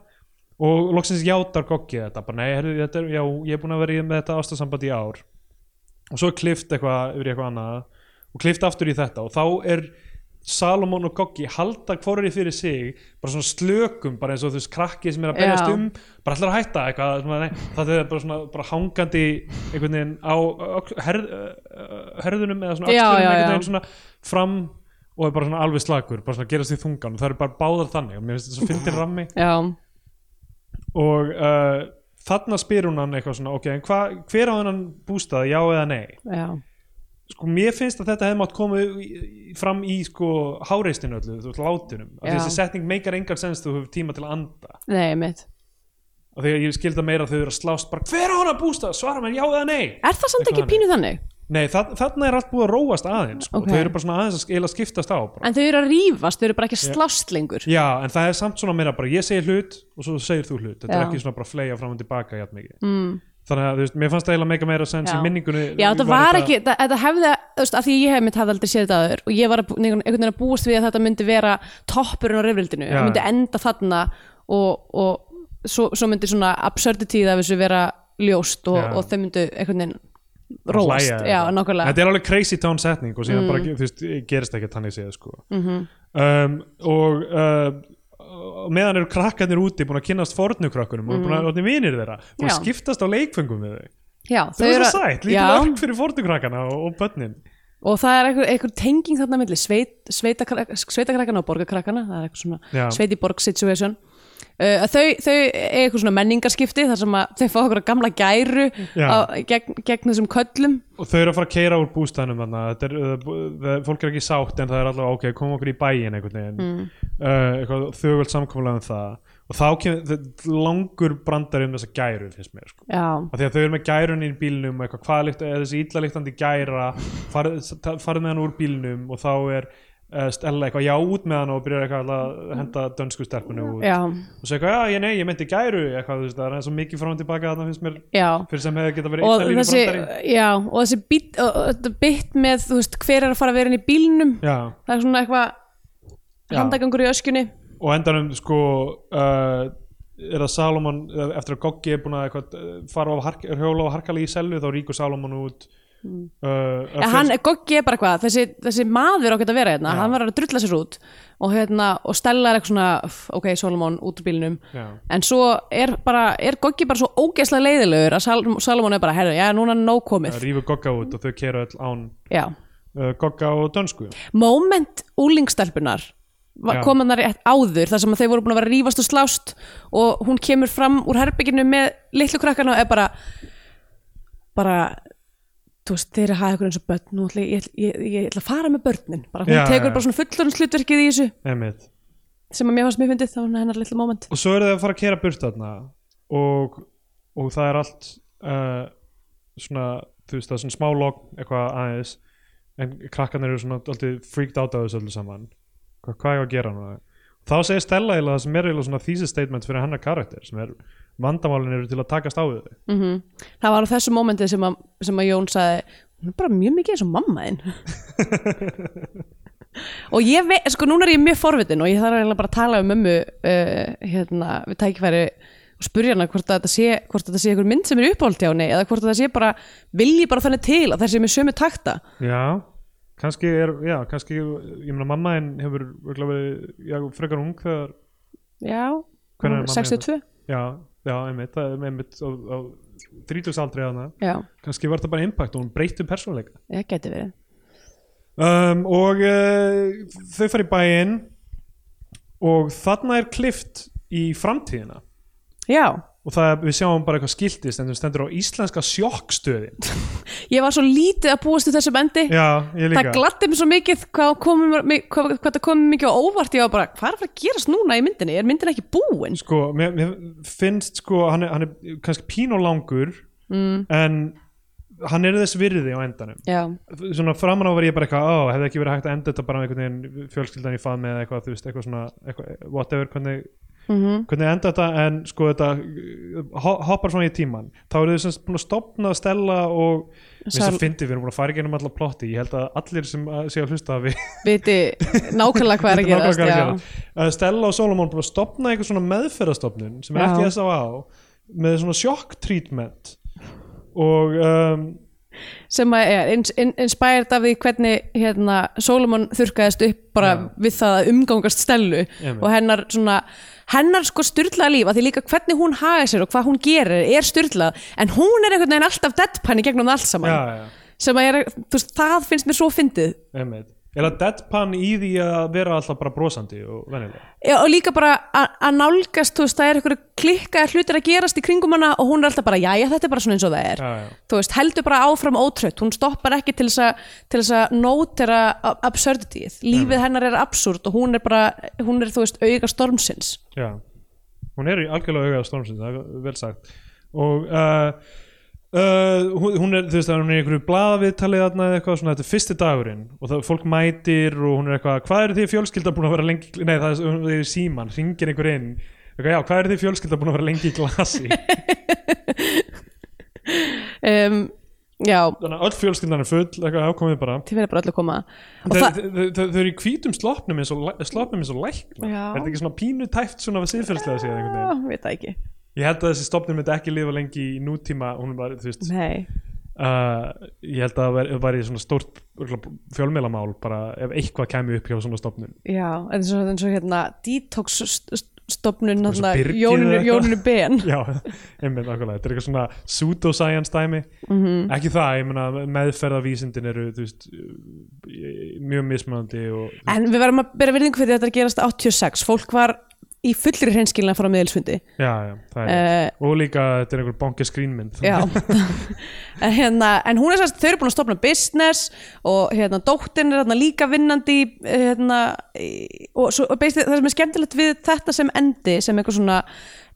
Speaker 2: og loksins játar Goggi þetta bara nei, herri, þetta er, já, ég er búin að vera í- með þetta ástasamband í ár og svo er klift eitthvað yfir í eitthvað annað og klift aftur í þetta og þá er Salomon og Goggi halda hvorri fyrir sig bara svona slökum, bara eins og þú veist krakki sem er að berjast
Speaker 3: Já.
Speaker 2: um, bara allar að hætta eitthvað, svona, nei, það er bara svona bara hangandi einhvern veginn á öxl- herð, ö- herðunum eða svona
Speaker 3: Já,
Speaker 2: öxlunum
Speaker 3: já,
Speaker 2: einhvern
Speaker 3: já.
Speaker 2: veginn svona fram og er bara svona alveg slagur, bara svona gerast í þungan og það eru bara báðar þannig og mér finnst þetta svo fyndin rammi
Speaker 3: já,
Speaker 2: og uh, þarna spyr hún hann eitthvað svona ok, en hva, hver á hennan bústað, já eða nei
Speaker 3: já
Speaker 2: sko mér finnst að þetta hefði mátt koma í- í- fram í sko háreistinu öllu, þú veist látunum af því
Speaker 3: Já.
Speaker 2: þessi setning meikar engan sens þú hefur tíma til að anda
Speaker 3: nei, mitt
Speaker 2: af því að ég skilda meira að þau eru að slást bara hver á hennan bústað, svara mér já eða nei
Speaker 3: er það samt
Speaker 2: Eitthvað
Speaker 3: ekki pínu þannig?
Speaker 2: nei, það, þarna er allt búið að róast aðeins sko.
Speaker 3: Ok.
Speaker 2: þau eru bara svona aðeins að sk- eiginlega skiptast á bara.
Speaker 3: en þau eru að rífast, þau eru bara ekki að slást lengur
Speaker 2: Já, en það er samt svona meira bara ég segir hlut og svo segir þú hlut þetta er
Speaker 3: Já.
Speaker 2: ekki svona bara fleja fram og tilbaka jafn mikið mm. þannig að þú veist, mér fannst það eiginlega meika meira sens í
Speaker 3: Já.
Speaker 2: minningunni
Speaker 3: Já, þetta var ekki, það, þetta hefði, þú veist, af því að ég hef mitt hafði aldrei séð þetta aður og ég var að bú- einhvern einhvern veginn að búast við að þetta myndi vera toppurinn á reyfrildinu,
Speaker 2: Já.
Speaker 3: það myndi enda þarna og, og svo, svo myndi svona absurdity af þessu vera ljóst og,
Speaker 2: Já.
Speaker 3: og þau myndu einhvern veginn
Speaker 2: Hlæja
Speaker 3: róast,
Speaker 2: eða
Speaker 3: já,
Speaker 2: eitthvað.
Speaker 3: nákvæmlega Mm.
Speaker 2: þetta er alveg crazy town setning og síðan bara, þú veist, gerist ekki þannig séð sko.
Speaker 3: Mhm.
Speaker 2: -hmm. um, og uh, meðan eru krakkarnir úti búin að kynast fornukrökkunum og búin að orðin vinir þeirra búin að
Speaker 3: Mm. Já.
Speaker 2: skiptast á leikfengum við þau
Speaker 3: Já,
Speaker 2: þau eru svo sætt, lítið
Speaker 3: já,
Speaker 2: örk fyrir fornukrakkana og, og börnin
Speaker 3: og það er einhver, einhver tenging þarna milli sveit, sveitakrak, sveitakrakkana og borgarkrakkana það er eitthvað svona
Speaker 2: Já.
Speaker 3: sveit í borg situation uh, að þau, þau er eitthvað svona menningarskipti þar sem að þau fá okkur gamla gæru
Speaker 2: Já.
Speaker 3: á, gegn, gegn þessum köllum
Speaker 2: og þau eru að fara að keira úr bústæðnum þarna, þetta er, uh, bú- það- fólk er ekki sátt en það er allavega ok, komum okkur í bæin einhvern veginn mm. uh, þögult samkomulega um það og þá kemur þetta er langur brandari um þessa gæru finnst mér sko
Speaker 3: já,
Speaker 2: af því að þau eru með gærun í bílnum og eitthvað, hvað líkt, eða þessi illaliktandi gæra farið, ta- farið með hann úr bílnum og þá er uh, Stella eitthvað já út með hann og byrjar eitthvað að henda dönsku stelpunni út
Speaker 3: já,
Speaker 2: og segir eitthvað, já, ég nei, ég meinti gæru eitthvað, þú veist, það er eins og mikið frá hann tilbaka þannig finnst mér
Speaker 3: já
Speaker 2: fyrir sem hefði geta verið
Speaker 3: og
Speaker 2: einna línu
Speaker 3: þessi,
Speaker 2: brandari
Speaker 3: já, og þessi bit, og, og, þetta bit með þú veist, hver er að fara að vera inn í bílnum
Speaker 2: já,
Speaker 3: það er svona eitthvað
Speaker 2: Já.
Speaker 3: handagangur í öskjunni
Speaker 2: og endanum sko uh, er það Salomon eh, eftir að Goggi er búin að eitthvað, eh, fara á hark, hjóla og harkali í selju þá ríkur Salomon út mm. uh,
Speaker 3: Ja, hann, Goggi er bara eitthvað, þessi, þessi maður ákveðt að vera hérna, hann var að drulla sér út og, hérna, og Stella er eitthvað svona "F, ok, Solomon, út úr bílnum
Speaker 2: Já.
Speaker 3: en svo er, bara, er Goggi bara svo ógeðslega leiðilegur að Sal Solomon er bara, herru, já, núna er nóg komið
Speaker 2: rífur Gogga út og þau kera öll án
Speaker 3: já,
Speaker 2: uh, Gogga og dönsku
Speaker 3: moment úlingstelpunar
Speaker 2: Já.
Speaker 3: koma þar rétt áður þar sem að þeir voru búin að vera að rífast og slást og hún kemur fram úr herbygginu með litlu krakkana og er bara bara þú veist, þeir eru að hafa ykkur eins og börn nú ætla, ég- ég, ég, ég, ég ætla að fara með börnin bara, hún
Speaker 2: Já,
Speaker 3: tekur
Speaker 2: já,
Speaker 3: bara svona fullorins hlutverkið í þessu
Speaker 2: einmitt
Speaker 3: sem að mér fannst mér fyndið, þá var hennar litla moment
Speaker 2: og svo eru þau að fara að kera burt þarna og, og það er allt uh, svona þú veist það er svona smá logg eitthvað aðeins en krakkarnir eru svona alltaf freaked out á þessu öllu saman hvað, hvað ég að gera núna þá segir Stella eiginlega það sem er eiginlega svona thesis statement fyrir hennar karakter sem er vandamálin eru til að takast á við þau
Speaker 3: mm það var á þessu momentið sem að, sem að Jón sagði hún er bara mjög mikið eins og mamma þinn og ég veit, sko núna er ég mjög forvitin og ég þarf eiginlega bara að tala um mömmu uh, hérna, við tækifæri og spurja hana hvort að þetta sé hvort að þetta sé einhver mynd sem er uppáhald hjá henni eða hvort að þetta sé bara, vilji bara þannig til að það sé með sömu takta
Speaker 2: Já, kannski er, já, kannski, ég meina mamma henn hefur örugglega verið, já, frekar ung þegar,
Speaker 3: já,
Speaker 2: Hvenær er mamma
Speaker 3: 62
Speaker 2: já, já, einmitt, það er einmitt á, á 30 aldrei hana,
Speaker 3: já,
Speaker 2: kannski var það bara impact og hún breytti um persónuleika.
Speaker 3: það geti verið
Speaker 2: Um, og uh, þau fara í bæinn og þarna er klift í framtíðina
Speaker 3: já,
Speaker 2: og það, við sjáum bara eitthvað skiltist en stendur á íslenska sjokkstöðin.
Speaker 3: ég var svo lítið að búast til þessum endi
Speaker 2: Já, ég líka.
Speaker 3: það gladdi mér svo mikið hvað, komum, hvað, hvað það komið mikið á óvart ég var bara, hvað er að fara að gerast núna í myndinni er myndin ekki búin?
Speaker 2: sko, mér, mér finnst sko, hann er, hann er kannski pínulangur mm. en hann er þess virði á endanum
Speaker 3: já,
Speaker 2: svona framan á var ég bara eitthvað ó, hefði ekki verið hægt að enda þetta bara með einhvern veginn fjölskyldan í faðmi eða eitthvað, þú veist, eitthvað svona eitthvað, whatever, hvernig,
Speaker 3: Mhm.
Speaker 2: -hmm. hvernig enda þetta en sko þetta uh, ho- hoppar svona í tíman, þá eru þau sem sagt búin að stopna að stella og mér
Speaker 3: Sal-
Speaker 2: sem fyndi, við erum búin að fara í gennum alla plotti, ég held að allir sem að- séu að hlusta hafi
Speaker 3: viti nákvæmlega hvað er að
Speaker 2: Þetta er
Speaker 3: gerast
Speaker 2: nákvæmlega
Speaker 3: já.
Speaker 2: að gera. Uh, Stella og Solomon búin að stopna einhver svona meðferðastofnun sem er
Speaker 3: Já.
Speaker 2: ekki þess að á með svona sjokk treatment og um,
Speaker 3: sem að er ins- in- inspired af því hvernig hérna, Solomon þurrkaðist upp bara
Speaker 2: Já.
Speaker 3: við það að umgangast stelu
Speaker 2: Einmitt.
Speaker 3: og hennar svona hennar sko styrlaða líf að því líka hvernig hún haga sér og hvað hún gerir er styrlað en hún er einhvern veginn alltaf deadpan í gegnum það allt saman
Speaker 2: já, já,
Speaker 3: sem að er, þú veist, það finnst mér svo fyndið
Speaker 2: einmitt eða deadpan í því að vera alltaf bara brosandi og venjulega
Speaker 3: Já, og líka bara að að nálgast, þú veist, það er einhverju klikkaðar hlutir að gerast í kringum hana og hún er alltaf bara, jæja, þetta er bara svona eins og það er.
Speaker 2: já, já.
Speaker 3: Þú veist, heldur bara áfram ótrött, hún stoppar ekki til þess að, til þess að nótera a- absurdityið. Lífið hennar er absúrt og hún er bara, hún er, þú veist, auga stormsins.
Speaker 2: já, hún er í algjörlega auðvitað stormsins, það er vel sagt og uh, Uh, hún hún er, þú veist, hún er í einhverju blaðaviðtalið þarna eða eitthvað svona, þetta er fyrsti dagurinn og það, fólk mætir og hún er eitthvað hvað eru þið fjölskylda búin að vera lengi nei, það er, það er síman, ringir einhver inn eitthvað, já, hvað eru þið fjölskylda búin að vera lengi í glasi þannig
Speaker 3: Um, já,
Speaker 2: að öll fjölskyldan er full eitthvað, já, komið bara
Speaker 3: þið verður bara öll að koma. Og
Speaker 2: þau
Speaker 3: það,
Speaker 2: þau- þau- þau eru í hvítum sloppnum eins og, læ- sloppnum eins og lækna
Speaker 3: Já.
Speaker 2: er þetta ekki svona pínu tæft svona við siðferðslega séð einhvern
Speaker 3: já,
Speaker 2: veginn?
Speaker 3: veit það ekki.
Speaker 2: ég held að þessi stopnum myndi ekki lifa lengi í nútíma hún var, þú veist,
Speaker 3: Nei.
Speaker 2: uh, ég held að það væri svona stórt fjölmeilamál bara ef eitthvað kæmi upp hjá svona stopnum
Speaker 3: Já, eins og, eins og hérna detox st- st- stofnun
Speaker 2: Eins og
Speaker 3: hérna,
Speaker 2: Byrgið
Speaker 3: Jóninu,
Speaker 2: eða eitthvað.
Speaker 3: Jóninu Ben
Speaker 2: Já, einmitt, akkurlega, þetta er eitthvað svona pseudoscience dæmi,
Speaker 3: Mhm.
Speaker 2: -hmm. ekki það ég meina meðferðavísindin eru þú veist, eh, mjög mismunandi og
Speaker 3: En við verðum að bera virðingu fyrir þetta að gerast 86. Fólk var í fullri hreinskilna frá miðilsfundi.
Speaker 2: já, já, það er
Speaker 3: Eh.
Speaker 2: og líka þetta er einhver bankaskrínmynd
Speaker 3: Já. en, hérna, en hún er sérst, þau eru búin að stopna business og hérna, dóttin er hérna, líka vinnandi í, hérna, í- og, svo, og basically, það sem er skemmtilegt við þetta sem endi sem eitthvað svona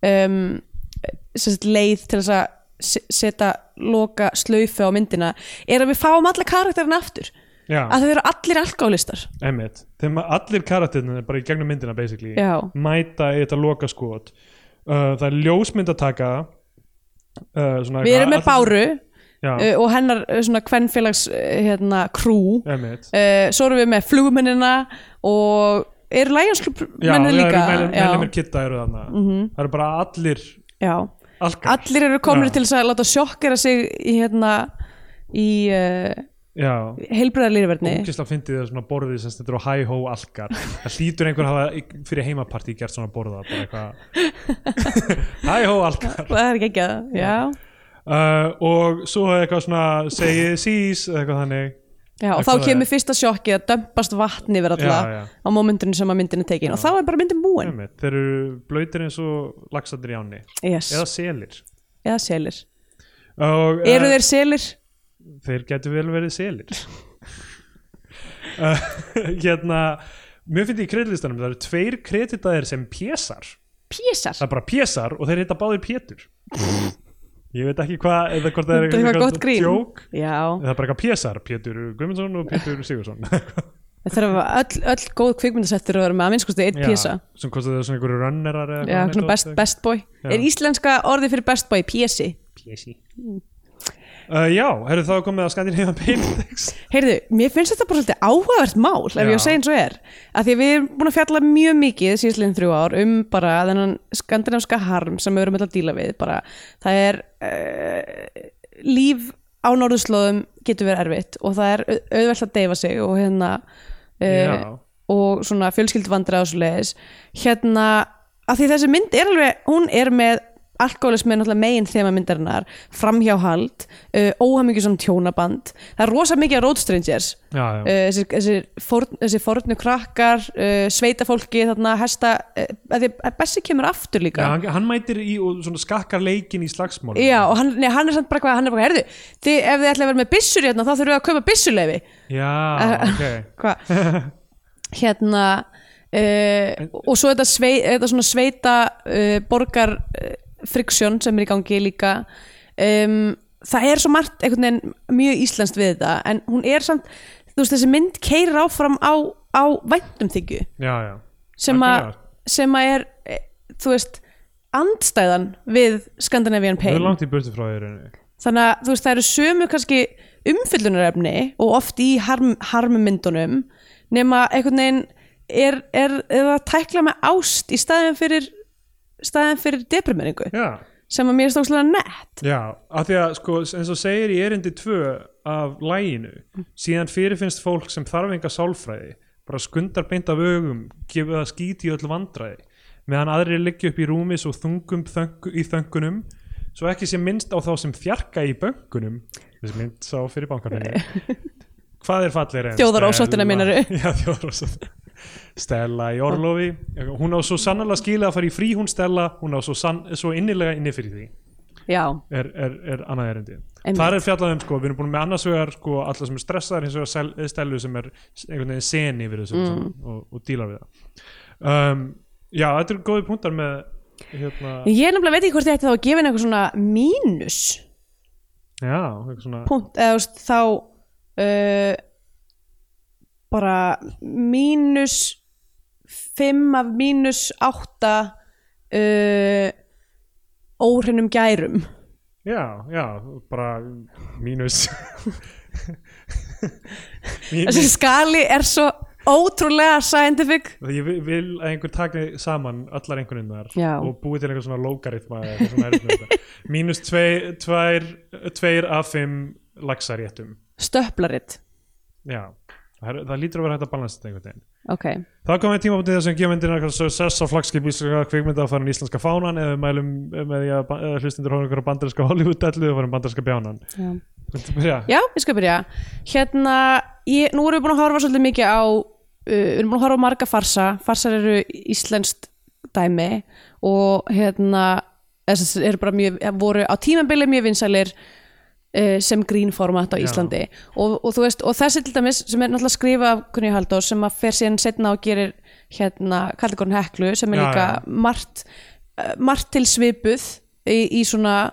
Speaker 3: um, sérst, leið til þess að se- setja loka slaufu á myndina er að við fáum alla karakterin aftur
Speaker 2: já.
Speaker 3: að þau eru allir alkoholistar
Speaker 2: Einmitt, þeim að allir karaternir bara í gegnum myndina basically
Speaker 3: Já.
Speaker 2: mæta í þetta loka skot uh, það er ljósmyndataka uh,
Speaker 3: við erum með Báru
Speaker 2: já,
Speaker 3: uh, og hennar uh, svona kvennfélags uh, hérna, krú uh,
Speaker 2: einmitt
Speaker 3: svo erum við með flugmennina og er Lions Club mennir líka
Speaker 2: mennir kitta eru þarna það eru bara allir
Speaker 3: já, já.
Speaker 2: alkar
Speaker 3: allir eru komnir
Speaker 2: Já.
Speaker 3: til þess að láta sjokkera sig í, hérna, í uh,
Speaker 2: já,
Speaker 3: heilbreyðarlýrverni
Speaker 2: ógislega fyndið það svona borðið sem stendur á hæ-hó alkar það hlýtur einhver að hafa fyrir heimapartí gert svona borða bara eitthvað hæ-hó alkar
Speaker 3: það er ekki ekki að, já,
Speaker 2: uh, og svo er eitthvað svona segið sís eitthvað þannig
Speaker 3: já og þá
Speaker 2: Eitthvað
Speaker 3: kemur
Speaker 2: er-
Speaker 3: fyrsta sjokkið að dömpast vatni yfir alla
Speaker 2: Já, já.
Speaker 3: á momentinu sem að myndin er tekin og þá er bara myndin búin
Speaker 2: Einmitt, þeir eru blöytir eins og laxandir í áni
Speaker 3: yes.
Speaker 2: eða selir
Speaker 3: eða selir
Speaker 2: og, eh,
Speaker 3: Eru þeir selir?
Speaker 2: þeir getur vel verið selir uh, hérna mér finnst í kreditlistanum það eru tveir kreditaðir sem pjessar
Speaker 3: Písar?
Speaker 2: það er bara pjessar og þeir heita báðir pétur ég veit ekki hvað eða hvort það er
Speaker 3: Þetta er eitthvað gott grín.
Speaker 2: djók
Speaker 3: Já,
Speaker 2: eða bara eitthvað pjessar, Pétur Guðmundsson og Pétur Sigursson
Speaker 3: það þarf að öll, öll góð kvikmyndasettur að vera með að minnskosti eitt písa
Speaker 2: sem kostið það svona einhverju runnerar eða
Speaker 3: Já,
Speaker 2: eitthvað
Speaker 3: svona
Speaker 2: neitt
Speaker 3: best,
Speaker 2: og-
Speaker 3: best boy
Speaker 2: Já.
Speaker 3: Er íslenska orðið fyrir best boy písi?
Speaker 2: Pési. Uh, já, herru þá er komið að Skandinavia Paintex
Speaker 3: Heyrðu, mér finnst þetta bara svolítið áhugavert mál ef
Speaker 2: Já.
Speaker 3: ég á að segja eins og er að því að við erum búin að fjalla mjög mikið síðsliðin þrjú ár um bara þennan skandinavska harm sem við erum öll að díla við bara, það er uh, líf á norðurslóðum getur verið erfitt og það er au- auðvelt að deyfa sig og hérna uh,
Speaker 2: Já.
Speaker 3: og svona fjölskyldvandra og svo leiðis hérna, að því þessi mynd er alveg, hún er með alkoholismi er náttúrulega megin þema myndarinnar framhjáhald, uh, óhamingjusam tjónaband, það er rosa mikið af road strangers
Speaker 2: Já,
Speaker 3: uh,
Speaker 2: já,
Speaker 3: þessi, þessi, forn, þessi fornu krakkar uh, sveitafólki, þarna hesta uh, að því að Bessi kemur aftur
Speaker 2: já
Speaker 3: líka
Speaker 2: hann, hann mætir í og svona skakkar leikin í slagsmál
Speaker 3: Já, og hann, nei, hann er samt bara hvað, hann er bara, herðu, þið, ef þið ætla að vera með byssur hérna, þá þurfum við að kaupa byssuleifi.
Speaker 2: Já, ok
Speaker 3: Hvað? hérna, uh, og svo þetta, svei, þetta svona sveita uh, borgar uh, friksjón sem er í gangi líka. Um, það er svo margt einhvern veginn mjög íslenskt við þetta, en hún er samt, þú veist, þessi mynd keirir áfram á, á væntumþyggju
Speaker 2: Já, já
Speaker 3: sem að
Speaker 2: Algjörlega.
Speaker 3: sem að er, eh, þú veist andstæðan við Scandinavian
Speaker 2: Þau er
Speaker 3: Pain
Speaker 2: langt í burtu frá þér en-
Speaker 3: þannig að þú veist það eru sömu kannski umfyllunarefni og oft í harm, harmmyndunum nema einhvern veginn er, er, er það tækla með ást í staðin fyrir staðin fyrir deprimeringu
Speaker 2: Já,
Speaker 3: sem að mér er stókslega nett
Speaker 2: Já, af því að sko, eins og segir í erindi tvö af læginu síðan fyrirfinnst fólk sem þarf enga sálfræði bara skundar beint af augum gefur það skít í öll vandræði meðan aðrir liggja upp í rúmi svo þungum þöngu, í þöngunum svo ekki sé minnst á þá sem fjarka í böngunum þessi mynd sá fyrir bankarninu hvað er fallir en
Speaker 3: Þjóðarósóttina
Speaker 2: Stella-
Speaker 3: meinaru?
Speaker 2: Já, þjóðarósóttina Stella í Orlofi hún á svo sannlega skilið að fara í frí hún Stella hún á svo, sann, svo innilega inni fyrir því
Speaker 3: já,
Speaker 2: er, er, er annað erindi
Speaker 3: Einmitt.
Speaker 2: þar er fjallað um sko, við erum búin með annars vegar sko, alla sem er stressaðar hins vegar sel- stelu sem er einhvern veginn seni við þessu mm. og, og dílar við það um, já, þetta eru góði punktar með hérna,
Speaker 3: ég er nefnilega veit ekki hvort ég ætti þá að gefa henni eitthvað svona mínus
Speaker 2: já, eitthvað svona
Speaker 3: punkt eða þú veist þá uh, bara mínus 5 af mínus 8 uh, óhreinum gærum
Speaker 2: já, já, bara mínus Mín-
Speaker 3: þessi skali er svo ótrúlega scientific
Speaker 2: ég vil- vil að einhver taki saman allar einhvernum þar
Speaker 3: Já.
Speaker 2: og búi til einhver svona logaritma eða eitthvað svona erfitt með þetta. mínus tvei- tvær tveir af fimm laxaréttum
Speaker 3: stöplaritt
Speaker 2: Já, það, er, það lítur að vera hægt að balansa þetta einhvern veginn.
Speaker 3: ok,
Speaker 2: Það komið tímabundið þessum geomyndina success á flagskip íslenska kvikmynda að fara í íslenska fánan eða við mælum með því að ba- eða hlustendur hóra ykkur á bandarinska Hollywood-dellu og fara um bandarinska bjánan.
Speaker 3: já
Speaker 2: Viltu byrja?
Speaker 3: Já, ég skal byrja. Hérna, ég, nú erum við búin að horfa svolítið mikið á, uh, við erum búin að horfa á marga farsa, farsar eru íslenskt dæmi og hérna, þess eru bara mjög, voru á tímabili mjög vinsælir uh, sem grínformat á
Speaker 2: Já.
Speaker 3: Íslandi og, og þú veist, og þessi til dæmis sem er náttúrulega skrifa af Kunni Halldór sem að fer síðan setna og gerir hérna Kallegorn Heklu sem er
Speaker 2: Já,
Speaker 3: líka
Speaker 2: já.
Speaker 3: margt, eh, margt til svipuð í, í svona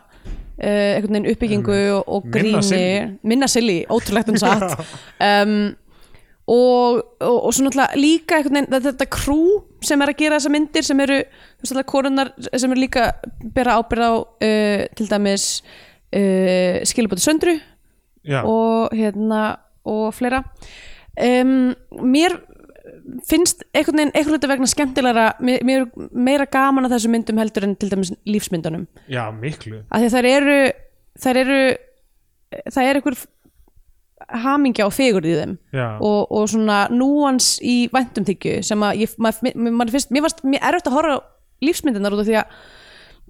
Speaker 3: uh, einhvern veginn uppbyggingu og, og
Speaker 2: Minna
Speaker 3: gríni
Speaker 2: silly.
Speaker 3: minna silly, ótrúlegt um satt um, og, og, og svo náttúrulega líka einhvern veginn þetta, þetta krú sem er að gera þessa myndir sem eru, þú veist alltaf konunar sem eru líka bera ábyrð á uh, til dæmis uh, skilabóti söndru
Speaker 2: Já,
Speaker 3: og hérna og fleira um, mér finnst einhvern veginn einhvern veginn vegna skemmtilegra mér, mér er meira gaman að þessum myndum heldur en til dæmis lífsmyndunum
Speaker 2: já miklu.
Speaker 3: af því að þær eru þær eru það er einhver hamingja og fegur í þeim
Speaker 2: Já.
Speaker 3: og, og svona núans í væntumþykju sem að ég, mað, mað, mað finnst, mér varst mér erfitt að horfa á lífsmyndirnar út af því að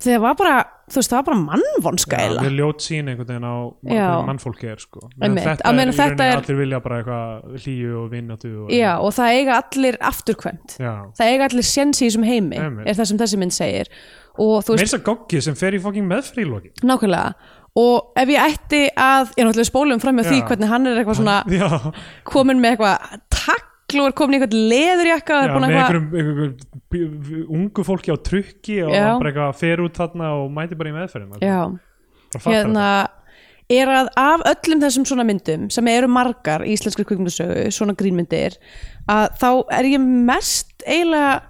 Speaker 3: því að það var bara, þú veist, það var bara mannvonska
Speaker 2: Já,
Speaker 3: eiginlega.
Speaker 2: við ljót sín einhvern veginn á
Speaker 3: Já.
Speaker 2: hvernig mannfólki er sko. Meðan
Speaker 3: Einmitt.
Speaker 2: Þetta
Speaker 3: Að
Speaker 2: er,
Speaker 3: meina
Speaker 2: í
Speaker 3: þetta
Speaker 2: rauninni
Speaker 3: er-
Speaker 2: allir vilja bara eitthvað hlýju og vinnatu og...
Speaker 3: Já, og það eiga allir afturkvæmt
Speaker 2: Já.
Speaker 3: það eiga allir sjensi í þessum heimi
Speaker 2: Einmitt.
Speaker 3: er það sem þessi mynd segir og þú veist,
Speaker 2: Meirsa Goggi sem fer í fucking meðfríloki.
Speaker 3: nákvæmlega og ef ég ætti að, ég náttúrulega spólum fram með því
Speaker 2: Já.
Speaker 3: hvernig hann er eitthvað svona
Speaker 2: já,
Speaker 3: komin með eitthvað tagl og er komin í eitthvað leðurjakka
Speaker 2: já
Speaker 3: og
Speaker 2: með
Speaker 3: er búin að eitthvað
Speaker 2: einhverjum, einhverjum p- ungu fólki á trukki og
Speaker 3: Já.
Speaker 2: hann bara eitthvað fer út þarna og mæti bara í meðferðin
Speaker 3: já, hérna er að af öllum þessum svona myndum sem eru margar í íslenskri kvikmyndasögu svona grínmyndir að þá er ég mest eiginlega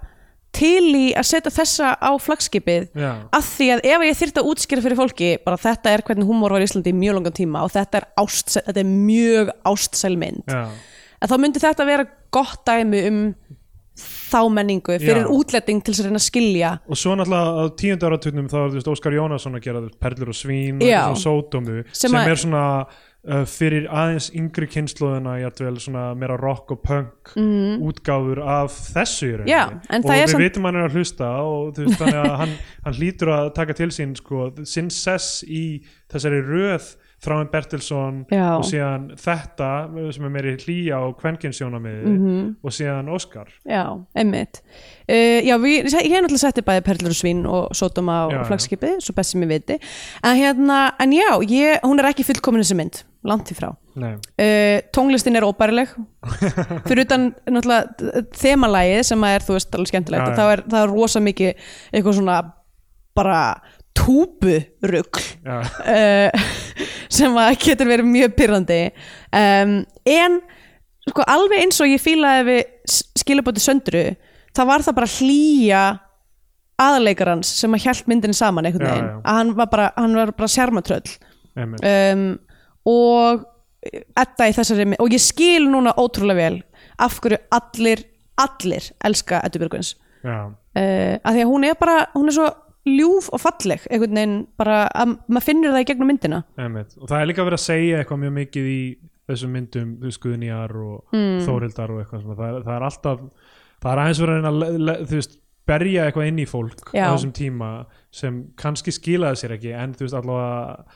Speaker 3: til í að setja þessa á flagskipið
Speaker 2: Já.
Speaker 3: af því að ef ég þyrfti að útskýra fyrir fólki bara þetta er hvernig húmor var í Íslandi í mjög langan tíma og þetta er, ást, þetta er mjög ástsæl mynd
Speaker 2: já,
Speaker 3: að þá myndi þetta vera gott dæmi um þá menningu fyrir
Speaker 2: Já.
Speaker 3: útletting til þess að reyna að skilja
Speaker 2: og svo náttúrulega á tíundu áraturnum þá er þú veist Óskar Jónasson að gera þú veist, perlur og svín og
Speaker 3: Já.
Speaker 2: eitthvað svona sódómu
Speaker 3: Sem
Speaker 2: sem,
Speaker 3: að-
Speaker 2: er svona uh, fyrir aðeins yngri kynnslóðina jafnvel svona meira rock og punk mm. útgáfur af þessu í rauninni.
Speaker 3: Mhm. Já, en
Speaker 2: og
Speaker 3: það er
Speaker 2: við
Speaker 3: samt-
Speaker 2: vitum hann er að hlusta og þú veist þannig að hann, hann hlýtur að taka til sín sko, sinn sess í þessari röð Þráin Bertilsson
Speaker 3: Já.
Speaker 2: og síðan þetta uh, sem er meiri hlýja á kvenkinsjónamiði mm -hmm.
Speaker 3: Mhm.
Speaker 2: og síðan Óskar
Speaker 3: Já, einmitt. Uh, já, við, ég hef náttúrulega setti bæði Perlur og Svín og Sódóma
Speaker 2: Já, já.
Speaker 3: og Flagskipið, svo best sem ég viti. En, hérna, en já, ég, hún er ekki fullkomin þessi mynd, langt í frá.
Speaker 2: Nei.
Speaker 3: Uh, tónlistin er óbærileg fyrir utan náttúrulega þemalægið sem að er, þú veist, alveg
Speaker 2: Já,
Speaker 3: skemmtilegt
Speaker 2: já.
Speaker 3: og það er, það er rosa mikið eitthvað svona bara túburugl
Speaker 2: Já.
Speaker 3: uh, sem að getur verið mjög pyrrandi um, en sko, alveg eins og ég fílaði við skilabóti söndru það var það bara hlýja aðleikarans sem að hjælt myndin saman einhvern
Speaker 2: Já,
Speaker 3: veginn,
Speaker 2: já.
Speaker 3: að hann var bara, hann var bara sjarmatröll
Speaker 2: Einmitt.
Speaker 3: um, og Edda í þessari, mynd- og ég skil núna ótrúlega vel af hverju allir allir elska Eddu Björgvins
Speaker 2: Já.
Speaker 3: uh, að því að hún er bara hún er svo ljúf og falleg einhvern veginn bara að maður finnur það í gegnum myndina
Speaker 2: Einmitt. og það er líka verið að segja eitthvað mjög mikið í þessum myndum þú veist, Guðnýjar og
Speaker 3: Hmm.
Speaker 2: Þórildar og eitthvað svona. það er, það er alltaf það er aðeins verið að reyna að le, le, þú veist, berja eitthvað inn í fólk
Speaker 3: Já.
Speaker 2: á þessum tíma sem kannski skilaði sér ekki en þú veist allavega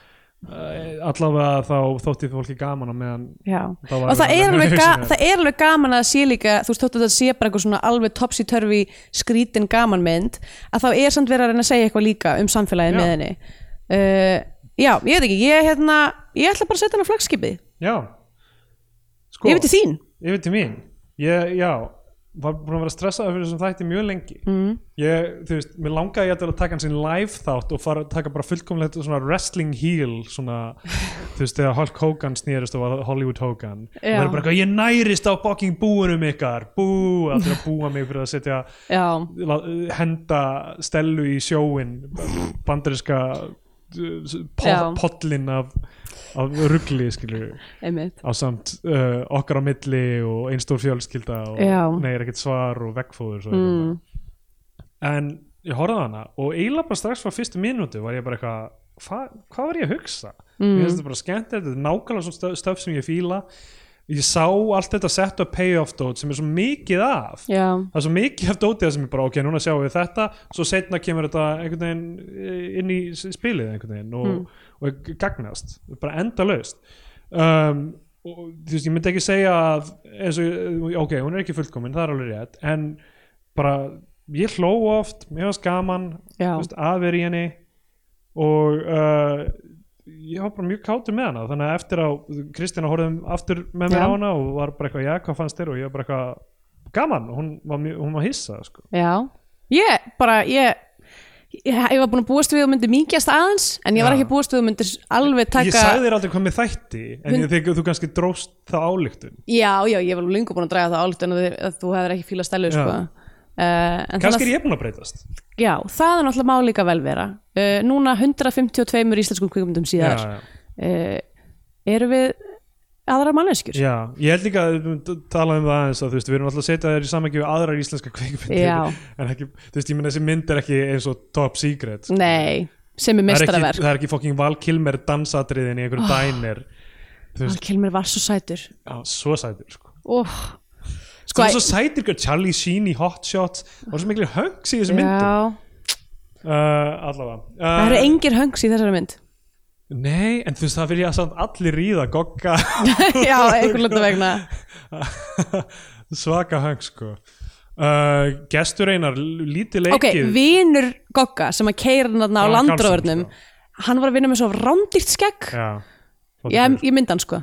Speaker 2: eh, allavega þá þótti fólki gaman á meðan
Speaker 3: Já.
Speaker 2: Það var
Speaker 3: og það
Speaker 2: alveg-
Speaker 3: er, alveg
Speaker 2: alveg
Speaker 3: ga,
Speaker 2: hugsunarvert.
Speaker 3: það er alveg gaman að sé líka þú veist þótt að þetta sé bara eitthvað svona alveg topsy-turvy skrítin gaman mynd að þá er samt verið að reyna að segja eitthvað líka um
Speaker 2: Já.
Speaker 3: samfélagið með henni uh, Já, ég veit ekki, ég, hérna, ég ætla bara að setja henni á flagskipið
Speaker 2: já sko,
Speaker 3: ég veit þín
Speaker 2: yfir til mín ég, já, var búin að vera stressaði fyrir þessum þætti mjög lengi mm. ég, þú veist, mér langaði ég að taka hann sinn live þátt og fara, taka bara fullkomlegt svona wrestling heel svona, þú veist, þegar Hulk Hogan snýrist og var Hollywood Hogan og það
Speaker 3: Já.
Speaker 2: er bara eitthvað, ég nærist á fucking búinum ykkar, bú, allir að búa mig fyrir að setja
Speaker 3: Já,
Speaker 2: la- henda stelu í eh, sjóin bandarinska
Speaker 3: Já.
Speaker 2: podlin af, af rugli, skilur
Speaker 3: einmitt
Speaker 2: á samt uh, okkar á milli og einn stór fjölskylda og
Speaker 3: Já.
Speaker 2: nei, er ekkert svar og veggfóður svo mm. en ég horfði á hana og eiginlega bara strax frá fyrstu mínútu var ég bara eitthvað hva, hvað var ég að hugsa? Mm. Ég finnst þetta bara skemmt þetta er nákvæmlega svona stöf, stöf sem ég fíla ég sá allt þetta set up payoff dót sem er svo mikið af
Speaker 3: Já,
Speaker 2: það er svo mikið af dótið sem er bara ok, núna sjáum við þetta svo setna kemur þetta einhvern veginn eh, inn í s- spilið einhvern veginn og, og gagnast, bara endalaust um, og þú veist, ég myndi ekki segja að eins og, eh, ok, hún er ekki fullkomin, það er alveg rétt en bara, ég hló oft mér var skaman, þú
Speaker 3: Já.
Speaker 2: veist, að vera í henni og uh, ég var bara mjög kátur með hana þannig að eftir á, Kristina horfðum aftur með mér
Speaker 3: Já.
Speaker 2: á hana og var bara eitthvað, já, hvað fannst þér og ég var bara eitthvað gaman, hún var, mjög, hún var hissa sko.
Speaker 3: Já, ég bara, ég Ég, ég var búin að búast við að myndi mingjast aðeins en ég var
Speaker 2: Já.
Speaker 3: ekki að búast við að myndi alveg taka
Speaker 2: ég sagði þér aldrei hvað með þætti en
Speaker 3: Hund-
Speaker 2: ég þegar þú kannski dróst það álíktun
Speaker 3: Já, já, ég var alveg lengur búin að draga það álut en að, þið- að þú hefur ekki fílað stælu
Speaker 2: Já.
Speaker 3: sko. uh, en
Speaker 2: kannski
Speaker 3: þannig að,
Speaker 2: er ég búin að breytast
Speaker 3: já, það er náttúrulega má líka vel vera uh, Núna 152 íslenskum kvikmyndum síðar
Speaker 2: já, já.
Speaker 3: uh, Eru við aðra manneskjur?
Speaker 2: já, ég held líka að við talaðum um það aðeins að þú veist, við erum alltaf að setja þér í samangjum við aðrar íslenska
Speaker 3: Já.
Speaker 2: kvikmyndir en ekki, þú veist, ég menn þessi mynd er ekki eins og top secret sko.
Speaker 3: Nei, sem
Speaker 2: það,
Speaker 3: er
Speaker 2: er
Speaker 3: mestaraverk
Speaker 2: ekki, það er ekki fokking Val Kilmer dansatriðin í einhverju dænir
Speaker 3: Alkelmir var svo sætur
Speaker 2: já, svo sætur sko
Speaker 3: oh.
Speaker 2: Sko, það er svo sætir ykkur Charlie Sheen í Hot Shots og svo miklu höngs í þessu myndum
Speaker 3: já,
Speaker 2: uh, allavega uh,
Speaker 3: það eru engir höngs í þessari mynd
Speaker 2: nei, en þú veist það vilja samt allir ríða gogga
Speaker 3: Já, einhvern lönda vegna
Speaker 2: svaka höngs sko uh, gestur einar l- lítið leikið
Speaker 3: Ok, vinur Gogga sem að keira hann á
Speaker 2: Alan Carlson,
Speaker 3: landróðurnum hann var að vinna með svo rándýrt skegg
Speaker 2: já
Speaker 3: ég, ég myndi hann sko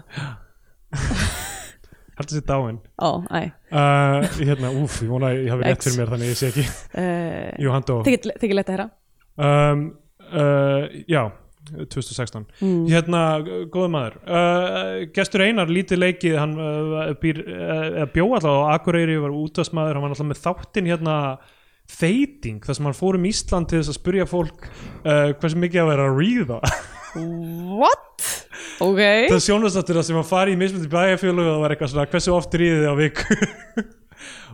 Speaker 2: Haldur sér dáin
Speaker 3: ó, æ
Speaker 2: uh, Hérna, úf, ég vona að ég hafi rétt fyrir mér þannig að ég sé ekki
Speaker 3: uh,
Speaker 2: Jú, hann dó
Speaker 3: þykir lett að herra
Speaker 2: um, uh, Já 2016 hérna, góða maður uh, gestur Einar, lítið leikið hann uh, býr, uh, bjó alltaf á Akureyri var útasmaður, hann var alltaf með þáttinn hérna þeiting, þar sem hann fór um Ísland til þess að spyrja fólk uh, hversu mikið að vera að ríða
Speaker 3: what? ok
Speaker 2: það sjónastáttur það sem hann fari í mismunandi bæjarfjölu og það var eitthvað svona hversu oft ríðið á viku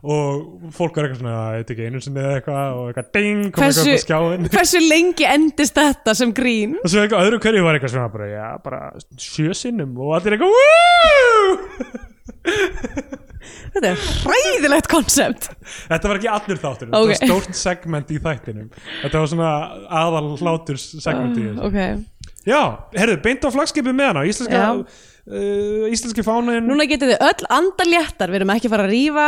Speaker 2: og fólk var eitthvað svona "Æ, þetta er ekki einu sinni eða eitthvað og eitthvað ding, kom
Speaker 3: Hversu-
Speaker 2: eitthvað upp á skjáin
Speaker 3: hversu lengi endist þetta sem grín?
Speaker 2: og svo eitthvað öðru hverju var eitthvað svona bara, já, bara sjö sinnum og allir eitthvað "Woo!"
Speaker 3: þetta er hræðilegt konsept
Speaker 2: þetta var ekki allir þáttur
Speaker 3: Ok.
Speaker 2: þetta var stórt segment í þættinum þetta var svona aðal hlátur segment í þessu
Speaker 3: Ah, ok
Speaker 2: já, herðu, beint á flagskipi með hana íslenska,
Speaker 3: Já.
Speaker 2: uh, íslenski fánin
Speaker 3: núna getið þið öll andaléttar við erum ekki að fara að rífa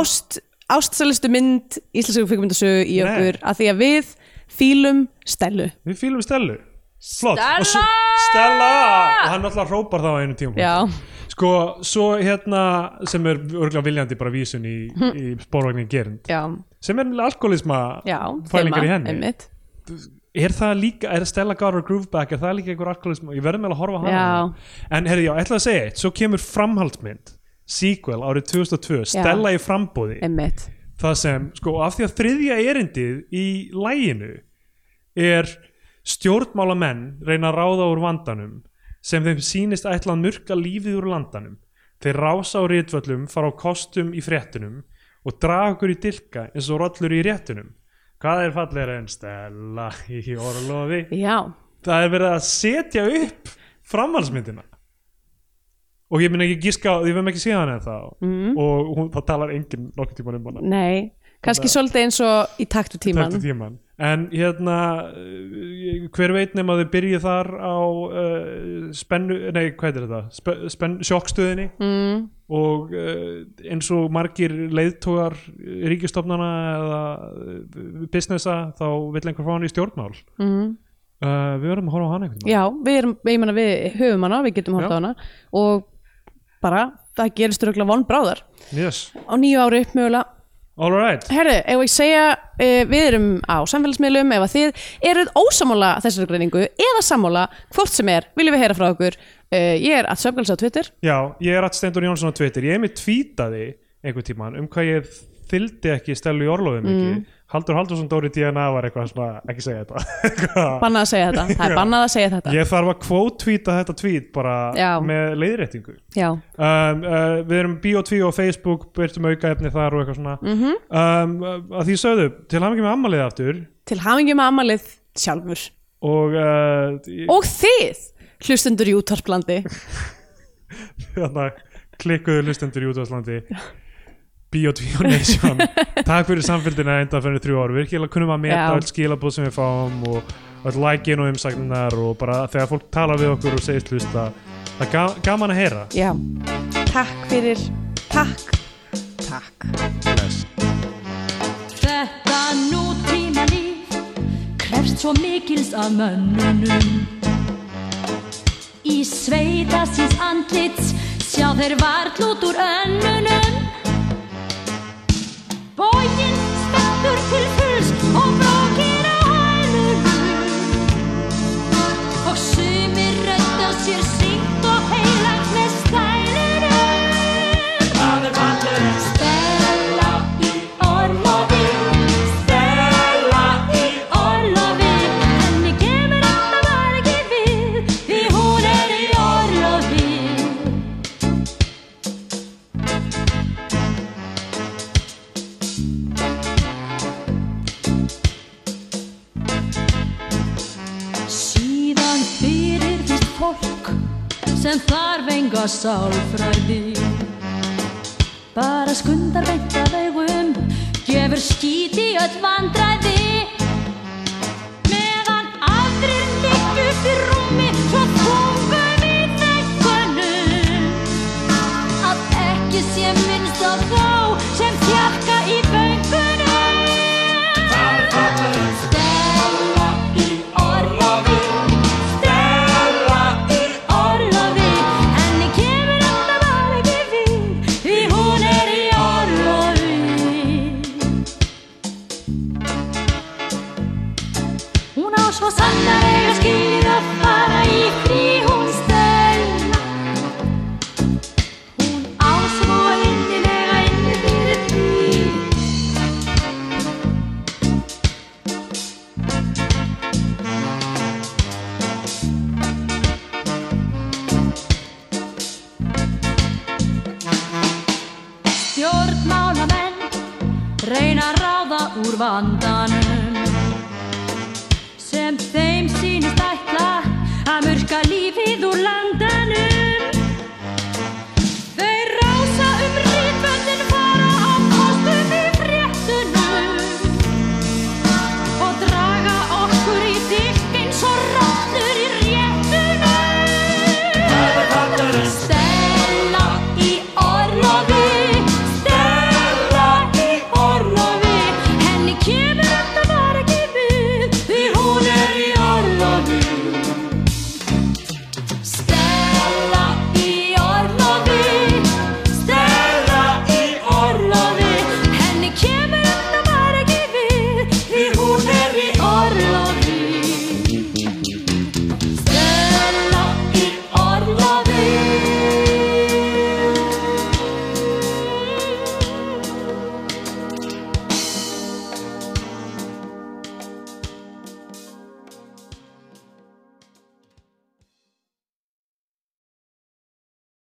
Speaker 3: ást, ástsælustu mynd íslensku kvikmyndasögu í
Speaker 2: Nei.
Speaker 3: okkur að því að við fýlum stælu
Speaker 2: við fýlum Stellu Flott.
Speaker 3: Stella!
Speaker 2: Og svo- Stella! og hann alltaf hrópar það á einu tíma
Speaker 3: já,
Speaker 2: sko, svo hérna sem er örgulega viljandi bara vísun í,
Speaker 3: Hm.
Speaker 2: í spórvagnin gerind
Speaker 3: já,
Speaker 2: sem er alkoholisma
Speaker 3: já
Speaker 2: fælingar
Speaker 3: þema,
Speaker 2: í henni
Speaker 3: einmitt.
Speaker 2: er það líka, er Stella Garver Grooveback er það líka einhver alkoholism, ég verður með að horfa á hana
Speaker 3: Já.
Speaker 2: en herri, já, ætlaði að segja eitt svo kemur framhaldsmynd, sequel árið 2002, Stella í frambúði
Speaker 3: einmitt
Speaker 2: það sem, sko, af því að þriðja erindið í læginu er stjórnmálamenn reyna að ráða úr vandanum sem þeim sýnist ætla að murka lífið úr landanum þeir rása á rítvöllum, fara á kostum í fréttunum og draga okkur í dilka eins og rollur í réttunum hvað er fallegra en stella í orlofi
Speaker 3: já,
Speaker 2: það er verið að setja upp framhaldsmyndina og ég mun ekki giska á- við höfum ekki séð hann eða þá mm. og hún, það talar enginn nokkuð tíman um hana
Speaker 3: nei kannski svolítið eins og í taktu tíman
Speaker 2: taktu tíman en hérna eh, hver veit nema þau byrjið þar á uh, spennu, nei hvað er þetta Spe, spenn, sjokkstöðinni mm. og uh, eins og margir leiðtógar ríkistofnana eða eh, businessa þá vill einhver fá hann í stjórnmál mm. við verðum að horfa á hann einhvern
Speaker 3: já, við erum, ég meina við höfum hana við getum hort
Speaker 2: Já.
Speaker 3: á hana og bara, það gerist röglega von bráðar
Speaker 2: tíman yes.
Speaker 3: á nýju ári mögulega
Speaker 2: all right
Speaker 3: Herru, ef ég segja, uh, við erum á samfélagsmiðlum, ef að þið eruð ósamála þessari greiningu eða sammála, hvort sem er, viljum við heyra frá okkur. Uh, ég er að söfgals á Twitter.
Speaker 2: Já, ég er að Stendur Jónsson á Twitter Ég er með tweetaði einhvern tímann um hvað ég þyldi ekki stelu í orlofum mm. Haldur Haldursson Dóri DNA var eitthvað svona, ekki segja þetta Eitthvað.
Speaker 3: Bannað að segja þetta. Það er bannað að segja þetta.
Speaker 2: Ég þarf að kvótvíta þetta tweet bara
Speaker 3: Já.
Speaker 2: með leiðréttingu
Speaker 3: Já,
Speaker 2: um, uh, Við erum Bio2 og Facebook byrtum aukaefni þar og eitthvað svona
Speaker 3: Mhm.
Speaker 2: mm -hmm. um, að Því sögðu, til hann ekki með ammalið aftur
Speaker 3: til hafingi með amalið sjálfur.
Speaker 2: og uh, ég-
Speaker 3: Og þið, hlustundur í útvarplandi.
Speaker 2: þarna klikkuðu lustendur í útvarslandi Bio2 Nation takk fyrir samfélgina enda fyrir þrjú ár virkilega kunnum að meta
Speaker 3: Já.
Speaker 2: öll skilabóð sem við fáum og öll lækin og umsagnar og bara þegar fólk tala við okkur og segist hlusta það er ga- gaman að heyra
Speaker 3: Já, takk fyrir, takk, takk.
Speaker 4: Þetta nútíma líf krefst svo mikils af mönnunum. Í sveita síns andlits sjá þeir varl út úr önnunum. Bógin stendur til fulls og brókir á hælunum. Og sumir rötta sér sínt og heilagt með stælunum. Stella í orlofi Stella í orlofi Henni kemur alltaf vargi við Því hún er í orlofi Síðan fyrir því fólk sem þarf enga sálfræði bara skundar beint að augum gefur skít í öll vandræði meðan aðrir liggja upp í rúmi svo þungum í þekkunum að ekki sé minnst á þá sem þjakka í böngunum Stella í orlofi Svo sandar eiga skilið að fara í frí hún stella Hún á svo innilega inni fyrir því Stjórnmálamenn reyna að ráða úr vann um um er